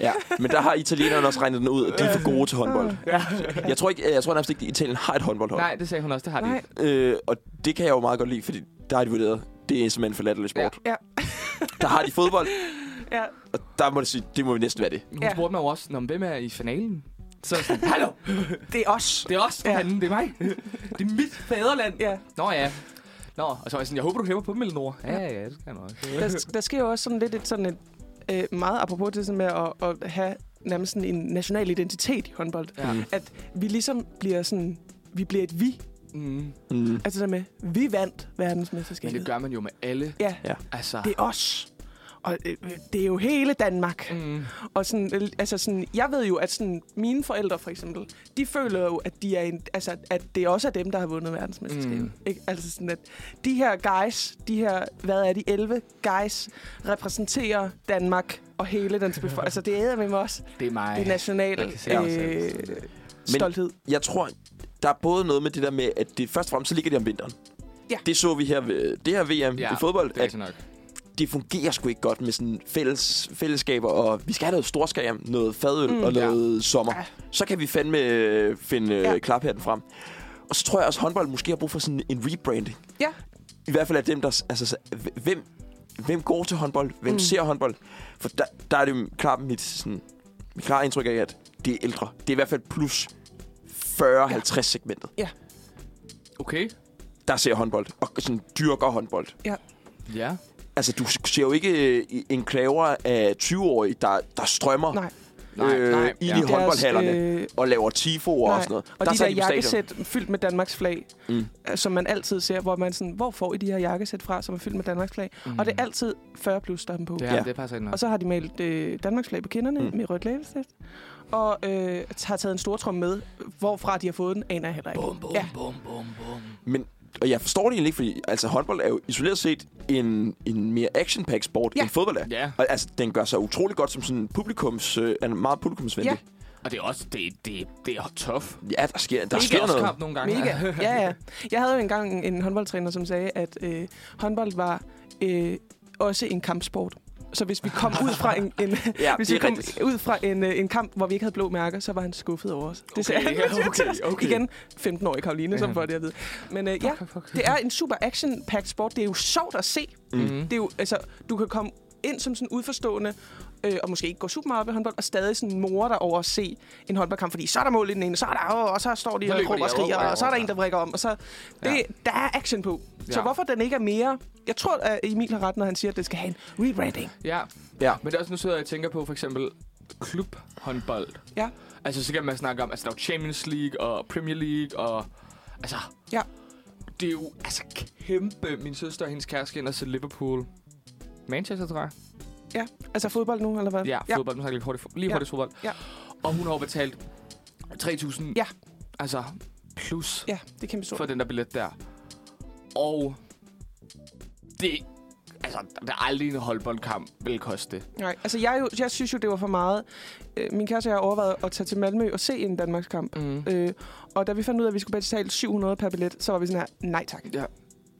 Speaker 1: ja, men der har italienerne også regnet den ud, og de er for gode til håndbold.
Speaker 2: Ja.
Speaker 1: Jeg tror, ikke, jeg tror nærmest ikke, at Italien har et håndboldhold.
Speaker 2: Nej, det sagde hun også, det har de
Speaker 3: Nej.
Speaker 2: ikke.
Speaker 1: Øh, og det kan jeg jo meget godt lide, fordi der har de vurderet, det er simpelthen for latterlig sport.
Speaker 3: Ja. Ja.
Speaker 1: der har de fodbold,
Speaker 3: Ja.
Speaker 1: og der må, det sige, det må vi næsten være det.
Speaker 2: Hun
Speaker 3: Ja.
Speaker 2: ja. spurgte mig jo også, "Nå, men hvem er i finalen? Så er jeg sådan, hallo,
Speaker 3: Det er os.
Speaker 2: det er os,
Speaker 3: Ja.
Speaker 2: ja. fanden, det er mig. Det er mit fædreland.
Speaker 3: Ja.
Speaker 2: Nå ja. Nå, og så var jeg sådan, jeg håber, du hæver på dem, Elinor. Ja, ja, ja, det skal jeg nok.
Speaker 3: der, der sker jo også sådan lidt et sådan et, øh, meget apropos det sådan med at, at have nærmest sådan en national identitet i håndbold.
Speaker 2: Ja.
Speaker 1: Mm.
Speaker 3: At vi ligesom bliver sådan, vi bliver et vi.
Speaker 2: Mm.
Speaker 1: Mm.
Speaker 3: Altså det der med, vi vandt
Speaker 2: Men det
Speaker 3: verdensmesterskabet.
Speaker 2: gør man jo med alle.
Speaker 3: Ja,
Speaker 2: Altså,
Speaker 3: det er os. Og øh, øh, det er jo hele Danmark.
Speaker 2: mm.
Speaker 3: Og sådan, øh, altså sådan, jeg ved jo, at sådan, mine forældre for eksempel, de føler jo, at, de er en, altså, at det også er dem, der har vundet verdensmesterskabet.
Speaker 2: Mm.
Speaker 3: Mm. Ikke? Altså sådan, at de her guys, de her, hvad er de, 11 guys, repræsenterer Danmark og hele dens befolkning. altså det æder med mig også.
Speaker 2: det er mig.
Speaker 3: Det er national
Speaker 2: Jeg kan se mig selv
Speaker 3: øh,
Speaker 2: sådan der.
Speaker 3: stolthed.
Speaker 1: Jeg tror, der er både noget med det der med, at det først og fremmest så ligger det om vinteren.
Speaker 3: Ja.
Speaker 1: Det så vi her ved det her VM ja, i fodbold,
Speaker 2: det er
Speaker 1: at
Speaker 2: rigtigt nok.
Speaker 1: det fungerer sgu ikke godt med sådan fælles, fællesskaber, og vi skal have noget storskærm, noget fadøl mm,
Speaker 3: Mm.
Speaker 1: og noget ja. sommer.
Speaker 3: Ja.
Speaker 1: Så kan vi fandme øh, finde ja.
Speaker 3: Ja.
Speaker 1: klaphatten frem. Og så tror jeg også, at håndbold måske har brug for sådan en rebranding.
Speaker 3: Ja.
Speaker 1: I hvert fald af dem, der... s- Altså, s- hvem, hvem går til håndbold? Hvem mm. ser håndbold? For der, der er det jo klart mit, sådan, mit klare indtryk af, at det er ældre. Det er i hvert fald plus 40-50 ja. segmentet,
Speaker 2: Okay.
Speaker 1: der ser håndbold. Og sådan dyrker håndbold.
Speaker 2: Ja.
Speaker 1: Altså, du ser jo ikke øh, en klaver af 20-årige, der, der strømmer
Speaker 3: Nej.
Speaker 2: Nej,
Speaker 1: øh,
Speaker 2: nej,
Speaker 1: i
Speaker 2: ja.
Speaker 1: de håndboldhallerne
Speaker 3: øh,
Speaker 1: og laver tifo og
Speaker 3: nej.
Speaker 1: sådan noget.
Speaker 3: Og de der
Speaker 1: tager på stadion.
Speaker 3: jakkesæt fyldt med Danmarks flag,
Speaker 1: Mm.
Speaker 3: mm. som man altid ser, hvor man sådan, hvor får I de her jakkesæt fra, som er fyldt med Danmarks flag? Mm. Og det er altid 40 plus, der er dem på.
Speaker 2: det,
Speaker 1: Ja.
Speaker 2: er, det passer ikke nok.
Speaker 3: Og så har de malet øh, Danmarks flag på kinderne
Speaker 1: Mm.
Speaker 3: mm. med rødt læbestift. Og øh, har taget en stortrum med. Hvorfra de har fået den, aner jeg heller ikke.
Speaker 2: Bum, bum,
Speaker 3: Ja.
Speaker 2: bum, bum, bum.
Speaker 1: Men, og jeg forstår det egentlig ikke, fordi altså, håndbold er jo isoleret set en, en mere action sport,
Speaker 3: Ja.
Speaker 1: end fodbold er.
Speaker 2: Ja,
Speaker 1: Og altså, den gør sig utrolig godt som sådan publikums, øh, er meget publikumsvenlig.
Speaker 2: og det er også, det, det, det er tough.
Speaker 1: Ja, ja der sker, der
Speaker 2: Mega
Speaker 1: sker
Speaker 2: også
Speaker 1: noget.
Speaker 2: Kamp nogle gange.
Speaker 3: Mega. Ja, ja. Jeg havde jo engang en håndboldtræner, som sagde, at øh, håndbold var øh, også en kampsport. Så hvis vi kom ud fra en, en
Speaker 1: Ja,
Speaker 3: hvis
Speaker 1: det
Speaker 3: vi
Speaker 1: er
Speaker 3: kom
Speaker 1: rigtigt.
Speaker 3: ud fra en, øh, en kamp, hvor vi ikke havde blå mærker, så var han skuffet over os. Det
Speaker 2: Okay,
Speaker 3: sagde han.
Speaker 2: ja, okay, okay.
Speaker 3: Igen, 15-årig Karoline, som
Speaker 2: Ja.
Speaker 3: får det at vide. Men øh, ja,
Speaker 2: Fuck, fuck, fuck.
Speaker 3: det er en super action-packed sport. Det er jo sjovt at se.
Speaker 2: Mm.
Speaker 3: Det er jo, altså, du kan komme ind som sådan udforstående, øh, og måske ikke gå super meget op i håndbold, og stadig sådan more dig over at se en håndboldkamp, fordi så er der mål i den ene, så er der, åh, og så står de
Speaker 2: Så
Speaker 3: og
Speaker 2: løber
Speaker 3: råber
Speaker 2: de,
Speaker 3: og skriger,
Speaker 2: råber,
Speaker 3: og så er der
Speaker 2: råber.
Speaker 3: en, der vrikker om, og så, det,
Speaker 2: Ja.
Speaker 3: der er action på. Så
Speaker 2: Ja.
Speaker 3: hvorfor den ikke er mere... Jeg tror, at Emil har ret, når han siger, at det skal have en rebranding.
Speaker 2: Ja.
Speaker 1: Ja.
Speaker 2: Men det er også nu sidder jeg og tænker på for eksempel klubhåndbold.
Speaker 3: Ja.
Speaker 2: Altså så kan man snakke om, altså der er jo Champions League og Premier League og altså
Speaker 3: Ja.
Speaker 2: det er jo altså kæmpe. Min søster og hendes kæreste ind og se Liverpool. Manchester, tror jeg.
Speaker 3: Ja, altså fodbold nu, eller hvad?
Speaker 2: Ja, fodbold. Nu snakker jeg lige hurtigt, lige
Speaker 3: Ja.
Speaker 2: hurtigt fodbold.
Speaker 3: Ja.
Speaker 2: Og hun har jo betalt 3.000
Speaker 3: Ja.
Speaker 2: altså plus
Speaker 3: Ja, det er kæmpe stort.
Speaker 2: for den der billet der. Og det, altså, der er aldrig en håndboldkamp vil koste det.
Speaker 3: Nej, altså jeg, er jo, jeg synes jo, det var for meget. Øh, Min kæreste og jeg har overvejet at tage til Malmø og se en Danmarkskamp.
Speaker 2: Mm.
Speaker 3: Øh, og da vi fandt ud af, at vi skulle betale 700 per billet, så var vi sådan her, nej tak.
Speaker 2: Ja.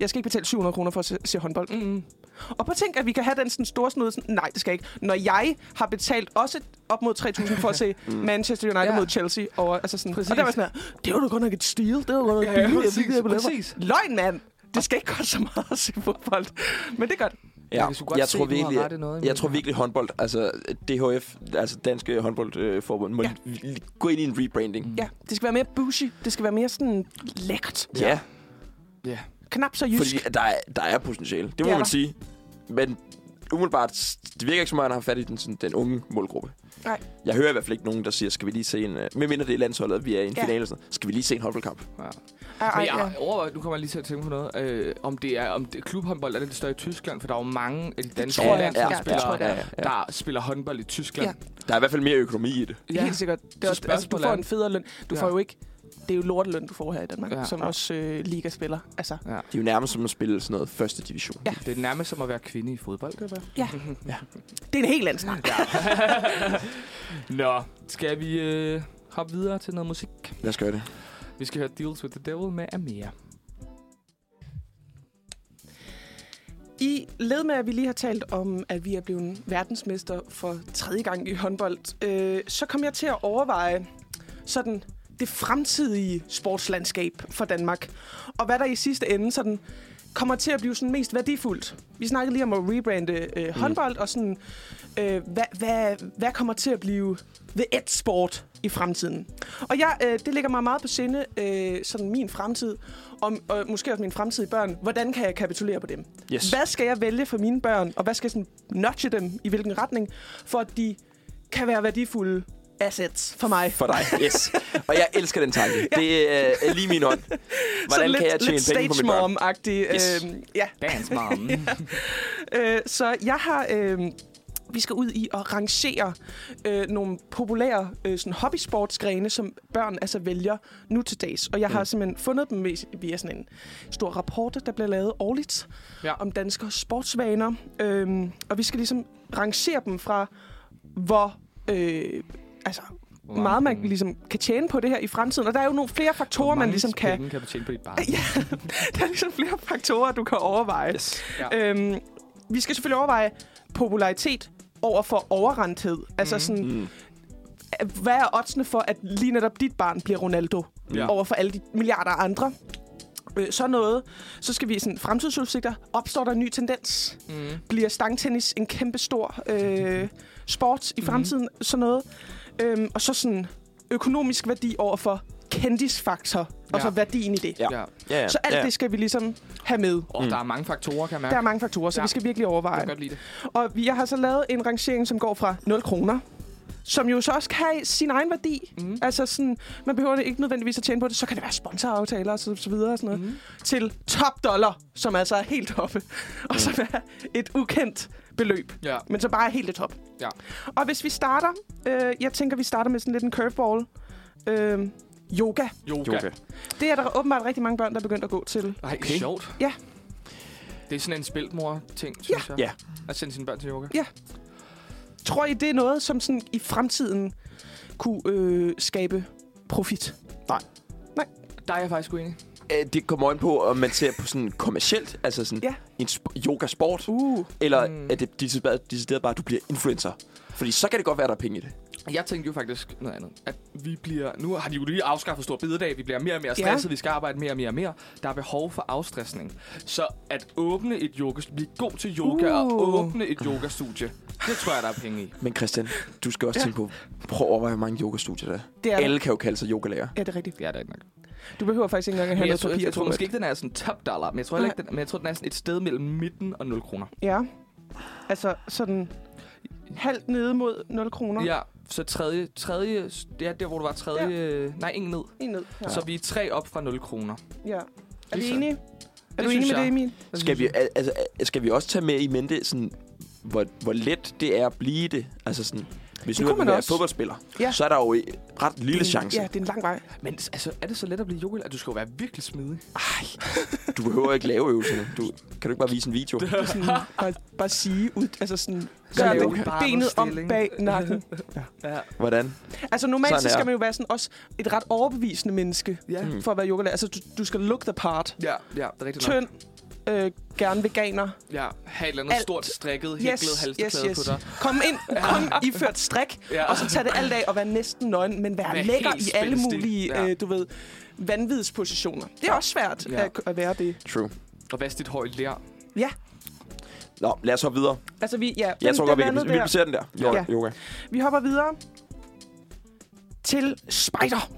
Speaker 3: Jeg skal ikke betale 700 kroner for at se, se håndbold.
Speaker 2: Mm.
Speaker 3: Og på tænk, at vi kan have den sådan store snude, sådan, nej, det skal jeg ikke. Når jeg har betalt også op mod 3.000 for at se
Speaker 2: Mm.
Speaker 3: Manchester United
Speaker 2: Ja.
Speaker 3: mod Chelsea. Over, altså sådan,
Speaker 2: Præcis.
Speaker 3: og der var sådan her, det var da godt nok et steal. Det var godt nok
Speaker 2: Ja,
Speaker 3: ja,
Speaker 2: ja,
Speaker 3: billigt.
Speaker 2: præcis,
Speaker 3: jeg fik det her billet for."
Speaker 2: præcis.
Speaker 3: Løgn, mand. Det skal ikke koste så meget at se fodbold. Men det gør det.
Speaker 1: Ja.
Speaker 2: Jeg kan sgu godt
Speaker 1: jeg,
Speaker 2: se,
Speaker 1: tror
Speaker 2: du har ret i
Speaker 1: virkelig,
Speaker 2: noget,
Speaker 1: jeg
Speaker 2: Emil.
Speaker 1: tror virkelig håndbold, altså DHF, altså Danske Håndboldforbund, må
Speaker 3: Ja. Mm.
Speaker 1: ja. gå ind i en rebranding.
Speaker 3: Ja, det skal være mere bougie. Det skal være mere sådan lækkert.
Speaker 1: Ja, ja
Speaker 2: Ja.
Speaker 3: Knap så jysk.
Speaker 1: fordi der er, der er potentiale. Det må
Speaker 3: Ja,
Speaker 1: man
Speaker 3: der.
Speaker 1: sige. Men umiddelbart, s- det virker ikke som om, han har fat i den, sådan, den unge målgruppe.
Speaker 3: Nej.
Speaker 1: Jeg hører i hvert fald ikke nogen, der siger, skal vi lige se en... øh, Medmindre det er landsholdet, at vi er i en
Speaker 3: Ja.
Speaker 1: finale eller sådan noget, Skal vi lige se en håndboldkamp?
Speaker 2: ja.
Speaker 3: Ej,
Speaker 2: Men
Speaker 3: ej,
Speaker 2: jeg
Speaker 3: ja.
Speaker 2: overvejer, nu kommer jeg lige til at tænke på noget, øh, om det er om det, klubhåndbold er det lidt større i Tyskland, for der er jo mange af de danske
Speaker 3: tror jeg. Ja, det tror
Speaker 2: landsholdsspillere,
Speaker 3: jeg, det er.
Speaker 2: der spiller håndbold i Tyskland.
Speaker 1: Der er i hvert fald mere økonomi i det.
Speaker 3: Ja. Helt sikkert. Det
Speaker 2: Så
Speaker 3: er også, altså, du
Speaker 2: spørgsmålet
Speaker 3: får
Speaker 2: er-
Speaker 3: en federe løn. Du
Speaker 2: Ja.
Speaker 3: får jo ikke... Det er jo lorteløn, du får her i Danmark,
Speaker 2: Ja.
Speaker 3: ja. som også øh, ligaspiller. Altså,
Speaker 1: Det er jo nærmest som at spille sådan noget første division.
Speaker 3: Ja.
Speaker 2: Det er nærmest som at være kvinde i fodbold, det er
Speaker 3: ja.
Speaker 1: Ja.
Speaker 3: ja. Det er en helt anden snak.
Speaker 2: Nå, skal vi øh, hoppe videre til noget musik?
Speaker 1: Lad os gøre det.
Speaker 2: Vi skal høre Deals with the Devil med Amir.
Speaker 3: I led med, at vi lige har talt om, at vi er blevet verdensmester for tredje gang i håndbold, øh, så kom jeg til at overveje sådan det fremtidige sportslandskab for Danmark, og hvad der i sidste ende sådan kommer til at blive sådan mest værdifuldt. Vi snakkede lige om at rebrande øh, håndbold, og sådan, øh, hvad, hvad, hvad kommer til at blive the et sport i fremtiden. Og jeg, øh, det ligger mig meget på sinde, øh, sådan min fremtid, og, og måske også mine fremtidige børn. Hvordan kan jeg kapitulere på dem?
Speaker 1: Yes.
Speaker 3: Hvad skal jeg vælge for mine børn, og hvad skal jeg sådan nudge dem i hvilken retning, for at de kan være værdifulde assets for mig.
Speaker 1: for dig. Yes. Og jeg elsker den tanke. Det er øh, lige min hånd. Hvordan
Speaker 3: Sådan
Speaker 1: kan
Speaker 3: lidt,
Speaker 1: jeg tjene
Speaker 3: lidt
Speaker 1: penge på mit
Speaker 3: stage
Speaker 1: børn?
Speaker 3: mom-agtig.
Speaker 1: Yes.
Speaker 3: Øhm, ja.
Speaker 2: Dance, mom.
Speaker 3: Øh, så jeg har... øhm, vi skal ud i at rangere øh, nogle populære øh, sådan hobbysportsgrene, som børn altså vælger nu til dags. Og jeg
Speaker 1: Mm.
Speaker 3: har simpelthen fundet dem vis- via sådan en stor rapport, der bliver lavet årligt
Speaker 2: Ja.
Speaker 3: om danskers sportsvaner. Øhm, og vi skal ligesom rangere dem fra, hvor øh, altså,
Speaker 2: Hvor
Speaker 3: meget man
Speaker 2: penge-
Speaker 3: ligesom kan tjæne på det her i fremtiden. Og der er jo nogle flere
Speaker 2: hvor
Speaker 3: faktorer, man
Speaker 2: mange
Speaker 3: ligesom kan...
Speaker 2: penge kan du tjene på dit barn?
Speaker 3: Ja, der er ligesom flere faktorer, du kan overveje. Yes.
Speaker 2: Ja.
Speaker 3: Øhm, vi skal selvfølgelig overveje popularitet over for overrenthed. Altså
Speaker 2: Mhm.
Speaker 3: sådan,
Speaker 1: Mm.
Speaker 3: hvad er oddsene for, at lige netop dit barn bliver Ronaldo?
Speaker 2: Ja.
Speaker 3: Ja. Over for alle de milliarder andre. Øh, så noget. Så skal vi sådan fremtidsudsigter. Opstår der en ny tendens?
Speaker 2: Mm.
Speaker 3: Bliver stangtennis en kæmpe stor øh, sport i
Speaker 2: Mhm.
Speaker 3: fremtiden? Mm. Sådan noget. Øhm, og så sådan økonomisk værdi over for kendisfaktor. Ja. Og
Speaker 2: Ja.
Speaker 3: så værdien i det.
Speaker 1: Ja.
Speaker 2: Ja.
Speaker 1: Ja, ja,
Speaker 3: Så alt
Speaker 1: ja.
Speaker 3: det skal vi ligesom have med.
Speaker 2: Og
Speaker 1: Mm.
Speaker 2: der er mange faktorer, kan jeg mærke.
Speaker 3: Der er mange faktorer, så
Speaker 2: Ja.
Speaker 3: ja. vi skal virkelig
Speaker 2: Jeg
Speaker 3: overveje.
Speaker 2: kan godt lide det.
Speaker 3: Og vi- jeg har så lavet en rangering, som går fra 0 kroner, som jo så også kan have sin egen værdi.
Speaker 2: Mm.
Speaker 3: Altså sådan, man behøver det ikke nødvendigvis at tjene på det. Så kan det være sponsoraftaler og så, så videre og sådan noget.
Speaker 2: Mm.
Speaker 3: Mm. Til top dollar, som altså er helt oppe. Og som er et ukendt beløb.
Speaker 2: Ja.
Speaker 3: Men så bare er helt det top.
Speaker 2: Ja.
Speaker 3: Og hvis vi starter, øh, jeg tænker, vi starter med sådan lidt en curveball. Øh, yoga.
Speaker 2: Yoga.
Speaker 1: Yoga.
Speaker 3: Det er der åbenbart rigtig mange børn, der er begyndt at gå til.
Speaker 2: Ej,
Speaker 1: Okay.
Speaker 2: okay. sjovt.
Speaker 3: Ja.
Speaker 2: Det er sådan en spiltmor-ting, synes jeg.
Speaker 1: Ja.
Speaker 2: At sende sine børn til yoga.
Speaker 3: Tror I, det er noget, som sådan i fremtiden kunne øh, skabe profit?
Speaker 2: Der er jeg faktisk uenig.
Speaker 1: Øh, Det kommer an på, om man ser på sådan kommercielt, altså sådan
Speaker 3: Ja.
Speaker 1: en sp- yoga-sport,
Speaker 3: Uh.
Speaker 1: eller
Speaker 2: Mm.
Speaker 1: mm. at det decideret, decideret bare, at du bliver influencer. Fordi så kan det godt være, at der er penge i det.
Speaker 2: Jeg tænkte jo faktisk noget andet. At vi bliver... Nu har de jo lige afskaffet stor bededag. Vi bliver mere og mere
Speaker 3: Ja.
Speaker 2: stresset. Vi skal arbejde mere og mere og mere. Der er behov for afstressning. Så at åbne et yoga... Blive god til yoga uh. og
Speaker 3: Uh.
Speaker 2: åbne et yogastudie. Det tror jeg, der er penge i.
Speaker 1: Men Christian, du skal også ja. tænke på, prøv at overveje, hvor mange yogastudier der er.
Speaker 3: Det er der.
Speaker 1: Alle kan jo kalde sig yogalærer.
Speaker 3: Ja, det er rigtigt.
Speaker 2: Det er der ikke nok.
Speaker 3: Du behøver faktisk ikke engang at have
Speaker 2: Men jeg,
Speaker 3: noget
Speaker 2: tror,
Speaker 3: papir.
Speaker 2: jeg, jeg tror
Speaker 3: tror
Speaker 2: måske ikke, den er sådan top dollar, men jeg tror, heller ikke, den, men jeg tror, den er sådan et sted mellem midten og 0 kroner.
Speaker 3: Ja. Altså sådan halvt nede mod 0 kroner.
Speaker 2: Ja, så tredje, tredje, det er der, hvor du var tredje, ja. nej, ingen ned.
Speaker 3: En ned. Ja.
Speaker 2: Ja. Så vi er tre op fra 0 kroner.
Speaker 3: ja. Er vi
Speaker 2: Lige så.
Speaker 3: enige? Er du
Speaker 2: synes
Speaker 3: enig med
Speaker 2: jeg.
Speaker 3: det, Emil?
Speaker 1: Skal vi, al- altså, al- skal vi også tage med i mente, sådan, hvor, hvor let det er at blive det? Altså sådan, hvis
Speaker 3: Det
Speaker 1: nu
Speaker 3: kunne
Speaker 1: man
Speaker 3: man
Speaker 1: er
Speaker 3: også.
Speaker 1: fodboldspiller, ja.
Speaker 3: Ja.
Speaker 1: så er der jo en ret lille chance.
Speaker 3: Ja, det er en lang vej.
Speaker 2: Men altså, er det så let at blive yoga? Du skal jo være virkelig smidig.
Speaker 1: Du behøver ikke lave øvelserne. Du, kan du ikke bare vise en video?
Speaker 3: Det er sådan, bare, bare sige ud. Altså sådan,
Speaker 1: Gør
Speaker 3: gør
Speaker 1: det.
Speaker 3: det. benet om
Speaker 2: Barndomsstilling.
Speaker 3: bag nakken.
Speaker 2: Ja.
Speaker 1: Hvordan?
Speaker 3: Altså normalt
Speaker 1: Sådan
Speaker 3: så
Speaker 1: her.
Speaker 3: skal man jo være sådan også et ret overbevisende menneske
Speaker 2: Ja.
Speaker 1: Mm.
Speaker 3: for at være yogalærer. Altså du, du skal look the part.
Speaker 2: ja, ja, det er rigtigt nok.
Speaker 3: Tynd, øh, gerne veganer.
Speaker 2: Ja, have et eller andet
Speaker 3: Alt.
Speaker 2: stort strikket,
Speaker 3: Yes,
Speaker 2: hæklet
Speaker 3: yes,
Speaker 2: halsteklæde
Speaker 3: yes.
Speaker 2: på dig.
Speaker 3: Kom ind, kom iført strik,
Speaker 2: Ja.
Speaker 3: Og så tage det alt af og være næsten nøgen, men være
Speaker 2: Være
Speaker 3: lækker
Speaker 2: helt
Speaker 3: i alle
Speaker 2: spændstig.
Speaker 3: mulige,
Speaker 2: Ja.
Speaker 3: ja. øh, du ved, vanvidspositioner. Det er også svært
Speaker 2: Ja.
Speaker 3: ja. at, at være det.
Speaker 1: True.
Speaker 2: Og vask dit hår i lær.
Speaker 1: Nå, lad os hoppe videre.
Speaker 3: Altså, vi, ja,
Speaker 1: Jeg
Speaker 3: den-
Speaker 1: tror
Speaker 3: den
Speaker 1: godt, vi, kan,
Speaker 3: landede
Speaker 1: vi
Speaker 3: der.
Speaker 1: placerer den der. Yoga.
Speaker 3: Ja.
Speaker 1: yoga.
Speaker 3: vi hopper videre til spider.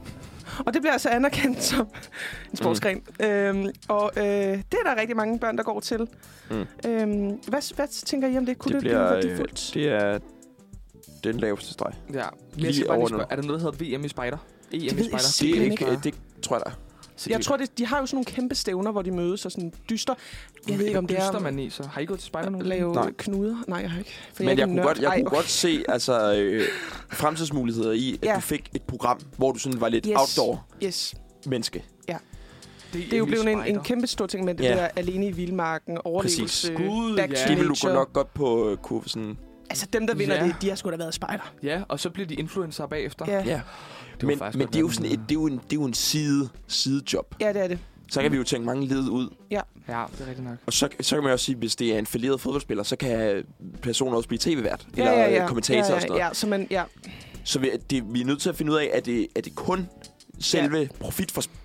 Speaker 3: Og det bliver altså anerkendt som en sportsgren. Mm. Øhm, og øh, det er der rigtig mange børn, der går til.
Speaker 1: Mm.
Speaker 3: Mm. Øhm, hvad, hvad tænker I om det? Kunne det,
Speaker 1: Det
Speaker 3: det blive
Speaker 1: bliver, øh,
Speaker 3: værdifuldt?
Speaker 1: det er den laveste streg.
Speaker 2: Ja.
Speaker 1: Lige
Speaker 2: Jeg skal bare
Speaker 1: over
Speaker 2: lige spørge,
Speaker 1: nul.
Speaker 2: er der noget, der hedder VM i spejder? EM i
Speaker 3: Det ved jeg
Speaker 2: spejder?
Speaker 1: Det, er
Speaker 3: Simpelthen
Speaker 1: ikke, øh, det tror jeg, der er.
Speaker 3: Jeg tror, det, de har jo sådan nogle kæmpe stævner, hvor de mødes og sådan dyster. Jeg ved ikke, om det
Speaker 2: dyster
Speaker 3: er
Speaker 2: man i, så har I gået til spejder nogen?
Speaker 3: lave
Speaker 1: Nej.
Speaker 3: Nej. knuder. Nej, jeg har ikke. For
Speaker 1: Men jeg
Speaker 3: er ikke en
Speaker 1: kunne,
Speaker 3: nørd.
Speaker 1: godt, jeg
Speaker 3: Ej,
Speaker 1: kunne
Speaker 3: okay.
Speaker 1: godt se altså, øh, fremtidsmuligheder i, at ja.
Speaker 3: Ja.
Speaker 1: du fik et program, hvor du sådan var lidt yes.
Speaker 3: Yes.
Speaker 1: outdoor-menneske.
Speaker 3: oh, Yes. Det
Speaker 2: EM
Speaker 3: er jo
Speaker 2: i
Speaker 3: blevet en, en
Speaker 2: spejder.
Speaker 3: kæmpe stor ting, men det
Speaker 1: Ja.
Speaker 3: ja. der alene i vildmarken, overlevelse,
Speaker 1: Præcis.
Speaker 2: Gud,
Speaker 3: back
Speaker 2: ja.
Speaker 3: to
Speaker 1: Det ville du
Speaker 3: nature.
Speaker 1: gå nok godt på øh, kunne sådan...
Speaker 3: Altså dem, der vinder
Speaker 2: Ja.
Speaker 3: ja. det, de har sgu da været spejder.
Speaker 2: Ja, og så bliver de influencer bagefter.
Speaker 3: Ja. ja.
Speaker 1: Ja.
Speaker 2: kunne
Speaker 1: men
Speaker 2: faktisk
Speaker 1: men
Speaker 2: godt
Speaker 1: det er jo
Speaker 2: være
Speaker 1: sådan et,
Speaker 2: en-
Speaker 1: det er jo en, det er jo en side, sidejob.
Speaker 3: ja, det er det.
Speaker 1: Så kan vi jo tænke mange led ud.
Speaker 2: ja det er rigtigt nok.
Speaker 1: Og så, så kan man jo også sige, hvis det er en falderet fodboldspiller, så kan personen også blive tv-vært.
Speaker 3: Ja,
Speaker 1: eller
Speaker 3: ja,
Speaker 1: øh,
Speaker 3: ja.
Speaker 1: kommentator
Speaker 3: ja, ja,
Speaker 1: og sådan noget.
Speaker 3: Ja, så man, ja.
Speaker 1: Så vi, det, vi er nødt til at finde ud af, er det, er det kun selve ja. profit for ja.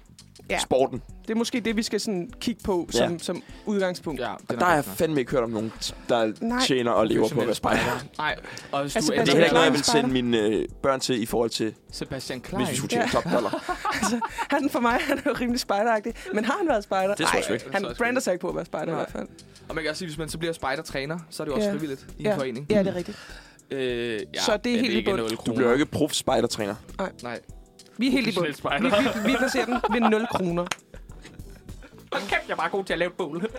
Speaker 3: Ja.
Speaker 1: sporten?
Speaker 3: Det er måske det, vi skal sådan kigge på som,
Speaker 1: Ja.
Speaker 3: ja. som udgangspunkt.
Speaker 2: Ja,
Speaker 1: Og der har jeg fandme ikke hørt om nogen, der
Speaker 3: Nej.
Speaker 1: tjener og lever på at være spejder.
Speaker 2: Nej, og hvis
Speaker 3: Altså,
Speaker 2: du
Speaker 1: Men det er heller
Speaker 2: ender
Speaker 1: ikke noget, jeg
Speaker 2: med
Speaker 1: vil sende mine øh, børn til i forhold til,
Speaker 2: Sebastian Klein.
Speaker 1: hvis vi skulle tjene ja.
Speaker 3: Ja.
Speaker 1: top dollar.
Speaker 3: Han for mig han er jo rimelig spejderagtig. Men har han været spejder?
Speaker 1: Det tror jeg sgu ikke.
Speaker 3: han brander sig ikke på at være spejder
Speaker 2: Nej.
Speaker 3: i hvert fald.
Speaker 2: Og man kan også sige, hvis man så bliver spejdertræner, så er det jo også
Speaker 3: Ja.
Speaker 2: frivilligt i en
Speaker 3: Ja.
Speaker 2: forening.
Speaker 3: Ja, det er rigtigt.
Speaker 2: Øh, ja,
Speaker 3: Så det er
Speaker 2: men
Speaker 3: helt i
Speaker 2: ikke
Speaker 3: bund.
Speaker 2: 0
Speaker 1: Du
Speaker 2: kroner.
Speaker 1: bliver jo ikke prof spejdertræner.
Speaker 2: Nej.
Speaker 3: Vi er helt i bund.
Speaker 2: Professionel spejder.
Speaker 3: Vi, vi, vi placerer den ved 0 kroner.
Speaker 2: Hold kæft, jeg er bare god til at lave et bål.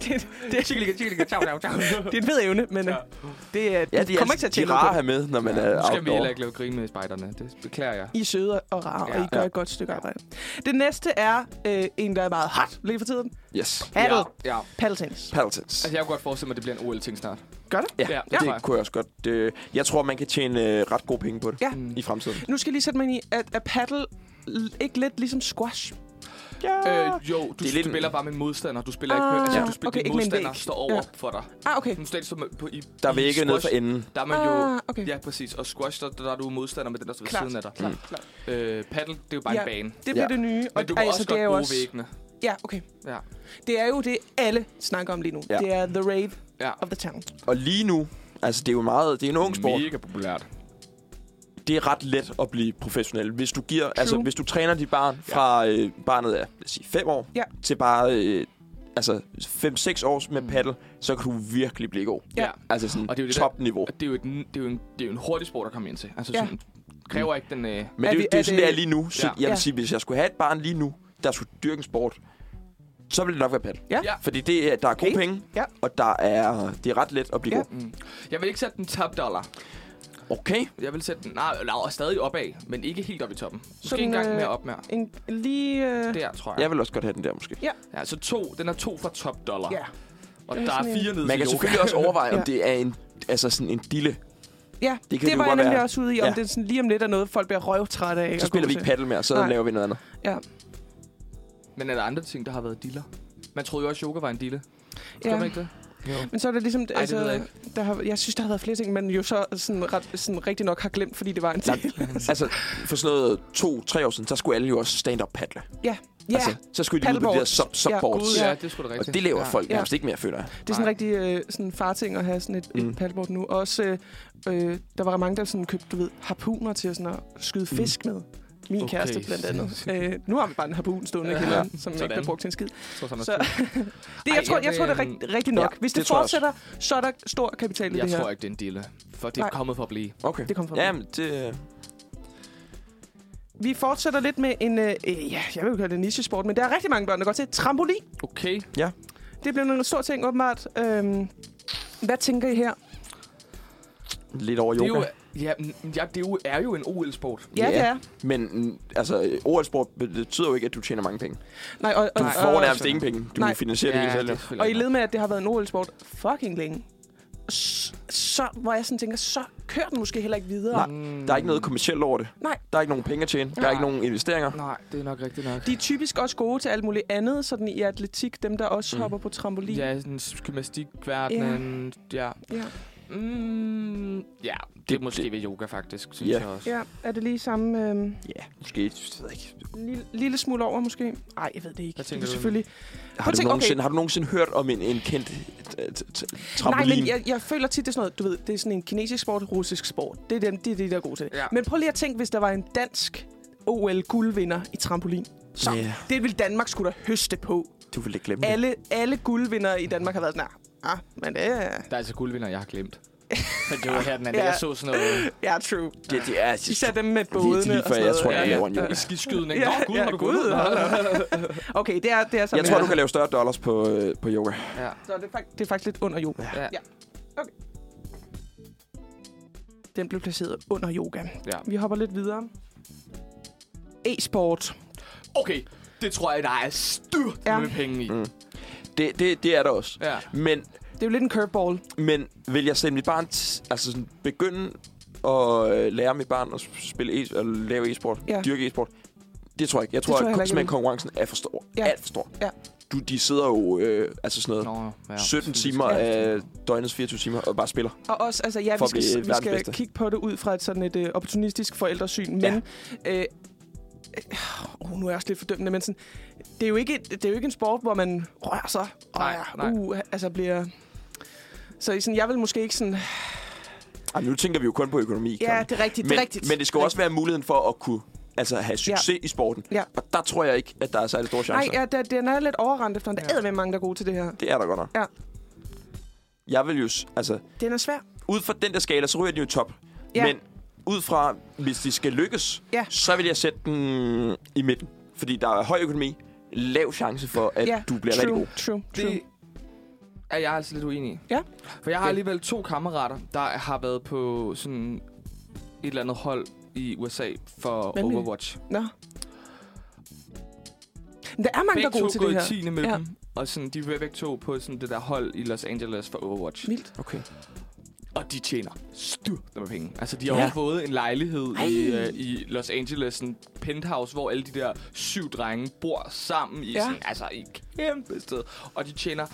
Speaker 3: Det,
Speaker 2: Det er chikalika, chikalika, ciao, ciao, ciao.
Speaker 3: det er en fed evne, men ja.
Speaker 2: Ja.
Speaker 3: det er,
Speaker 1: Ja,
Speaker 3: du
Speaker 1: de er,
Speaker 3: kommer ikke
Speaker 1: altså,
Speaker 3: til at
Speaker 1: de er
Speaker 3: tjene
Speaker 1: rare at
Speaker 3: noget på.
Speaker 1: have med, når man er
Speaker 2: Nu skal vi
Speaker 1: outdoor.
Speaker 2: heller ikke lave grin med spejderne. Det beklager jeg.
Speaker 3: I er søde og rare, ja. og I
Speaker 2: Ja.
Speaker 3: gør
Speaker 1: Ja.
Speaker 3: et godt stykke arbejde. Det næste er øh, en, der er meget hot lige for tiden.
Speaker 1: Yes.
Speaker 3: Paddle. Ja.
Speaker 2: Ja.
Speaker 3: Paddeltennis.
Speaker 1: Paddletons.
Speaker 2: Altså, jeg kunne godt forestille mig, at det bliver en OL-ting snart.
Speaker 3: Gør det?
Speaker 1: Ja,
Speaker 2: Ja,
Speaker 1: ja,
Speaker 2: det
Speaker 1: det
Speaker 2: tror jeg.
Speaker 1: kunne jeg også godt. Øh, jeg tror, man kan tjene øh, ret gode penge på det Mm.
Speaker 3: Ja.
Speaker 1: i fremtiden.
Speaker 3: Nu skal jeg lige sætte mig ind i, at, at paddle l- ikke lidt ligesom squash?
Speaker 2: Øh,
Speaker 1: Ja.
Speaker 2: jo, du
Speaker 1: Det er lidt en-
Speaker 2: spiller bare med en modstander. Du spiller ikke
Speaker 3: Ah,
Speaker 2: med... Altså,
Speaker 3: ja.
Speaker 2: du spiller,
Speaker 3: okay,
Speaker 2: okay, din
Speaker 3: ikke med en
Speaker 2: modstander
Speaker 3: væg.
Speaker 2: står over
Speaker 3: Ja.
Speaker 2: for dig.
Speaker 3: Ah, okay.
Speaker 2: Nu står du på, i,
Speaker 1: Der er
Speaker 2: i
Speaker 1: vægge ned for
Speaker 2: squash.
Speaker 1: enden.
Speaker 2: Der er man jo...
Speaker 3: Ah, okay.
Speaker 2: Ja, præcis. Og squash, der, der er du modstander med den, der står ved
Speaker 3: Klart,
Speaker 2: siden af dig. Klart, klart. Øh, paddle, det er jo bare
Speaker 3: Ja.
Speaker 2: en bane.
Speaker 3: Det bliver
Speaker 1: Mm. Ja.
Speaker 3: det nye.
Speaker 2: Men du kan altså, også
Speaker 3: det er
Speaker 2: godt
Speaker 3: jo
Speaker 2: bruge væggene.
Speaker 3: Ja, okay.
Speaker 2: Ja.
Speaker 3: Det er jo det, alle snakker om lige nu. Ja.
Speaker 1: Ja.
Speaker 3: Det er the rave
Speaker 2: Ja.
Speaker 3: of the town.
Speaker 1: Og lige nu, altså det er jo meget, det er en ung sport.
Speaker 2: Mega populært.
Speaker 1: Det er ret let at blive professionel. Hvis du giver, altså hvis du træner dit barn
Speaker 2: Ja.
Speaker 1: fra øh, barnet er, lad os sige, 5 år
Speaker 3: Ja.
Speaker 1: til bare øh, altså 5-6 år med paddle, så kan du virkelig blive god.
Speaker 3: Mm. Ja.
Speaker 2: Ja.
Speaker 1: Altså sådan
Speaker 2: Og det er jo det der-
Speaker 1: topniveau.
Speaker 2: Og det er jo, et, det er jo, en, det er jo en hurtig sport at komme ind til. Altså,
Speaker 3: Ja.
Speaker 2: ja. sådan, kræver ikke den... Øh,
Speaker 1: Men det, vi,
Speaker 3: Er vi-
Speaker 1: det er
Speaker 3: er
Speaker 1: jo sådan,
Speaker 3: det-
Speaker 1: det er lige nu. Så
Speaker 2: Ja.
Speaker 1: ja. jeg
Speaker 3: Ja.
Speaker 1: vil sige, hvis jeg skulle have et barn lige nu, der skulle dyrke en sport, så ville det nok være paddle.
Speaker 3: Ja.
Speaker 2: Ja.
Speaker 1: Fordi det, er- der er gode
Speaker 3: Okay.
Speaker 1: penge,
Speaker 3: Ja.
Speaker 1: og der er, det er ret let at blive
Speaker 3: Ja.
Speaker 1: ja.
Speaker 2: jeg vil ikke sætte den top dollar.
Speaker 1: god. Okay.
Speaker 2: Jeg vil sætte den... Nej, laver stadig opad, men ikke helt op i toppen. Måske
Speaker 3: Sådan,
Speaker 2: Sådan, engang
Speaker 3: øh,
Speaker 2: mere op mere.
Speaker 3: En, lige... Øh,
Speaker 2: Der, tror jeg.
Speaker 1: Jeg vil også godt have den der, måske.
Speaker 2: Ja, så to. Den er to fra top dollar.
Speaker 3: ja.
Speaker 2: Og
Speaker 3: Det er
Speaker 2: der er
Speaker 3: sådan en-
Speaker 2: fire
Speaker 1: Man
Speaker 2: nede til
Speaker 1: kan
Speaker 2: yoga.
Speaker 1: selvfølgelig også overveje,
Speaker 3: Ja.
Speaker 1: om det er en, altså sådan en dille.
Speaker 3: Ja,
Speaker 1: Det
Speaker 3: det,
Speaker 1: kan
Speaker 3: det
Speaker 1: det
Speaker 3: var
Speaker 1: jo godt
Speaker 3: jeg nemlig
Speaker 1: være.
Speaker 3: også ude i, om
Speaker 1: Ja.
Speaker 3: det er sådan, lige om lidt er noget, folk bliver røvtrætte af.
Speaker 1: Så
Speaker 3: at
Speaker 1: spiller
Speaker 3: gå
Speaker 1: vi
Speaker 3: til.
Speaker 1: ikke paddle mere, så
Speaker 3: Nej.
Speaker 1: laver vi noget andet.
Speaker 3: Ja.
Speaker 2: Men er der andre ting, der har været diller? Man troede jo også, at yoga var en dille. Skal man
Speaker 3: ja.
Speaker 2: ikke det?
Speaker 3: Men så er det ligesom...
Speaker 2: Ej, det ved jeg
Speaker 3: der har, jeg synes, der har været flere ting, man jo så sådan, ret, sådan rigtig nok har glemt, fordi det var en
Speaker 1: Der,
Speaker 3: ting.
Speaker 1: altså, for sådan noget to-tre år siden, der skulle alle jo også stand-up paddle.
Speaker 3: Ja,
Speaker 1: Altså, så skulle de ud på de der
Speaker 3: Paddleboards.
Speaker 1: sub
Speaker 3: Ja,
Speaker 1: subboards.
Speaker 2: Gud,
Speaker 1: Ja,
Speaker 2: ja,
Speaker 3: Ja.
Speaker 2: det er sgu da
Speaker 1: og
Speaker 2: rigtigt.
Speaker 1: det laver
Speaker 2: ja.
Speaker 1: folk
Speaker 3: Ja.
Speaker 1: nærmest ikke mere, føler jeg.
Speaker 3: det er sådan en rigtig øh, sådan farting at have sådan et, mm.
Speaker 1: Mm.
Speaker 3: et paddleboard nu. Også, øh, øh, der var mange, der sådan købte, du ved, harpuner til sådan at skyde
Speaker 1: Mm.
Speaker 3: fisk med. Min
Speaker 2: Okay,
Speaker 3: kæreste blandt andet.
Speaker 2: sindssygt.
Speaker 3: Øh, nu har vi bare en harpun stående i
Speaker 2: Ja.
Speaker 3: kælderen, som ikke
Speaker 2: Sådan.
Speaker 3: bliver brugt til en skid.
Speaker 2: Så, så,
Speaker 3: Så,
Speaker 2: Ej,
Speaker 3: det, jeg, tror,
Speaker 2: jeg
Speaker 3: jeg tror, det er
Speaker 2: vil-
Speaker 3: rigt, rigtigt nok.
Speaker 1: Ja,
Speaker 3: Hvis det,
Speaker 1: det tror jeg også.
Speaker 3: fortsætter, så er der stor kapital i
Speaker 2: jeg
Speaker 3: det her.
Speaker 2: tror ikke, det er en dille. For det er
Speaker 3: Nej.
Speaker 2: kommet for at blive.
Speaker 1: Okay.
Speaker 3: Det kom fra
Speaker 1: Jamen, det...
Speaker 3: Vi fortsætter lidt med en, øh, øh, ja, jeg vil jo kalde det nichesport, men der er rigtig mange børn, der går til trampolin.
Speaker 2: Okay.
Speaker 3: Det bliver en stor ting, åbenbart. Øhm, hvad tænker I her?
Speaker 1: Lidt over
Speaker 2: Det er
Speaker 1: yoga.
Speaker 2: jo, ja, mm, ja, det er jo, er jo en OL-sport.
Speaker 3: Ja,
Speaker 1: Ja.
Speaker 3: det er.
Speaker 1: Men mm, altså, OL-sport betyder jo ikke, at du tjener mange penge.
Speaker 3: Nej, og, og,
Speaker 1: Du
Speaker 2: Nej.
Speaker 1: får
Speaker 3: og,
Speaker 1: nærmest ingen penge. Du
Speaker 3: Nej.
Speaker 1: finansierer det hele selv. jo.
Speaker 3: og i led med, at det har været en OL-sport fucking længe, s- så, hvor jeg sådan tænker, så kører den måske heller ikke videre.
Speaker 1: Nej. Der er ikke noget kommercielt over det.
Speaker 3: Nej.
Speaker 1: Der er ikke nogen penge at tjene. Der er
Speaker 2: Nej.
Speaker 1: ikke nogen investeringer.
Speaker 2: Nej, det er nok rigtigt nok.
Speaker 3: De er typisk også gode til alt muligt andet, sådan i atletik, dem der også mm.
Speaker 1: Mm.
Speaker 3: hopper på trampolin.
Speaker 2: Ja, sådan gymnastikverdenen. Ja.
Speaker 3: Ja.
Speaker 2: Ja. Mm, ja, det, det er
Speaker 1: Det-
Speaker 2: måske
Speaker 1: det-
Speaker 2: ved yoga faktisk, synes
Speaker 1: Ja.
Speaker 2: jeg også.
Speaker 3: ja, er det lige samme øhm,
Speaker 1: Ja, måske. Jeg ved ikke.
Speaker 3: lille, lille smule over måske? Nej, jeg ved det ikke.
Speaker 2: Hvad tænker
Speaker 3: det er
Speaker 2: du?
Speaker 3: selvfølgelig
Speaker 1: Har du,
Speaker 3: tænk, okay.
Speaker 1: nogensinde, har du nogensinde hørt om en, en kendt øh, t- t- trampolin?
Speaker 3: Nej, men jeg, jeg føler tit, det er sådan noget, du ved, det er sådan en kinesisk sport, russisk sport. Det er, den, det, er det, der er god til det.
Speaker 2: Ja.
Speaker 3: Men prøv lige at tænke, hvis der var en dansk OL-guldvinder i trampolin. Så
Speaker 1: Ja.
Speaker 3: det ville Danmark skulle da høste på.
Speaker 1: Du vil ikke glemme det.
Speaker 3: Alle, alle guldvindere i Danmark har været sådan, "Ah, ah, men det er...
Speaker 2: Der er altså guldvinder, jeg har glemt. Men det var her den anden.
Speaker 3: Ja.
Speaker 2: Jeg så sådan noget
Speaker 3: Ja, true.
Speaker 1: Det, det er...
Speaker 3: Især dem med
Speaker 1: er lige
Speaker 3: bådene
Speaker 1: før,
Speaker 3: og sådan
Speaker 1: jeg tror,
Speaker 3: noget.
Speaker 1: jeg
Speaker 3: Ja,
Speaker 1: laver en
Speaker 3: ja.
Speaker 1: yoga.
Speaker 2: i skiskydning.
Speaker 3: Ja,
Speaker 2: Ja, Nå, gud,
Speaker 3: ja,
Speaker 2: har du
Speaker 3: gud, hold Okay, det er, det er sådan.
Speaker 1: Jeg tror, du kan lave større dollars på, øh, på yoga.
Speaker 2: Ja.
Speaker 3: Så det er, fakt- det er faktisk lidt under yoga.
Speaker 2: Ja.
Speaker 3: Ja. Okay. Den blev placeret under yoga.
Speaker 2: Ja.
Speaker 3: Vi hopper lidt videre. E-sport.
Speaker 2: Okay, det tror jeg, der er styrt
Speaker 3: Ja.
Speaker 2: ja. med penge i.
Speaker 1: Mm. Det, det, det er der også.
Speaker 2: Ja.
Speaker 1: Men,
Speaker 3: Det er jo lidt en curveball.
Speaker 1: men vil jeg sende mit barn... T- altså sådan, begynde at øh, lære mit barn at spille e- at lave e-sport,
Speaker 3: Ja.
Speaker 1: ja. dyrke e-sport? Det tror jeg ikke. Jeg
Speaker 3: tror
Speaker 1: tror,
Speaker 3: jeg
Speaker 1: at
Speaker 3: heller ikke,
Speaker 1: simpelthen
Speaker 3: jeg
Speaker 1: konkurrencen er for stor.
Speaker 3: Ja.
Speaker 1: Ja. Alt for stor.
Speaker 3: Ja.
Speaker 1: Du, de sidder jo øh, altså sådan noget,
Speaker 2: Nå, ja.
Speaker 1: 17 timer
Speaker 3: Ja.
Speaker 1: af døgnets 24 timer og bare spiller.
Speaker 3: Og også, altså ja,
Speaker 1: For
Speaker 3: vi
Speaker 1: at
Speaker 3: skal,
Speaker 1: blive
Speaker 3: vi
Speaker 1: verdens
Speaker 3: skal
Speaker 1: bedste.
Speaker 3: kigge på det ud fra et sådan et uh, opportunistisk forældresyn, men... Øh, øh, oh, nu er jeg også lidt fordømmende, men sådan, det, er jo ikke, det er jo ikke en sport, hvor man rører sig og
Speaker 2: Nej,
Speaker 3: er,
Speaker 2: nej.
Speaker 3: Uh, altså bliver... Så I sådan, jeg vil måske ikke sådan...
Speaker 1: Ej, nu tænker vi jo kun på økonomi.
Speaker 3: Ja,
Speaker 1: Karen.
Speaker 3: det er rigtigt,
Speaker 1: men,
Speaker 3: det er rigtigt.
Speaker 1: Men det skal jo også være muligheden for at kunne altså, have succes ja. i sporten.
Speaker 3: Ja.
Speaker 1: Og der tror jeg ikke, at der er særlig store
Speaker 3: Nej,
Speaker 1: chancer.
Speaker 3: ja, der, den er lidt overrendt efterhånden. Der
Speaker 2: Ja.
Speaker 3: er med mange, der er gode til det her.
Speaker 1: Det er der godt nok.
Speaker 3: Ja.
Speaker 1: Jeg vil jo... s- Altså,
Speaker 3: Den er svær.
Speaker 1: ud fra den der skala, så ryger den jo i top.
Speaker 3: Ja.
Speaker 1: Men ud fra, hvis de skal lykkes,
Speaker 3: Ja.
Speaker 1: så vil jeg sætte den øh, i midten. Fordi der er høj økonomi, lav chance for, at
Speaker 3: ja,
Speaker 1: du bliver
Speaker 3: true,
Speaker 1: rigtig god.
Speaker 3: True, true.
Speaker 2: Det er jeg altså lidt uenig i.
Speaker 3: Ja.
Speaker 2: For jeg har
Speaker 1: Okay.
Speaker 2: alligevel to kammerater, der har været på sådan et eller andet hold i USA for
Speaker 3: Nemlig.
Speaker 2: Overwatch.
Speaker 3: Nå. Men der er mange, der
Speaker 2: Begge
Speaker 3: er gode
Speaker 2: to
Speaker 3: til
Speaker 2: gået
Speaker 3: det her.
Speaker 2: i 10. med
Speaker 3: Ja.
Speaker 2: ja. dem, og sådan, de var begge to på sådan det der hold i Los Angeles for Overwatch.
Speaker 3: Vildt.
Speaker 1: Okay.
Speaker 2: Og de tjener styrter med penge. Altså, de har
Speaker 1: Ja.
Speaker 2: ja. fået en lejlighed
Speaker 1: Ej.
Speaker 2: i, uh, i Los Angeles, en penthouse, hvor alle de der syv drenge bor sammen i
Speaker 3: Ja.
Speaker 2: ja. sådan, altså, i et kæmpe sted. Og de tjener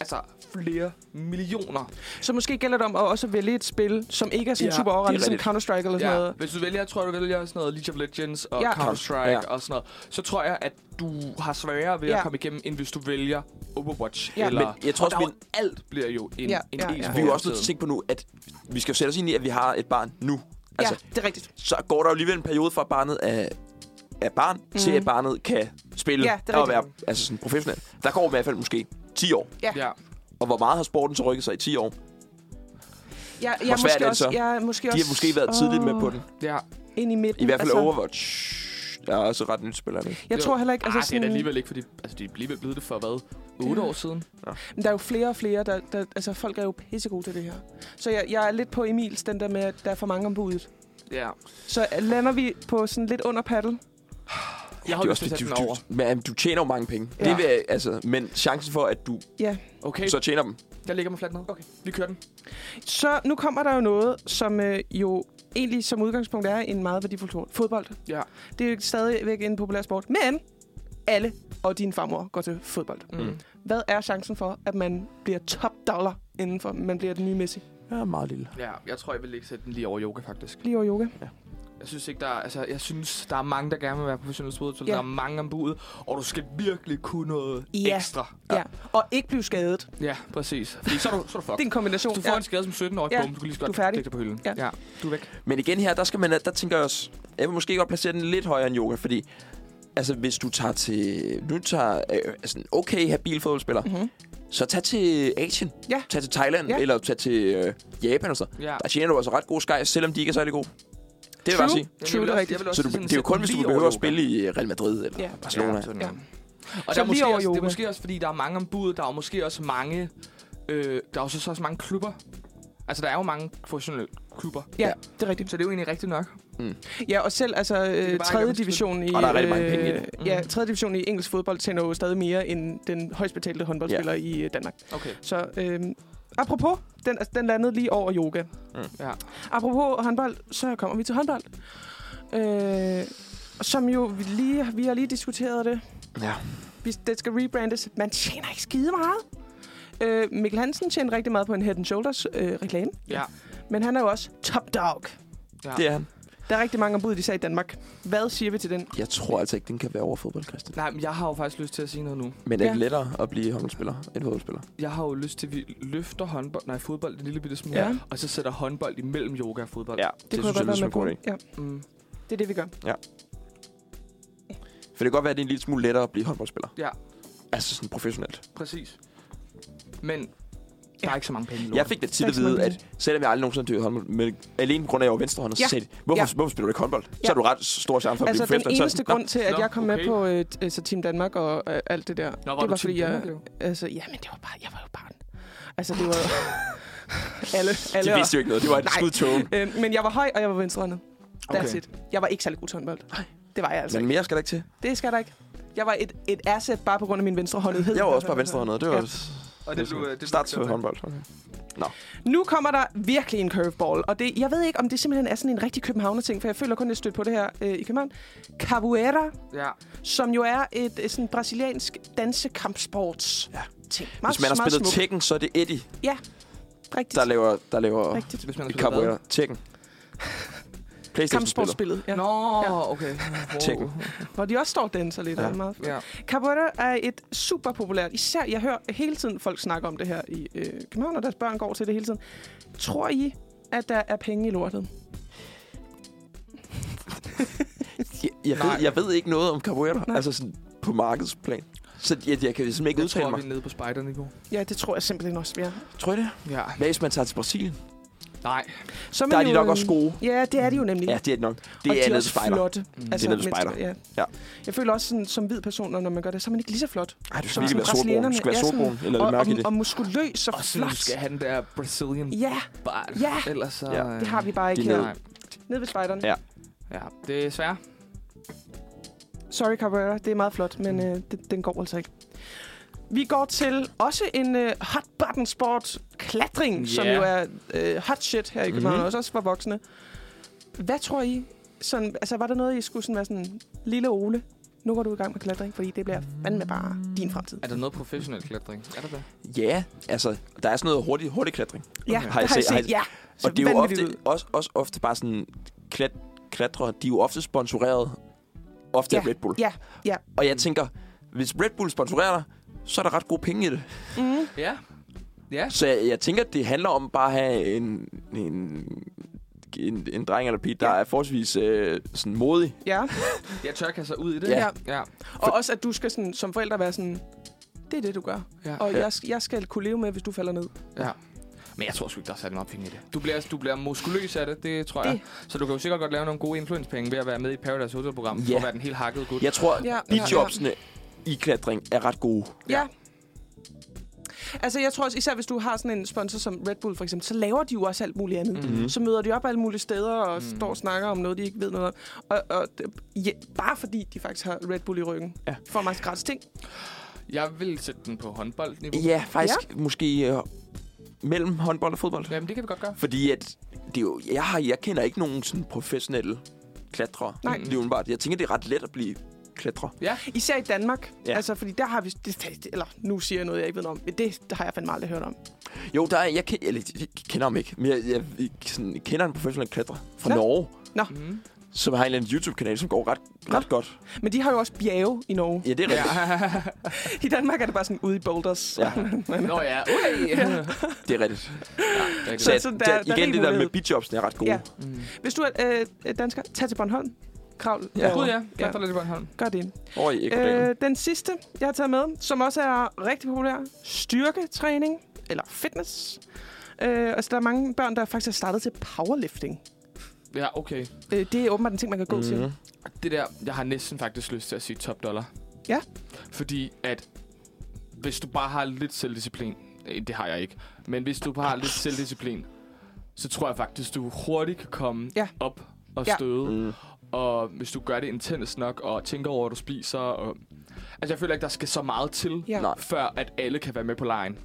Speaker 2: altså flere millioner.
Speaker 3: Så måske gælder det om at også vælge et spil, som ikke er sådan
Speaker 2: Ja,
Speaker 3: super
Speaker 1: det
Speaker 3: overrendt,
Speaker 1: er
Speaker 3: som
Speaker 1: rigtigt.
Speaker 3: Counter-Strike eller sådan
Speaker 2: Ja.
Speaker 3: noget.
Speaker 2: Hvis du vælger, jeg tror, du vælger sådan noget League of Legends og
Speaker 3: Ja.
Speaker 2: ja. Counter-Strike
Speaker 1: Ja.
Speaker 2: ja. og sådan noget, så tror jeg, at du har sværere ved ja.
Speaker 3: Ja.
Speaker 2: at komme igennem, end hvis du vælger Overwatch.
Speaker 3: Ja.
Speaker 2: Ja. Eller,
Speaker 1: Men jeg tror
Speaker 2: og
Speaker 1: også,
Speaker 2: der er
Speaker 1: min-
Speaker 2: jo alt bliver jo en,
Speaker 3: Ja,
Speaker 2: ja. en
Speaker 3: ja,
Speaker 2: ja,
Speaker 3: ja.
Speaker 2: e-sport.
Speaker 1: Vi er jo også nødt til
Speaker 2: tiden.
Speaker 1: at tænke på nu, at vi skal jo sætte os ind i, at vi har et barn nu. Altså,
Speaker 3: ja, det er rigtigt.
Speaker 1: så går der jo alligevel en periode fra at barnet er, er barn, mm. til at barnet kan spille
Speaker 3: Mhm. Ja, det er
Speaker 1: og være
Speaker 3: rigtigt.
Speaker 1: altså sådan professionel. Der går i hvert fald måske 10 år.
Speaker 2: Ja.
Speaker 1: Og hvor meget har sporten så rykket sig i 10 år? De
Speaker 3: Ja, jeg
Speaker 1: svært er
Speaker 3: måske
Speaker 1: det
Speaker 3: også,
Speaker 1: så?
Speaker 3: Jeg måske
Speaker 1: har
Speaker 3: også,
Speaker 1: måske været tidligt med på den.
Speaker 2: ja.
Speaker 3: Ind i midten.
Speaker 1: I hvert fald altså, Overwatch. Der er også ret nyt spiller. Ikke?
Speaker 3: Jeg
Speaker 2: Jo.
Speaker 3: tror heller ikke,
Speaker 2: Altså,
Speaker 1: Ah,
Speaker 3: altså
Speaker 2: Arh, sådan... det er da
Speaker 3: sådan,
Speaker 2: alligevel ikke, fordi altså, de er alligevel blevet det for hvad? 8
Speaker 3: Ja.
Speaker 2: år siden?
Speaker 3: Men der er jo flere og flere, der, der, altså folk er jo pissegode til det her. Så jeg, jeg er lidt på Emils, den der med, at der er for mange om budet.
Speaker 2: Ja.
Speaker 3: Så øh, lander vi på sådan lidt under paddle.
Speaker 2: Jeg har
Speaker 1: Det er
Speaker 2: jo lyst
Speaker 1: også
Speaker 2: til at
Speaker 1: det,
Speaker 2: sætte
Speaker 1: du,
Speaker 2: den over.
Speaker 1: du, men, du tjener jo mange penge.
Speaker 3: Ja.
Speaker 1: Ja. Det vil, jeg- altså, men chancen for, at du
Speaker 3: Ja.
Speaker 2: Okay,
Speaker 1: så tjener dem.
Speaker 2: jeg lægger mig fladt ned. Okay, vi kører den.
Speaker 3: Så nu kommer der jo noget, som øh, jo egentlig som udgangspunkt er en meget værdifuld sport. Fodbold.
Speaker 2: Ja.
Speaker 3: Det er jo stadigvæk en populær sport. Men alle og din farmor går til fodbold.
Speaker 2: Mm.
Speaker 1: Mm.
Speaker 3: Hvad er chancen for, at man bliver top dollar indenfor? Man bliver den nye Messi.
Speaker 1: Ja, meget lille.
Speaker 2: Ja, jeg tror, jeg vil ikke sætte den lige over yoga, faktisk.
Speaker 3: Lige over yoga.
Speaker 2: Jeg synes ikke, der er, altså, jeg synes, der er mange, der gerne vil være professionelle spillere, så
Speaker 3: Ja.
Speaker 2: ja. der er mange om budet, og du skal virkelig kunne noget
Speaker 3: Ja.
Speaker 2: ja. ekstra.
Speaker 3: Ja. ja. Og ikke blive skadet. Det
Speaker 2: Ja, præcis. Fordi så er du, så er du
Speaker 3: er
Speaker 2: fucked.
Speaker 3: en kombination.
Speaker 2: Hvis du får ja. en skade som 17-årig,
Speaker 3: Ja,
Speaker 2: ja. bum, du kan lige så
Speaker 3: du er
Speaker 2: godt
Speaker 3: færdig.
Speaker 2: lægge dig på hylden.
Speaker 3: Ja.
Speaker 2: ja. du er væk.
Speaker 1: Men igen her, der, skal man, der tænker jeg også, jeg vil måske godt placere den lidt højere end yoga, fordi altså, hvis du tager til, nu tager øh, altså, en okay habil fodboldspiller,
Speaker 2: Mhm.
Speaker 3: Mm-hmm.
Speaker 1: så tag til Asien,
Speaker 3: Ja.
Speaker 1: tag til Thailand,
Speaker 3: Ja.
Speaker 1: ja. eller tag til øh, Japan og sådan noget.
Speaker 2: Ja.
Speaker 1: Der tjener du altså ret gode skaj, selvom de ikke er særlig gode. Det vil jeg bare sige.
Speaker 2: Jamen,
Speaker 3: True,
Speaker 2: jeg vil
Speaker 3: det er
Speaker 2: også-
Speaker 3: rigtigt.
Speaker 2: jeg vil også
Speaker 1: Så du,
Speaker 2: sådan
Speaker 1: det er jo
Speaker 2: sætte
Speaker 1: kun,
Speaker 2: den
Speaker 1: hvis du
Speaker 2: lige
Speaker 1: behøver
Speaker 2: over
Speaker 1: at
Speaker 2: yoga.
Speaker 1: spille i Real Madrid eller
Speaker 3: Ja.
Speaker 1: ja. Barcelona.
Speaker 2: sådan
Speaker 3: Ja.
Speaker 2: noget. Og
Speaker 3: Så
Speaker 2: der er
Speaker 3: lige
Speaker 2: måske
Speaker 3: over
Speaker 2: også, det er
Speaker 3: yoga.
Speaker 2: måske også, fordi der er mange ombud, der er måske også mange, øh, der er også, så også mange klubber. Altså, der er jo mange professionelle klubber.
Speaker 3: Ja, det er rigtigt.
Speaker 2: Så det er jo egentlig rigtigt nok.
Speaker 3: Ja, og selv altså øh,
Speaker 2: bare
Speaker 3: tredje
Speaker 2: ikke omstødt.
Speaker 3: division i
Speaker 1: Og der er rigtig mange penge i
Speaker 3: øh,
Speaker 1: det.
Speaker 3: Ja,
Speaker 2: Mm.
Speaker 3: tredje division i engelsk fodbold tjener jo stadig mere end den højst betalte håndboldspiller i øh, Danmark.
Speaker 2: Okay.
Speaker 3: Så øh, apropos, den, altså, den landede lige over yoga.
Speaker 1: Mm.
Speaker 2: Ja.
Speaker 3: Apropos håndbold, så kommer vi til håndbold. Øh, som jo vi lige, vi har lige diskuteret det.
Speaker 1: Ja.
Speaker 3: Vi, det skal rebrandes. Man tjener ikke skide meget. Øh, Mikkel Hansen tjente rigtig meget på en Head Shoulders øh, reklame,
Speaker 2: Ja.
Speaker 3: men han er jo også top dog.
Speaker 2: ja.
Speaker 1: Det er han.
Speaker 3: Der er rigtig mange ombud, især i Danmark. Hvad siger vi til den?
Speaker 1: Jeg tror altså ikke, den kan være over fodbold, Christian.
Speaker 2: Nej, men jeg har jo faktisk lyst til at sige noget nu.
Speaker 1: Men det er
Speaker 3: Ja.
Speaker 1: ja. lettere at blive håndboldspiller end fodboldspiller.
Speaker 2: Jeg har jo lyst til, at vi løfter håndbold, nej, fodbold en lille bitte smule,
Speaker 3: Ja.
Speaker 2: ja. og så sætter håndbold imellem yoga og fodbold.
Speaker 1: det, det synes jeg, lyder som en god idé.
Speaker 3: Ja,
Speaker 2: Mm.
Speaker 3: det er det, vi gør.
Speaker 1: For det kan godt være, at det er en lille smule lettere at blive håndboldspiller.
Speaker 2: Ja.
Speaker 1: Altså sådan professionelt.
Speaker 2: Præcis. Men der
Speaker 3: Ja.
Speaker 2: er ikke så mange penge i
Speaker 1: Jeg
Speaker 2: lortet.
Speaker 1: fik det tit
Speaker 3: Tak
Speaker 1: at
Speaker 3: skal du
Speaker 1: vide,
Speaker 3: have.
Speaker 1: at selvom jeg aldrig nogensinde har dyrket håndbold, men alene på grund af, at jeg var venstrehåndet,
Speaker 3: Ja.
Speaker 1: så sagde de, hvorfor,
Speaker 3: Ja.
Speaker 1: ja. hvorfor spiller du ikke håndbold? Ja.
Speaker 3: Ja.
Speaker 1: Så er du ret stor chance for at
Speaker 3: Altså,
Speaker 1: blive
Speaker 3: den
Speaker 1: professionel.
Speaker 3: eneste
Speaker 1: så, er
Speaker 3: grund til, at
Speaker 2: Nå,
Speaker 3: jeg kom med
Speaker 2: okay.
Speaker 3: på øh, t- altså, Team Danmark og øh, alt det
Speaker 2: Nå,
Speaker 3: der,
Speaker 2: var
Speaker 3: det
Speaker 2: du
Speaker 3: var
Speaker 2: Team
Speaker 3: fordi, jeg,
Speaker 2: Danmark, jo?
Speaker 3: altså, jamen, det var bare, jeg var jo barn. Altså, det var alle,
Speaker 1: Nå,
Speaker 3: alle
Speaker 1: de vidste jo ikke noget. Det var et
Speaker 3: Nej.
Speaker 1: skud tågen.
Speaker 3: øh, men jeg var høj, og jeg var venstrehåndet. That's
Speaker 2: Okay.
Speaker 3: it. Jeg var ikke særlig god til håndbold. Det var jeg altså
Speaker 1: Men
Speaker 3: ikke.
Speaker 1: mere skal der ikke til.
Speaker 3: Det skal der ikke. Jeg var et, et asset bare på grund af min venstrehåndethed.
Speaker 1: Jeg var også bare venstrehåndet. Det var
Speaker 3: Ja.
Speaker 2: Og det blev- det blev
Speaker 1: start til
Speaker 2: Danmark.
Speaker 1: håndbold. Okay.
Speaker 3: Nu kommer der virkelig en curveball, og det, jeg ved ikke, om det simpelthen er sådan en rigtig københavner-ting, for jeg føler kun, jeg stødt på det her øh, i København. Capoeira,
Speaker 2: Ja.
Speaker 3: som jo er et, et sådan brasiliansk dansekampsports
Speaker 1: Ja.
Speaker 3: ting.
Speaker 1: Hvis man har spillet Tekken, så er det Eddie,
Speaker 3: Rigtigt.
Speaker 1: der laver, der laver
Speaker 3: Rigtigt.
Speaker 2: Hvis man har
Speaker 1: i
Speaker 2: spillet
Speaker 1: Capoeira. Tekken. Playstation-spillet.
Speaker 3: Kampsportsspillet, ja.
Speaker 2: hvad? Nå,
Speaker 3: Ja.
Speaker 2: okay.
Speaker 1: Tjek.
Speaker 2: Wow.
Speaker 3: hvor de også står og danser lidt.
Speaker 1: Ja.
Speaker 3: Ja. Meget fedt.
Speaker 2: Ja.
Speaker 3: Capoeira er et super populært, især jeg hører hele tiden folk snakke om det her i øh, København, og deres børn går til det hele tiden. Tror I, at der er penge i lortet?
Speaker 1: Jeg, jeg, ved,
Speaker 2: Nej.
Speaker 1: jeg ved ikke noget om Capoeira.
Speaker 3: Nej.
Speaker 1: Altså sådan på markedsplan. Så jeg, jeg kan simpelthen ikke
Speaker 2: Jeg
Speaker 1: udtale
Speaker 2: tror, vi
Speaker 1: mig.
Speaker 2: er nede på spider-niveau.
Speaker 3: Ja, det tror jeg simpelthen også, vi er.
Speaker 1: Tror I det?
Speaker 2: Ja.
Speaker 1: Hvad hvis man tager til Brasilien?
Speaker 2: Nej.
Speaker 3: Så man
Speaker 1: Der er
Speaker 3: jo,
Speaker 1: de nok
Speaker 3: øhm,
Speaker 1: også gode. Mm.
Speaker 3: Ja, det er de jo nemlig.
Speaker 1: Ja, det er de nok. Det
Speaker 3: og
Speaker 1: er
Speaker 3: de er
Speaker 1: nede
Speaker 3: også
Speaker 1: til spejder.
Speaker 3: flotte.
Speaker 1: Det
Speaker 2: Mm.
Speaker 1: er nede ved
Speaker 3: mennesker,
Speaker 1: spejder.
Speaker 3: Ja.
Speaker 1: Ja.
Speaker 3: Jeg føler også, sådan, som hvid person, når man gør det, så er man ikke lige så flot.
Speaker 1: Ej, du skal
Speaker 3: Som
Speaker 1: virkelig være
Speaker 3: sådan
Speaker 1: solbrun. Du skal være
Speaker 3: brasilianerne.
Speaker 1: solbrun, eller
Speaker 3: og,
Speaker 1: lidt mørk i
Speaker 3: og,
Speaker 1: det.
Speaker 3: og muskuløs og
Speaker 2: Og så
Speaker 3: flot.
Speaker 2: skal han der Brazilian
Speaker 3: Ja,
Speaker 2: bart.
Speaker 3: Ja.
Speaker 2: Ellers så...
Speaker 1: Ja.
Speaker 2: øh,
Speaker 3: det har vi bare ikke
Speaker 1: Hm. Det er nede.
Speaker 3: her.
Speaker 2: Nej.
Speaker 3: Ned ved spejderen.
Speaker 1: Ja.
Speaker 2: Ja, det er svært.
Speaker 3: Sorry, Cabrera. Det er meget flot, men
Speaker 1: Mm.
Speaker 3: øh, det, den går altså ikke. Vi går til også en øh, hot button sport, klatring, yeah. som
Speaker 2: Ja.
Speaker 3: jo er øh, hot shit her i København,
Speaker 1: Mhm.
Speaker 3: mm-hmm. også for voksne. Hvad tror I? Sådan, altså, var der noget, I skulle sådan være sådan, lille Ole, nu går du i gang med klatring, fordi det bliver fandme bare din fremtid.
Speaker 2: Er der noget professionel klatring? Er der det?
Speaker 1: Ja, altså, der er sådan noget hurtig, hurtig klatring.
Speaker 3: Ja,
Speaker 1: Har
Speaker 3: det
Speaker 1: I
Speaker 3: har jeg
Speaker 1: set- har I-
Speaker 3: set, ja. Så
Speaker 1: og det er jo
Speaker 3: vanvittigt
Speaker 1: ofte,
Speaker 3: ud.
Speaker 1: også, også ofte bare sådan klat, klatre, de er jo ofte sponsoreret ofte
Speaker 3: Ja,
Speaker 1: af Red Bull.
Speaker 3: Ja, ja.
Speaker 1: Og jeg tænker, hvis Red Bull sponsorerer dig, så er der ret gode penge i det.
Speaker 3: Mm.
Speaker 2: Ja. Ja.
Speaker 1: Så jeg, jeg tænker, at det handler om bare at have en, en, en, en dreng eller pige, der
Speaker 3: Ja.
Speaker 1: er forholdsvis øh, sådan modig.
Speaker 3: ja.
Speaker 2: Jeg tør kaste sig ud i det.
Speaker 1: Ja.
Speaker 2: ja.
Speaker 3: Og også, at du skal sådan, som forældre være sådan, det er det, du gør.
Speaker 2: Ja.
Speaker 3: Og
Speaker 1: Ja.
Speaker 3: jeg, jeg skal kunne leve med, hvis du falder ned.
Speaker 2: Ja. Men jeg tror sgu ikke, der er særlig meget penge i det. Du bliver, du bliver muskuløs af det, det tror
Speaker 3: Det.
Speaker 2: det. jeg. Så du kan jo sikkert godt lave nogle gode influencepenge ved at være med i Paradise Hotel-programmet
Speaker 1: Ja.
Speaker 2: for at være den helt hakket gut.
Speaker 1: Jeg tror,
Speaker 3: Ja,
Speaker 1: ja,
Speaker 3: ja,
Speaker 1: bijobsene i klatring er ret gode.
Speaker 3: Ja. ja. Altså, jeg tror også, især hvis du har sådan en sponsor som Red Bull, for eksempel, så laver de jo også alt muligt andet.
Speaker 1: Mhm.
Speaker 3: Mm-hmm. Så møder de op alle mulige steder og mm. står og snakker om noget, de ikke ved noget om. Og, og d- ja, bare fordi de faktisk har Red Bull i ryggen, ja.
Speaker 1: Ja.
Speaker 3: får man gratis ting.
Speaker 2: Jeg vil sætte den på håndboldniveau.
Speaker 1: Ja, faktisk ja. måske øh, mellem håndbold og fodbold.
Speaker 2: Jamen, det kan vi godt gøre.
Speaker 1: Fordi at, det er jo, jeg, har, jeg kender ikke nogen sådan professionelle klatrere.
Speaker 3: Nej.
Speaker 1: Det er umiddelbart. Jeg tænker, det er ret let at blive klatrer.
Speaker 2: Ja,
Speaker 3: Især i Danmark. Ja.
Speaker 1: Ja.
Speaker 3: Altså, fordi der har vi... Det, eller, nu siger jeg noget, jeg ikke ved noget om. Men det, det har jeg fandme aldrig hørt om.
Speaker 1: Jo, der er, jeg, kender, eller, jeg kender ham ikke, men jeg, jeg, jeg sådan, kender en professionel klatrer fra
Speaker 3: Nå.
Speaker 1: Nå. Norge,
Speaker 2: mm.
Speaker 1: som har en eller anden YouTube-kanal, som går ret,
Speaker 3: Nå.
Speaker 1: ret godt.
Speaker 3: Men de har jo også bjerge i Norge.
Speaker 1: Ja, det er rigtigt.
Speaker 3: I Danmark er det bare sådan ude i boulders.
Speaker 1: Ja.
Speaker 2: Nå ja, okay. Ja.
Speaker 1: Det er rigtigt.
Speaker 2: rigtigt.
Speaker 1: Så,
Speaker 3: Så-
Speaker 1: jeg-
Speaker 3: så der-
Speaker 1: der,
Speaker 3: der er
Speaker 1: igen,
Speaker 3: rig
Speaker 1: det der
Speaker 3: mulighed.
Speaker 1: med beatjobs, er ret gode.
Speaker 3: Ja.
Speaker 1: Ja.
Speaker 3: Hvis du er øh, dansker, tag til Bornholm. Kravl.
Speaker 1: Ja.
Speaker 3: derover.
Speaker 2: Gud ja, klart der lidt på en hånd.
Speaker 3: Gør det.
Speaker 1: Over i Ekkodalen.
Speaker 3: Øh, den sidste, jeg har taget med, som også er rigtig populær, styrketræning eller fitness. Øh, altså, der er mange børn, der faktisk har startet til powerlifting.
Speaker 2: Ja, okay.
Speaker 3: Øh, det er åbenbart en ting, man kan gå mm. til.
Speaker 2: Det der, jeg har næsten faktisk lyst til at sige top dollar.
Speaker 3: Ja.
Speaker 2: Fordi at, hvis du bare har lidt selvdisciplin, øh, det har jeg ikke, men hvis du bare har lidt selvdisciplin, så tror jeg faktisk, du hurtigt kan komme
Speaker 3: Ja.
Speaker 2: op og
Speaker 3: Ja.
Speaker 2: støde.
Speaker 1: Mm.
Speaker 2: Og hvis du gør det intens nok, og tænker over, hvad du spiser, og... Altså, jeg føler ikke, der skal så meget til,
Speaker 3: Ja.
Speaker 1: Nej.
Speaker 2: før at alle kan være med på lejen.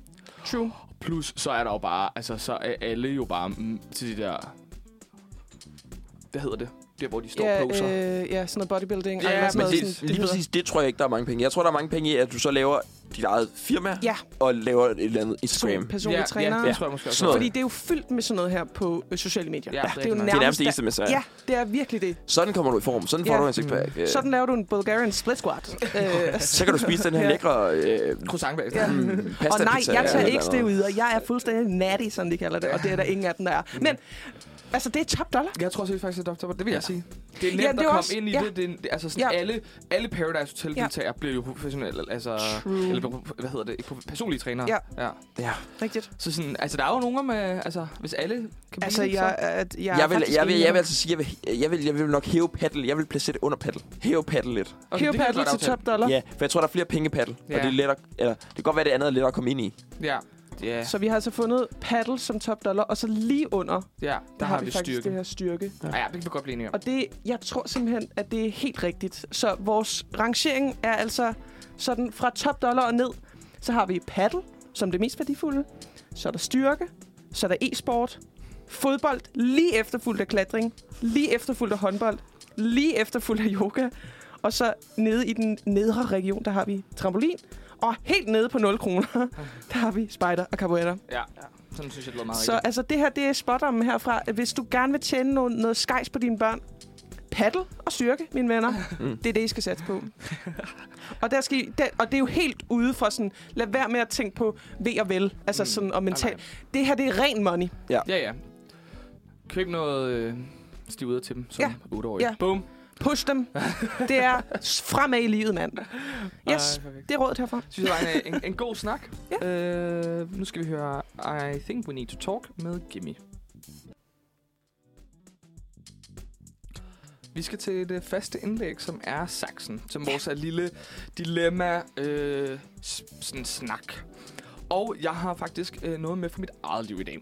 Speaker 3: True.
Speaker 2: Plus, så er der jo bare, altså, så er alle jo bare mm, til de der... Hvad hedder det? Der, hvor de står
Speaker 3: Ja,
Speaker 2: og poser.
Speaker 3: øh, ja, sådan noget bodybuilding.
Speaker 2: Ja,
Speaker 3: eller
Speaker 2: men
Speaker 3: sådan
Speaker 1: Men
Speaker 3: noget,
Speaker 1: det,
Speaker 3: sådan,
Speaker 1: lige
Speaker 3: hedder.
Speaker 1: præcis, det tror jeg ikke, der er mange penge. Jeg tror, der er mange penge i, at du så laver dit eget firma,
Speaker 3: Ja,
Speaker 1: og laver et eller andet Instagram.
Speaker 3: to personlige
Speaker 2: ja,
Speaker 3: trænere.
Speaker 2: Ja, det tror jeg måske også.
Speaker 1: Sådan noget.
Speaker 3: Fordi det er jo fyldt med sådan noget her på øh, sociale medier.
Speaker 2: Ja, det er
Speaker 3: det er jo
Speaker 2: rigtig nok.
Speaker 1: Det er nærmest det
Speaker 3: der-
Speaker 1: eneste med sig.
Speaker 3: Ja, det er virkelig det.
Speaker 1: Sådan kommer du i form. Sådan får
Speaker 3: Ja. Mm.
Speaker 1: du en sixpack. Øh,
Speaker 3: Sådan laver du en Bulgarian split squat. Øh,
Speaker 1: Så kan du spise den her
Speaker 3: Ja.
Speaker 1: lækre øh,
Speaker 2: Croissant bagefter.
Speaker 3: Ja.
Speaker 2: Ja.
Speaker 1: mm,
Speaker 3: Og
Speaker 1: pasta
Speaker 3: nej, jeg tager
Speaker 1: eller
Speaker 3: ikke
Speaker 1: noget.
Speaker 3: steroider. Jeg er fuldstændig natty, som de kalder det. Og det er der ingen af dem, der er. Men, altså, det er top dollar.
Speaker 2: Jeg tror seriøst faktisk, at Dr. Pepper- det vil jeg sige. Det er
Speaker 3: Jamen,
Speaker 2: nemt
Speaker 3: det er
Speaker 2: at komme
Speaker 3: også-
Speaker 2: ind i
Speaker 3: ja.
Speaker 2: det. det, er en- det altså sådan
Speaker 3: Ja.
Speaker 2: alle, alle Paradise Hotel-deltagere bliver jo professionelle, altså,
Speaker 3: True.
Speaker 2: eller pro- hvad hedder det, pro- personlige trænere.
Speaker 3: Ja.
Speaker 2: ja.
Speaker 1: Ja.
Speaker 3: Rigtigt.
Speaker 2: Så sådan, altså der er jo nogen med, altså hvis alle kan
Speaker 3: Altså,
Speaker 2: blive det,
Speaker 3: jeg, at, jeg, er
Speaker 1: Jeg vil,
Speaker 3: faktisk
Speaker 1: jeg, vil,
Speaker 3: enig
Speaker 1: jeg vil
Speaker 3: med
Speaker 1: altså sige, jeg vil, jeg vil, jeg vil nok hæve paddle. Jeg vil placere det under paddle. Hæve paddle lidt.
Speaker 2: så.
Speaker 3: dig. Hive
Speaker 2: det kan vi
Speaker 3: paddle
Speaker 2: godt
Speaker 3: til
Speaker 2: aftale.
Speaker 3: top dollar.
Speaker 1: Ja, for jeg tror, der er flere penge i paddle.
Speaker 2: Ja.
Speaker 1: Og det, er lettere, eller, det kan godt være, det andet er lettere at komme ind i.
Speaker 2: Ja. Ja,
Speaker 3: Så vi har altså fundet paddle som top dollar, og så lige under, der,
Speaker 2: ja, der har, vi
Speaker 3: faktisk
Speaker 2: styrke.
Speaker 3: det her styrke.
Speaker 2: Ja. ja, det kan vi godt blive enige om.
Speaker 3: Og det, jeg tror simpelthen, at det er helt rigtigt. Så vores rangering er altså sådan fra top dollar og ned, så har vi paddle som det mest værdifulde, så er der styrke, så er der e-sport, fodbold, lige efterfulgt af klatring, lige efterfulgt af håndbold, lige efterfulgt af yoga, og så nede i den nedre region, der har vi trampolin, og helt nede på 0 kroner, der har vi spejder og carburetter.
Speaker 2: Ja, sådan synes jeg, det lyder meget
Speaker 3: Så
Speaker 2: rigtigt.
Speaker 3: altså, det her det er spotommen herfra. Hvis du gerne vil tjene noget, noget skejs på dine børn, paddle og styrke, mine venner. Mm. Det er det, I skal satse på. og, der skal I, der, og det er jo helt ude fra sådan, lad være med at tænke på ved og vel, altså mm. sådan og
Speaker 2: Nej,
Speaker 3: mentalt.
Speaker 2: nej.
Speaker 3: Det her, det er ren money.
Speaker 2: Ja, ja. Køb noget øh, stivuder til dem som
Speaker 3: Ja.
Speaker 2: 8-årig.
Speaker 3: Ja.
Speaker 2: Boom.
Speaker 3: Push dem. det er fremad i livet, mand. Yes,
Speaker 2: Ej, perfekt.
Speaker 3: det er rådet herfra.
Speaker 2: synes, det var en, en, en god snak. Ja. Øh, nu skal vi høre I Think We Need To Talk med Gimme. Vi skal til det faste indlæg, som er Saxen, som vores er lille dilemma øh, s- sådan snak. Og jeg har faktisk øh, noget med fra mit eget liv i dag.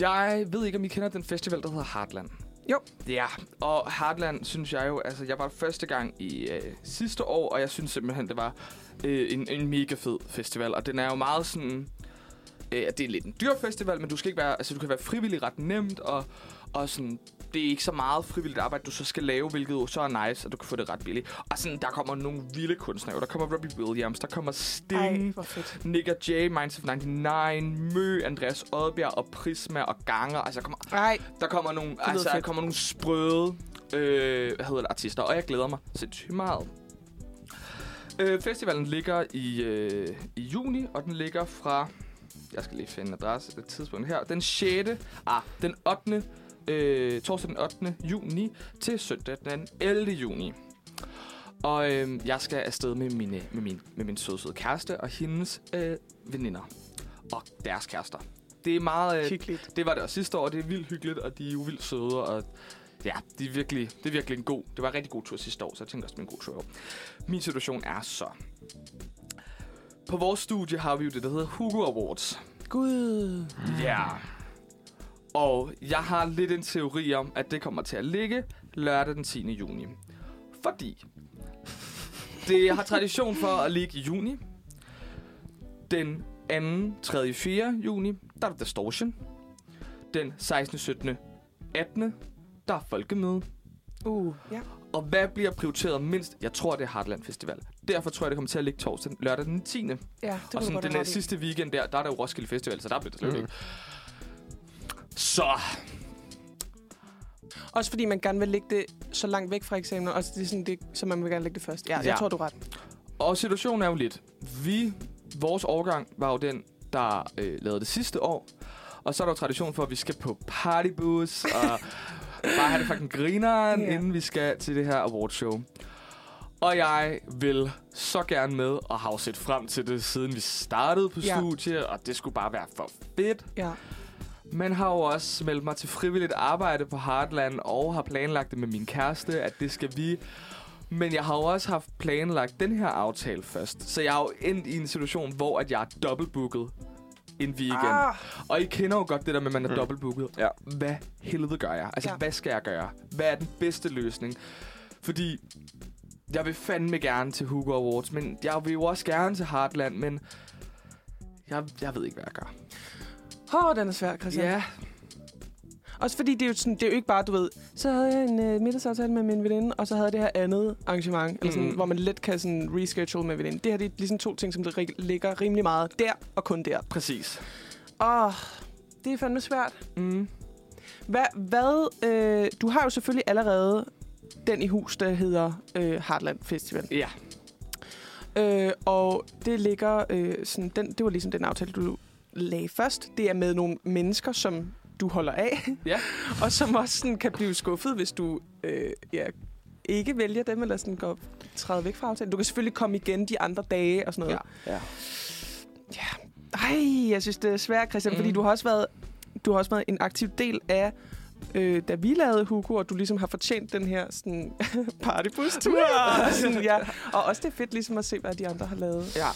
Speaker 2: Jeg ved ikke, om I kender den festival, der hedder Heartland.
Speaker 3: Jo.
Speaker 2: Ja, og Heartland synes jeg jo, altså jeg var der første gang i øh, sidste år, og jeg synes simpelthen, det var øh, en, en mega fed festival. Og den er jo meget sådan, øh, at det er lidt en dyr festival, men du skal ikke være, altså du kan være frivillig ret nemt, og, og sådan, det er ikke så meget frivilligt arbejde, du så skal lave, hvilket jo så er nice, og du kan få det ret billigt. Og sådan, der kommer nogle vilde kunstnere, jo. der kommer Robbie Williams, der kommer Sting,
Speaker 3: Ej, hvor fedt.
Speaker 2: Nick og Jay, Minds of 99, Mø, Andreas Oddbjerg og Prisma og Ganger. Altså, der kommer,
Speaker 3: Ej,
Speaker 2: der kommer nogle,
Speaker 3: lyder
Speaker 2: altså, der
Speaker 3: fedt.
Speaker 2: kommer nogle sprøde øh, hvad hedder det, artister, og jeg glæder mig sindssygt meget. Øh, festivalen ligger i, øh, i juni, og den ligger fra... Jeg skal lige finde adresse og tidspunkt her. Den 6. Ah, den 8. Øh, torsdag den 8. juni til søndag den 11. juni. Og øh, jeg skal afsted med, mine, med, min, med min søde, søde kæreste og hendes øh, veninder. Og deres kærester. Det er meget... Øh,
Speaker 3: hyggeligt.
Speaker 2: det var det også sidste år, og det er vildt hyggeligt, og de er jo vildt søde, og ja, de er virkelig, det er virkelig en god, det var en rigtig god tur sidste år, så jeg tænkte også, det var en god tur i år. Min situation er så. På vores studie har vi jo det, der hedder Hugo Awards.
Speaker 3: Gud.
Speaker 2: Ja. Og jeg har lidt en teori om, at det kommer til at ligge lørdag den 10. juni. Fordi det har tradition for at ligge i juni. Den 2., 3., 4. juni, der er der distortion. Den 16., 17., 18. der er folkemøde.
Speaker 3: Uh, ja.
Speaker 2: Og hvad bliver prioriteret mindst? Jeg tror, det er Heartland Festival. Derfor tror jeg, det kommer til at ligge torsdag, lørdag den 10.
Speaker 3: Ja, det
Speaker 2: Det og
Speaker 3: kunne
Speaker 2: sådan
Speaker 3: du godt
Speaker 2: den
Speaker 3: have
Speaker 2: der
Speaker 3: ret i.
Speaker 2: sidste weekend der, der er der jo Roskilde Festival, så der blev det slet mm. ikke. Så,
Speaker 3: Også fordi man gerne vil lægge det så langt væk fra eksamen, og det er sådan, det, så man vil gerne lægge det først. Ja, ja.
Speaker 2: Ja.
Speaker 3: jeg tror, du er ret.
Speaker 2: og situationen er jo lidt. Vi, vores årgang var jo den, der øh, lavede det sidste år. Og så er der jo tradition for, at vi skal på partybus og bare have det fucking grineren,
Speaker 3: Ja.
Speaker 2: yeah. inden vi skal til det her awardshow. Og jeg vil så gerne med og har jo set frem til det, siden vi startede på
Speaker 3: Ja.
Speaker 2: studiet, og det skulle bare være for fedt.
Speaker 3: Ja.
Speaker 2: Man har jo også meldt mig til frivilligt arbejde på Heartland, og har planlagt det med min kæreste, at det skal vi. Men jeg har jo også haft planlagt den her aftale først. Så jeg er jo endt i en situation, hvor at jeg er dobbeltbooket en weekend. Ah.
Speaker 3: Ah,
Speaker 2: Og I kender jo godt det der med, at man er
Speaker 1: Mm.
Speaker 2: mm. dobbeltbooket.
Speaker 1: Ja.
Speaker 2: Hvad helvede gør jeg? Altså,
Speaker 3: Ja.
Speaker 2: ja. hvad skal jeg gøre? Hvad er den bedste løsning? Fordi jeg vil fandme gerne til Hugo Awards, men jeg vil jo også gerne til Heartland, men jeg, jeg ved ikke, hvad jeg gør.
Speaker 3: Åh, den er svær, Christian.
Speaker 2: Ja,
Speaker 3: Også fordi det er, jo sådan, det er jo ikke bare, du ved, så havde jeg en øh, middagsaftale med min veninde, og så havde jeg det her andet arrangement, eller sådan,
Speaker 2: Mm.
Speaker 3: hvor man let kan sådan, reschedule med veninden. Det her det er ligesom to ting, som der rig- ligger rimelig meget der og kun der.
Speaker 2: præcis.
Speaker 3: Åh, det er fandme svært.
Speaker 2: Mm.
Speaker 3: Hvad, hvad øh, du har jo selvfølgelig allerede den i hus, der hedder øh, Heartland Festival.
Speaker 2: Ja.
Speaker 3: Øh, og det ligger, øh, sådan, den, det var ligesom den aftale, du lagde først. Det er med nogle mennesker, som du holder af.
Speaker 2: Ja.
Speaker 3: og som også sådan, kan blive skuffet, hvis du øh, ja, ikke vælger dem, eller sådan går træde væk fra aftalen. Du kan selvfølgelig komme igen de andre dage og sådan noget.
Speaker 1: Ja.
Speaker 3: Ej, jeg synes, det er svært, Christian, mm. fordi
Speaker 2: Mm.
Speaker 3: du har, også været, du har også været en aktiv del af, øh, da vi lavede Hugo, og du ligesom har fortjent den her sådan, partybus-tur. og, sådan, ja. og også det er fedt ligesom at se, hvad de andre har lavet.
Speaker 2: Ja,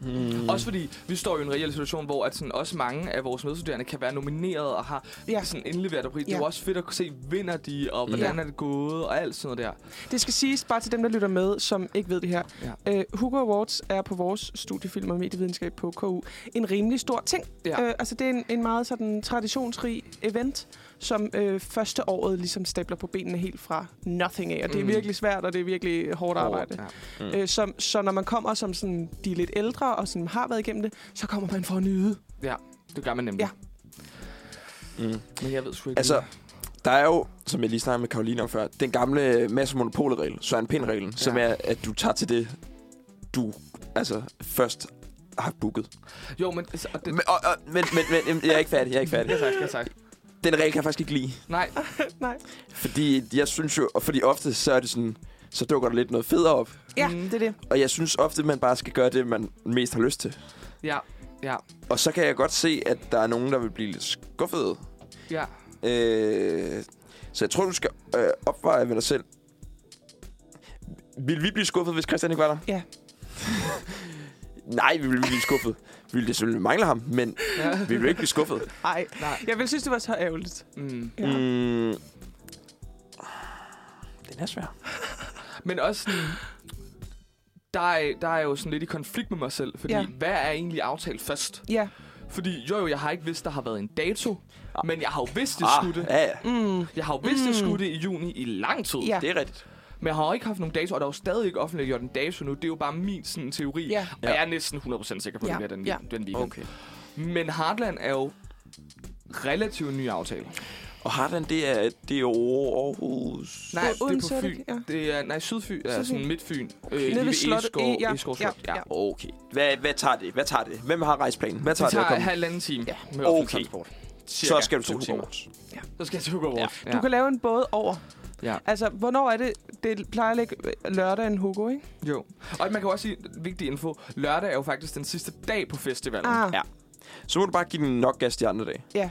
Speaker 1: Mm.
Speaker 2: mm. også fordi vi står jo i en reel situation, hvor at sådan, også mange af vores medstuderende kan være nomineret og har
Speaker 3: Ja.
Speaker 2: ja. sådan indleveret pris. Ja. Det er
Speaker 3: Ja.
Speaker 2: jo også fedt at kunne se, vinder de, og hvordan
Speaker 3: Ja.
Speaker 2: ja. er det gået, og alt sådan noget der.
Speaker 3: Det skal siges bare til dem, der lytter med, som ikke ved det her. Ja. Øh, Hugo Awards er på vores studiefilm og medievidenskab på KU en rimelig stor ting.
Speaker 2: Ja.
Speaker 3: Øh, altså det er en, en meget sådan, traditionsrig event, som øh, første året ligesom stabler på benene helt fra nothing af. Og det er
Speaker 2: Mm.
Speaker 3: virkelig svært, og det er virkelig hårdt arbejde.
Speaker 2: Ja.
Speaker 1: Mm.
Speaker 3: Øh, så, så når man kommer som sådan, de er lidt ældre og sådan, har været igennem det, så kommer man for at nyde.
Speaker 2: Det gør man nemlig. Ja.
Speaker 3: Ja.
Speaker 1: Mm.
Speaker 2: Men jeg ved sgu ikke.
Speaker 1: Altså,
Speaker 2: lige.
Speaker 1: Der er jo, som jeg lige snakkede med Karoline om før, den gamle masse monopolregel, Søren Pind-reglen, ja. som
Speaker 2: Ja.
Speaker 1: er, at du tager til det, du altså først har booket.
Speaker 2: Jo, men... Altså, og det,
Speaker 1: Men, og, og, men, men, men, jeg er ikke færdig, jeg er ikke færdig.
Speaker 2: ja, tak, ja, tak.
Speaker 1: Den regel kan jeg faktisk ikke lide.
Speaker 2: Nej,
Speaker 3: Nej.
Speaker 1: Fordi jeg synes jo, og fordi ofte så er det sådan, så dukker der lidt noget federe op.
Speaker 3: Ja,
Speaker 2: Mm.
Speaker 3: det er det.
Speaker 1: Og jeg synes ofte, man bare skal gøre det, man mest har lyst til.
Speaker 2: ja, ja,
Speaker 1: Og så kan jeg godt se, at der er nogen, der vil blive lidt skuffede.
Speaker 2: ja.
Speaker 1: Øh, Så jeg tror, du skal øh, opveje med dig selv. Vil vi blive skuffet, hvis Christian ikke var der?
Speaker 3: Ja.
Speaker 1: Nej, vi ville ikke blive skuffet. Vi ville selvfølgelig mangle ham, men
Speaker 2: Ja.
Speaker 1: vi ville ikke blive skuffet.
Speaker 3: Ej,
Speaker 2: Nej.
Speaker 3: jeg vil synes, det var så ærgerligt.
Speaker 2: Mm.
Speaker 3: Ja. Mm.
Speaker 1: Mm. Den er svær.
Speaker 2: Men også sådan, der er, der er jo sådan lidt i konflikt med mig selv, fordi
Speaker 3: Ja.
Speaker 2: ja. hvad er egentlig aftalt først?
Speaker 3: Ja.
Speaker 2: Fordi jo, jo, jeg har ikke vidst, der har været en dato,
Speaker 1: Ah.
Speaker 2: men jeg har jo vidst, jeg skulle det.
Speaker 1: ja, ja.
Speaker 3: Mm.
Speaker 2: Jeg har jo vidst, jeg
Speaker 3: Mm.
Speaker 2: skulle det i juni i lang tid.
Speaker 3: Ja.
Speaker 1: Det er rigtigt.
Speaker 2: Men jeg har jo ikke haft nogen dato, og der er jo stadig ikke offentliggjort en dato nu. Det er jo bare min sådan, teori.
Speaker 3: Ja.
Speaker 2: Og jeg er næsten 100% sikker på, at det
Speaker 3: Ja.
Speaker 2: bliver den,
Speaker 3: Ja.
Speaker 2: den weekend. Men Heartland er jo relativt ny aftale.
Speaker 1: Og Hardan, det er, det er jo Aarhus...
Speaker 3: Nej, Odense
Speaker 2: det
Speaker 3: er
Speaker 2: er på
Speaker 3: det
Speaker 2: Fyn.
Speaker 3: ikke, ja.
Speaker 2: Det er, nej, Sydfyn. Ja,
Speaker 3: Sydfyn.
Speaker 2: sådan Midtfyn. Okay. Øh,
Speaker 3: Nede
Speaker 2: lige
Speaker 3: ved
Speaker 2: ved
Speaker 3: slottet.
Speaker 2: Eskov,
Speaker 3: Øh, ja,
Speaker 2: Eskov
Speaker 3: ja,
Speaker 2: Slot. Ja,
Speaker 3: ja.
Speaker 1: Okay. Hvad, hvad tager det? Hvad tager det? Hvem har rejseplanen? Hvad tager
Speaker 2: Det
Speaker 1: det, at
Speaker 2: tager
Speaker 1: komme?
Speaker 2: halvanden time ja. med
Speaker 1: Okay.
Speaker 2: okay. transport.
Speaker 1: Så skal du til
Speaker 2: to timer.
Speaker 1: Aarhus.
Speaker 2: Så skal jeg til Hugo ja.
Speaker 3: Du kan lave en både over.
Speaker 2: ja.
Speaker 3: Altså, hvornår er det? Det plejer at ligge øh, lørdag en Hugo, ikke?
Speaker 2: Jo. Og man kan jo også sige, vigtig info, lørdag er jo faktisk den sidste dag på festivalen.
Speaker 3: Ah,
Speaker 1: Ja. Så må du bare give den nok gas de andre dage.
Speaker 3: ja.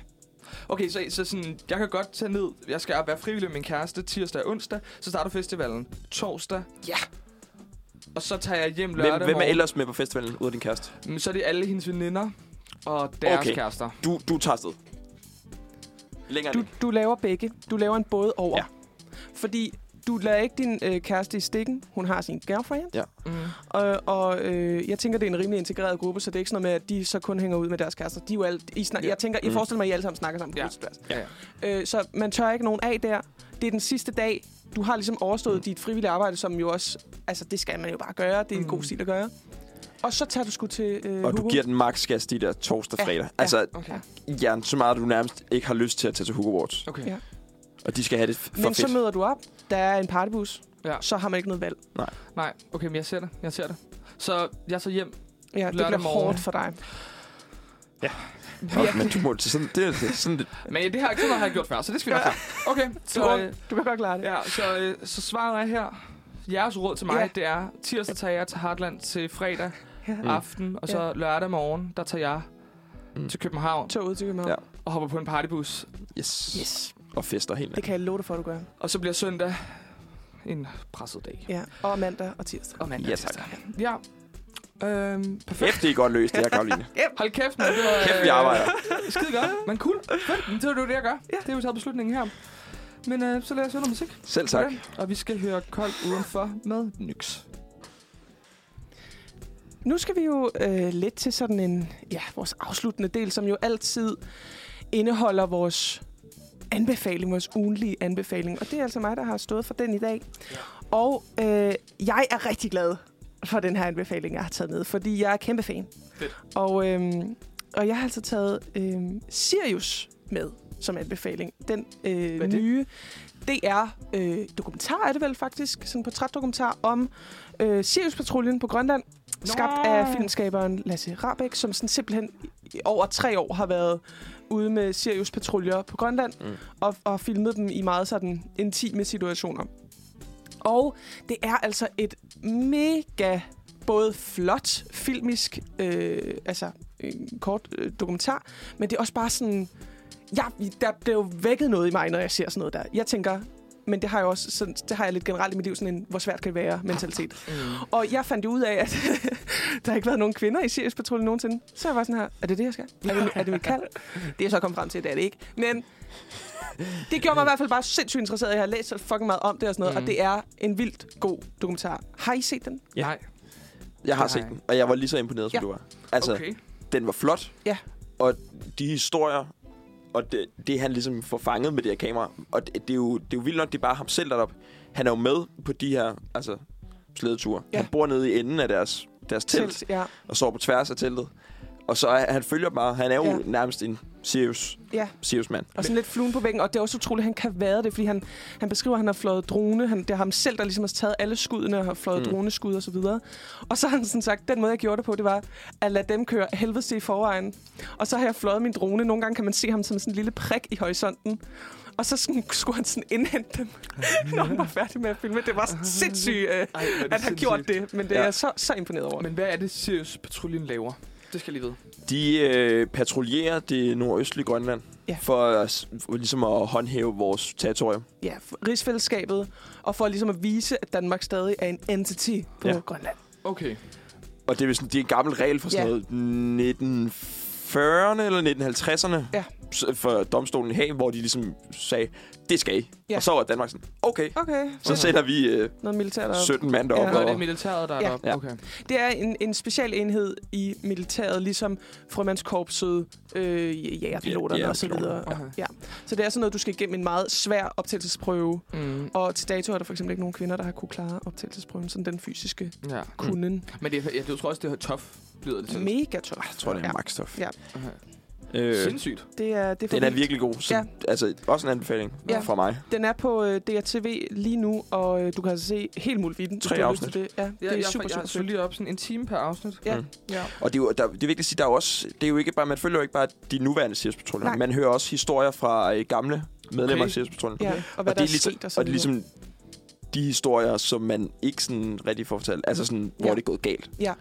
Speaker 2: Okay, så, så sådan, jeg kan godt tage ned, jeg skal være frivillig med min kæreste tirsdag og onsdag, så starter festivalen torsdag,
Speaker 3: Ja.
Speaker 2: og så tager jeg hjem lørdag
Speaker 1: Hvem, hvem er
Speaker 2: morgen.
Speaker 1: ellers med på festivalen uden din kæreste?
Speaker 2: Men Så er det alle hendes veninder og deres
Speaker 1: Okay.
Speaker 2: okay. kærester.
Speaker 1: Du, du tager afsted. Længere
Speaker 3: Du,
Speaker 1: end det.
Speaker 3: du laver begge. Du laver en både over.
Speaker 1: Ja.
Speaker 3: Ja. Fordi du lader ikke din øh, kæreste i stikken. Hun har sin girlfriend.
Speaker 2: Mm.
Speaker 3: Og, og øh, jeg tænker, det er en rimelig integreret gruppe, så det er ikke sådan noget med, at de så kun hænger ud med deres kærester. De er jo alle, I snak,
Speaker 2: Ja.
Speaker 3: Jeg tænker, jeg
Speaker 1: Mm.
Speaker 3: forestiller mig, at I alle sammen snakker sammen på
Speaker 2: Ja.
Speaker 3: krydsværs.
Speaker 2: Ja, ja.
Speaker 3: Øh, så man tør ikke nogen af der. Det er den sidste dag. Du har ligesom overstået mm. dit frivillige arbejde, som jo også... Altså, det skal man jo bare gøre. Det er en mm. god
Speaker 2: Mm.
Speaker 3: stil at gøre. Og så tager du sgu til øh,
Speaker 1: Og
Speaker 3: Hugo.
Speaker 1: du giver den maks gas de der torsdag
Speaker 3: Ja,
Speaker 1: og fredag.
Speaker 3: ja.
Speaker 1: Altså,
Speaker 2: Okay.
Speaker 1: ja, så meget, at du nærmest ikke har lyst til at tage til Hugo Awards.
Speaker 2: okay.
Speaker 3: Ja.
Speaker 2: Ja.
Speaker 1: Og de skal have det f- for
Speaker 3: Men så
Speaker 1: fedt.
Speaker 3: møder du op. Der er en partybus.
Speaker 2: Ja.
Speaker 3: Så har man ikke noget valg.
Speaker 2: Nej, okay, men jeg ser det. Jeg ser det. Så jeg tager hjem.
Speaker 3: Ja, det
Speaker 2: Lørdag
Speaker 3: bliver
Speaker 2: morgen.
Speaker 3: hårdt for dig.
Speaker 1: Nå, men du må til sådan, det, er- det, er sådan det.
Speaker 2: Men det her ikke sådan noget, jeg har gjort før, så det skal vi nok klare. Okay,
Speaker 3: Du,
Speaker 2: så, øh,
Speaker 3: kan, du kan godt klare det.
Speaker 2: ja, så, øh, så svaret er her. Jeres råd til mig,
Speaker 3: Ja.
Speaker 2: ja. det er, tirsdag tager jeg til Heartland til fredag
Speaker 3: Ja.
Speaker 2: mm. aften, og så
Speaker 3: Ja.
Speaker 2: lørdag morgen, der tager jeg
Speaker 1: Mm.
Speaker 2: mm. til København
Speaker 3: Toget til København.
Speaker 1: Ja.
Speaker 2: og hopper på en partybus.
Speaker 1: Yes.
Speaker 3: Yes.
Speaker 1: Og fester helt.
Speaker 3: Det kan jeg love dig for, at du gør.
Speaker 2: Og så bliver søndag en presset dag.
Speaker 3: Ja. Og mandag og tirsdag.
Speaker 2: Og mandag
Speaker 1: Ja,
Speaker 2: ja,
Speaker 1: tak.
Speaker 2: tak. Ja. Øhm, perfekt.
Speaker 1: Kæft, det er godt løst, det her, Karoline.
Speaker 2: Hold kæft, man. Det var,
Speaker 1: Kæft, vi arbejder.
Speaker 2: Øh, skide godt. Men cool. Fedt. Men det var det, jo det, jeg gør. Ja. Det har vi taget beslutningen her. Men øh, så lad os høre noget musik.
Speaker 1: Selv tak.
Speaker 2: Sådan. Og vi skal høre Kold Udenfor med Nyx.
Speaker 3: Nu skal vi jo øh, lidt til sådan en, ja, vores afsluttende del, som jo altid indeholder vores anbefaling, vores ugenlige anbefaling. Og det er altså mig, der har stået for den i dag. Og øh, jeg er rigtig glad for den her anbefaling, jeg har taget med, fordi jeg er kæmpe fan.
Speaker 2: Fedt.
Speaker 3: Og, øh, og jeg har altså taget øh, Sirius med som anbefaling. Den øh,
Speaker 2: er det?
Speaker 3: nye DR-dokumentar er det vel faktisk, sådan en portrætdokumentar om øh, Sirius-patruljen på Grønland, Nå. skabt af filmskaberen Lasse Rabeck, som sådan simpelthen i over tre år har været ude med Sirius-patruljer på Grønland
Speaker 1: Mm.
Speaker 3: mm. og, og filmet dem i meget sådan intime situationer. Og det er altså et mega både flot, filmisk, øh, altså en kort øh, dokumentar, men det er også bare sådan... Ja, der blev vækket noget i mig, når jeg ser sådan noget der. Jeg tænker, men det har jeg også sådan, det har jeg lidt generelt i mit liv, sådan en, hvor svært kan det være, mentalitet.
Speaker 2: Mm.
Speaker 3: Og jeg fandt jo ud af, at der har ikke været nogen kvinder i Sirius Patruljen nogensinde. Så jeg var sådan her, er det det, jeg skal? Er det, er det mit kald? Det er jeg så kommet frem til, at det er det ikke. Men det gjorde mig i hvert fald bare sindssygt interesseret. Jeg har læst så fucking meget om det og sådan noget, mm.
Speaker 2: Mhm.
Speaker 3: og det er en vildt god dokumentar. Har I set den?
Speaker 1: Ja.
Speaker 2: Ja. Nej.
Speaker 1: Jeg har
Speaker 2: Det
Speaker 1: set
Speaker 2: har jeg
Speaker 1: den, og jeg var lige så imponeret, som
Speaker 3: Ja.
Speaker 1: du var. Altså,
Speaker 2: Okay.
Speaker 1: den var flot.
Speaker 3: Ja.
Speaker 1: Og de historier, og det, det han ligesom får fanget med det her kamera, og det, det, er jo, det er jo vildt nok, det er bare ham selv derop. Han er jo med på de her altså, slædeture.
Speaker 3: Ja.
Speaker 1: Ja. Han bor nede i enden af deres, deres telt, telt,
Speaker 3: Ja.
Speaker 1: og sover på tværs af teltet. Og så er, han følger bare, han er jo
Speaker 3: Ja.
Speaker 1: ja. nærmest en seriøs,
Speaker 3: ja.
Speaker 1: seriøs mand.
Speaker 3: Og sådan lidt fluen på væggen, og det er også utroligt, at han kan være det, fordi han, han beskriver, at han har fløjet drone. Han, det er ham selv, der ligesom har taget alle skuddene og har fløjet
Speaker 1: Mm.
Speaker 3: mm. droneskud og så videre. Og så har han sådan sagt, den måde, jeg gjorde det på, det var at lade dem køre helvedes til i forvejen. Og så har jeg fløjet min drone. Nogle gange kan man se ham som sådan en lille prik i horisonten. Og så sådan, skulle han sådan indhente dem, når han var færdig med at filme. Det var sådan sindssygt, øh,
Speaker 2: Ej, hvor er det
Speaker 3: at han
Speaker 2: sindssygt.
Speaker 3: gjort det, men det er
Speaker 1: Ja.
Speaker 3: jeg så, så imponeret over.
Speaker 2: Men hvad er det, Sirius Patruljen laver? Det skal jeg lige vide.
Speaker 1: De øh, patruljerer det nordøstlige Grønland
Speaker 3: Ja.
Speaker 1: ja. for, at, s- for ligesom at håndhæve vores territorium.
Speaker 3: ja, f- rigsfællesskabet, og for ligesom at vise, at Danmark stadig er en entity på ja.
Speaker 1: Ja.
Speaker 3: Grønland.
Speaker 2: Okay.
Speaker 1: Og det er, sådan, det er en gammel regel fra sådan
Speaker 3: Ja.
Speaker 1: noget 1940'erne eller 1950'erne
Speaker 3: Ja.
Speaker 1: s- for domstolen i Haag, hvor de ligesom sagde, det skal I.
Speaker 3: Ja.
Speaker 1: Ja. Og så var Danmark sådan, okay.
Speaker 3: Okay,
Speaker 1: Så
Speaker 3: så
Speaker 1: sender vi øh,
Speaker 3: noget militært op.
Speaker 1: 17 mand
Speaker 3: Ja.
Speaker 1: deroppe.
Speaker 2: Nå,
Speaker 1: Ja.
Speaker 2: det er
Speaker 1: Og,
Speaker 2: militæret, der er
Speaker 3: Ja.
Speaker 2: deroppe.
Speaker 1: Ja.
Speaker 2: Okay.
Speaker 3: Det er en, en special enhed i militæret, ligesom frømandskorpset, øh, jægerpiloterne
Speaker 1: Ja,
Speaker 3: ja, osv.
Speaker 1: jægerpiloterne,
Speaker 2: okay.
Speaker 3: Så det er sådan noget, du skal igennem en meget svær optagelsesprøve.
Speaker 2: Mm,
Speaker 3: Og til dato er der for eksempel ikke nogen kvinder, der har kunne klare optagelsesprøven, sådan den fysiske
Speaker 1: Mm.
Speaker 2: ja.
Speaker 3: kunden.
Speaker 2: Men det, er- jeg, jeg tror også, det er tough, lyder det til.
Speaker 3: Mm. Mega tof.
Speaker 1: jeg tror, det er
Speaker 3: Ja.
Speaker 1: ja. magstof.
Speaker 3: Ja.
Speaker 2: Okay.
Speaker 1: Øh,
Speaker 2: Sindssygt.
Speaker 3: Det er, det er for
Speaker 1: den er
Speaker 3: vildt.
Speaker 1: virkelig god. Så,
Speaker 3: Ja.
Speaker 1: ja. Altså, også en anbefaling
Speaker 3: Ja.
Speaker 1: ja. fra mig.
Speaker 3: Den er på øh, DRTV lige nu, og øh, du kan altså se helt mulvitten.
Speaker 1: Tre afsnit.
Speaker 3: Det. Ja, det
Speaker 2: Ja, jeg,
Speaker 3: er super,
Speaker 2: jeg,
Speaker 3: super
Speaker 2: jeg, jeg
Speaker 3: fedt.
Speaker 2: lige op sådan en time per afsnit.
Speaker 3: Ja,
Speaker 1: Mm.
Speaker 3: ja.
Speaker 1: Og det er jo, der, det er vigtigt at sige, der er jo også, det er jo ikke bare, man følger jo ikke bare de nuværende
Speaker 3: Nej.
Speaker 1: Sirius-patruljer. Man hører også historier fra øh, gamle medlemmer
Speaker 2: Okay.
Speaker 1: af Sirius-patruljen.
Speaker 3: ja. Og hvad
Speaker 1: og
Speaker 3: der
Speaker 1: det
Speaker 3: er
Speaker 1: er, ligesom,
Speaker 3: sket og så
Speaker 1: og det er
Speaker 3: videre.
Speaker 1: ligesom de historier, som man ikke sådan rigtig får fortalt. Altså sådan, hvor
Speaker 3: Ja.
Speaker 1: det er gået galt.
Speaker 3: Ja.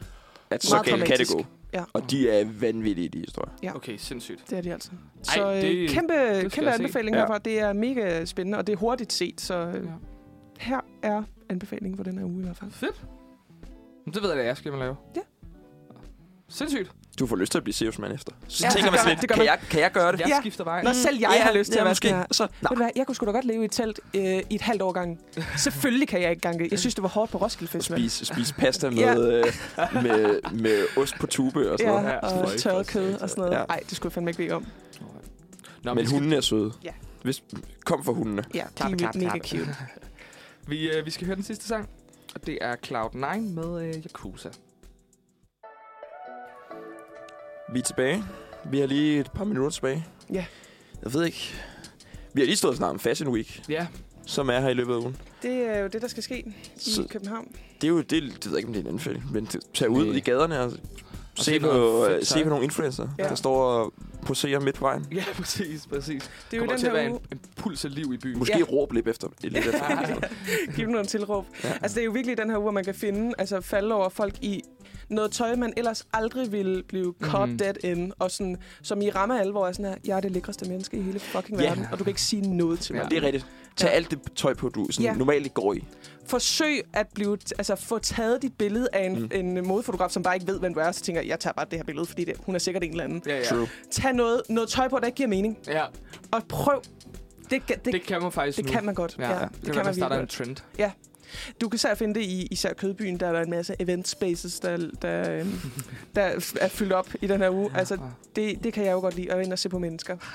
Speaker 1: At så
Speaker 3: Meget
Speaker 1: galt kan det
Speaker 3: dramatisk.
Speaker 1: gå.
Speaker 3: Ja.
Speaker 1: Og de er vanvittige, de historier.
Speaker 3: Ja.
Speaker 2: Okay, sindssygt.
Speaker 3: Det er de altså. Så øh,
Speaker 2: det-
Speaker 3: kæmpe,
Speaker 2: skal
Speaker 3: kæmpe
Speaker 2: jeg se.
Speaker 3: anbefaling
Speaker 1: Ja.
Speaker 3: herfra. Det er mega spændende, og det er hurtigt set, så øh,
Speaker 2: Ja.
Speaker 3: her er anbefalingen for den her uge i hvert fald.
Speaker 2: Fedt. Men det ved jeg, at jeg skal lave.
Speaker 3: Ja.
Speaker 2: Sindssygt.
Speaker 1: Du får lyst til at blive Sirius-mand efter. Så
Speaker 3: Ja,
Speaker 1: ja,
Speaker 3: det
Speaker 1: tænker
Speaker 3: gør
Speaker 1: man sådan
Speaker 3: man.
Speaker 1: lidt,
Speaker 3: Det gør
Speaker 1: kan
Speaker 3: man.
Speaker 1: jeg, kan jeg gøre det?
Speaker 2: Jeg
Speaker 3: Ja.
Speaker 2: skifter vej.
Speaker 3: Når selv jeg
Speaker 1: ja,
Speaker 3: har lyst til
Speaker 1: ja,
Speaker 3: at være
Speaker 1: måske.
Speaker 3: sådan her.
Speaker 1: Så,
Speaker 3: Ved du hvad, jeg kunne sgu da godt leve i et telt øh, i et halvt år gange. Selvfølgelig kan jeg ikke gange det. Jeg synes, det var hårdt på Roskilde Festival.
Speaker 1: spise, spise pasta med,
Speaker 3: Ja.
Speaker 1: øh, med, med ost på tube og sådan ja.
Speaker 3: Ja,
Speaker 1: noget.
Speaker 2: Ja, sådan
Speaker 3: og
Speaker 2: noget.
Speaker 3: tørret kød og sådan noget.
Speaker 1: Ja.
Speaker 3: Nej, det skulle jeg fandme ikke bede om.
Speaker 2: Nå,
Speaker 1: Men
Speaker 2: vi, skal,
Speaker 1: hundene er søde.
Speaker 3: Ja.
Speaker 1: Hvis, kom for hundene.
Speaker 3: Ja,
Speaker 2: Klap,
Speaker 3: de er
Speaker 2: klap,
Speaker 3: mega
Speaker 2: klap.
Speaker 3: cute.
Speaker 2: vi, øh, vi skal høre den sidste sang. Og det er Cloud9 med øh, Yakuza.
Speaker 1: Vi er tilbage. Vi har lige et par minutter tilbage.
Speaker 3: Ja.
Speaker 1: Jeg ved ikke. Vi har lige stået og snakket om Fashion Week,
Speaker 2: Ja,
Speaker 1: som er her i løbet af ugen.
Speaker 3: Det er jo det, der skal ske i
Speaker 1: Så-
Speaker 3: København.
Speaker 1: Det er jo, det, det ved jeg ikke, om det er en anbefaling, men t- tag ud
Speaker 2: Næ.
Speaker 1: i gaderne og, og
Speaker 2: se
Speaker 1: se, på,
Speaker 2: noget fedt
Speaker 1: øh,
Speaker 2: tøj.
Speaker 1: se på nogle influencer,
Speaker 3: Ja.
Speaker 1: ja. der står og poserer midt på vejen.
Speaker 2: ja præcis, præcis. Det
Speaker 3: Det er jo
Speaker 2: kommer
Speaker 3: den
Speaker 2: til at
Speaker 3: her
Speaker 2: være
Speaker 3: uge.
Speaker 2: en, en puls af liv i byen.
Speaker 1: Måske
Speaker 3: Ja.
Speaker 1: ja. råb lidt efter. Lidt efter.
Speaker 3: Giv dem nogle tilråb.
Speaker 1: Ja.
Speaker 3: Altså, det er jo virkelig den her uge, hvor man kan finde, altså falde over folk i noget tøj, man ellers aldrig ville blive caught
Speaker 2: Mhm.
Speaker 3: mm. dead in. Og sådan, som i rammer alvor er sådan her, jeg er det lækreste menneske i hele fucking
Speaker 1: Ja.
Speaker 3: verden, og du kan ikke sige noget til mig.
Speaker 1: Det er rigtigt. Tag alt det tøj på, du sådan
Speaker 3: Ja.
Speaker 1: ja. normalt ikke går i.
Speaker 3: Forsøg at blive, altså få taget dit billede af en, mm.
Speaker 1: Mm.
Speaker 3: en modefotograf, som bare ikke ved, hvem du er, og så tænker, jeg tager bare det her billede, fordi det, hun er sikkert en eller anden.
Speaker 2: Ja, ja.
Speaker 1: True.
Speaker 3: Tag noget, noget tøj på, der ikke giver mening,
Speaker 2: ja
Speaker 3: og prøv. Det, det,
Speaker 2: det
Speaker 3: det,
Speaker 2: kan man faktisk
Speaker 3: det
Speaker 2: nu.
Speaker 3: kan man godt.
Speaker 2: Ja, ja. det, kan, man
Speaker 3: virkelig
Speaker 2: starte
Speaker 3: godt.
Speaker 2: en trend.
Speaker 3: Du kan især finde det i især Kødbyen, der er der en masse event spaces, der, der, øhm, der er fyldt op i den her uge. Altså, det, det kan jeg jo godt lide, at ind og se på mennesker.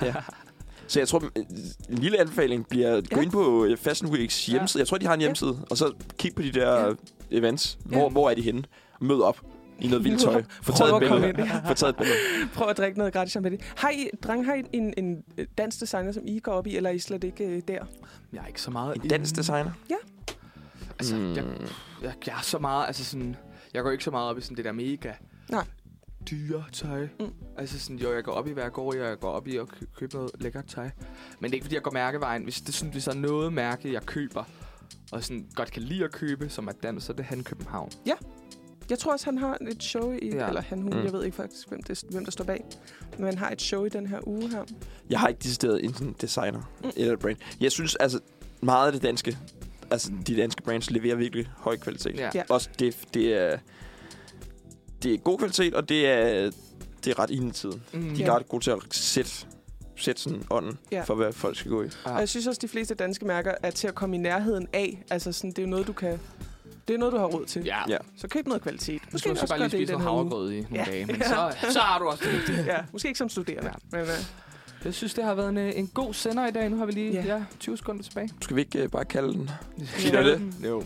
Speaker 1: Så jeg tror, øh, en lille anbefaling bliver at gå
Speaker 3: Ja.
Speaker 1: ind på øh, Fashion Weeks
Speaker 2: Ja.
Speaker 1: hjemmeside. Jeg tror, de har en hjemmeside. Og så kig på de der øh, events.
Speaker 3: Ja.
Speaker 1: Hvor, hvor er de henne? Mød op i noget vildt tøj. Få taget
Speaker 3: Prøv
Speaker 1: et
Speaker 3: at komme
Speaker 1: billede.
Speaker 3: ind. Ja.
Speaker 1: Få taget et billede.
Speaker 3: Prøv at drikke noget gratis champagne. Har I, dreng, har I en, en øh, dansk designer, som I går op i, eller er I slet ikke øh, der?
Speaker 2: Jeg er ikke så meget...
Speaker 1: En dansk designer.
Speaker 2: Altså, jeg, jeg, jeg er så meget, altså sådan, jeg går ikke så meget op i sådan det der mega
Speaker 3: Nej.
Speaker 2: dyre tøj.
Speaker 3: Mm.
Speaker 2: Mm. Altså sådan, jo, jeg går op i, hvad jeg går i, og jeg går op i at kø- købe noget lækkert tøj. Men det er ikke, fordi jeg går mærkevejen. Hvis det sådan, hvis der er noget mærke, jeg køber, og sådan godt kan lide at købe, som er dansk, så er det han København.
Speaker 3: Jeg tror også, han har et show i... Ja.
Speaker 2: Ja.
Speaker 3: Eller han, hun, mm.
Speaker 1: Mm.
Speaker 3: jeg ved ikke faktisk, hvem, det, hvem der står bag. Men han har et show i den her uge her.
Speaker 1: Jeg har ikke decideret en sådan designer
Speaker 3: Mm.
Speaker 1: mm. eller et brand. Jeg synes, altså, meget af det danske, altså de danske brands, leverer virkelig høj kvalitet.
Speaker 2: Ja.
Speaker 3: Ja.
Speaker 2: ja.
Speaker 1: Også det, det er, det er god kvalitet, og det er, det er ret inden i tiden.
Speaker 2: Mm.
Speaker 1: De er
Speaker 3: Ja.
Speaker 1: ret gode til at sætte, sætte sådan ånden
Speaker 3: Ja.
Speaker 1: ja. for, hvad folk skal gå i.
Speaker 3: Og jeg synes også, at de fleste danske mærker er til at komme i nærheden af. Altså, sådan, det er jo noget, du kan... Det er noget, du har råd til.
Speaker 2: ja.
Speaker 1: Ja.
Speaker 3: Så køb noget kvalitet.
Speaker 2: Nu skal du
Speaker 3: også
Speaker 2: så bare
Speaker 3: gøre
Speaker 2: lige
Speaker 3: det i
Speaker 2: spise
Speaker 3: den
Speaker 2: noget
Speaker 3: her uge.
Speaker 2: havregrød i nogle
Speaker 3: Ja.
Speaker 2: ja. dage, men så, så har du også det.
Speaker 3: Ja, måske ikke som studerende. Ja. Men, uh,
Speaker 2: Jeg synes, det har været en, øh, en god sender i dag. Nu har vi lige
Speaker 3: Ja.
Speaker 2: ja. Ja, 20 sekunder tilbage.
Speaker 1: Skal vi ikke uh, bare kalde den?
Speaker 3: Kalder
Speaker 1: det?
Speaker 2: Jo.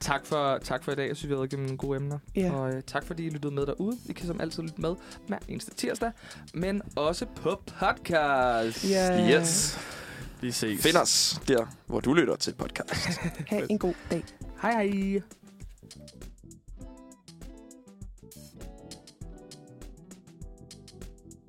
Speaker 2: Tak for, tak for i dag. Jeg synes, vi har været igennem nogle gode emner.
Speaker 3: ja.
Speaker 2: Og øh, tak fordi I lyttede med derude. I kan som altid lytte med hver eneste tirsdag, men også på podcast.
Speaker 3: Ja.
Speaker 1: Yes.
Speaker 2: Vi ses.
Speaker 1: Find os der, hvor du lytter til podcast.
Speaker 3: Ha' en god dag.
Speaker 2: Hej hej.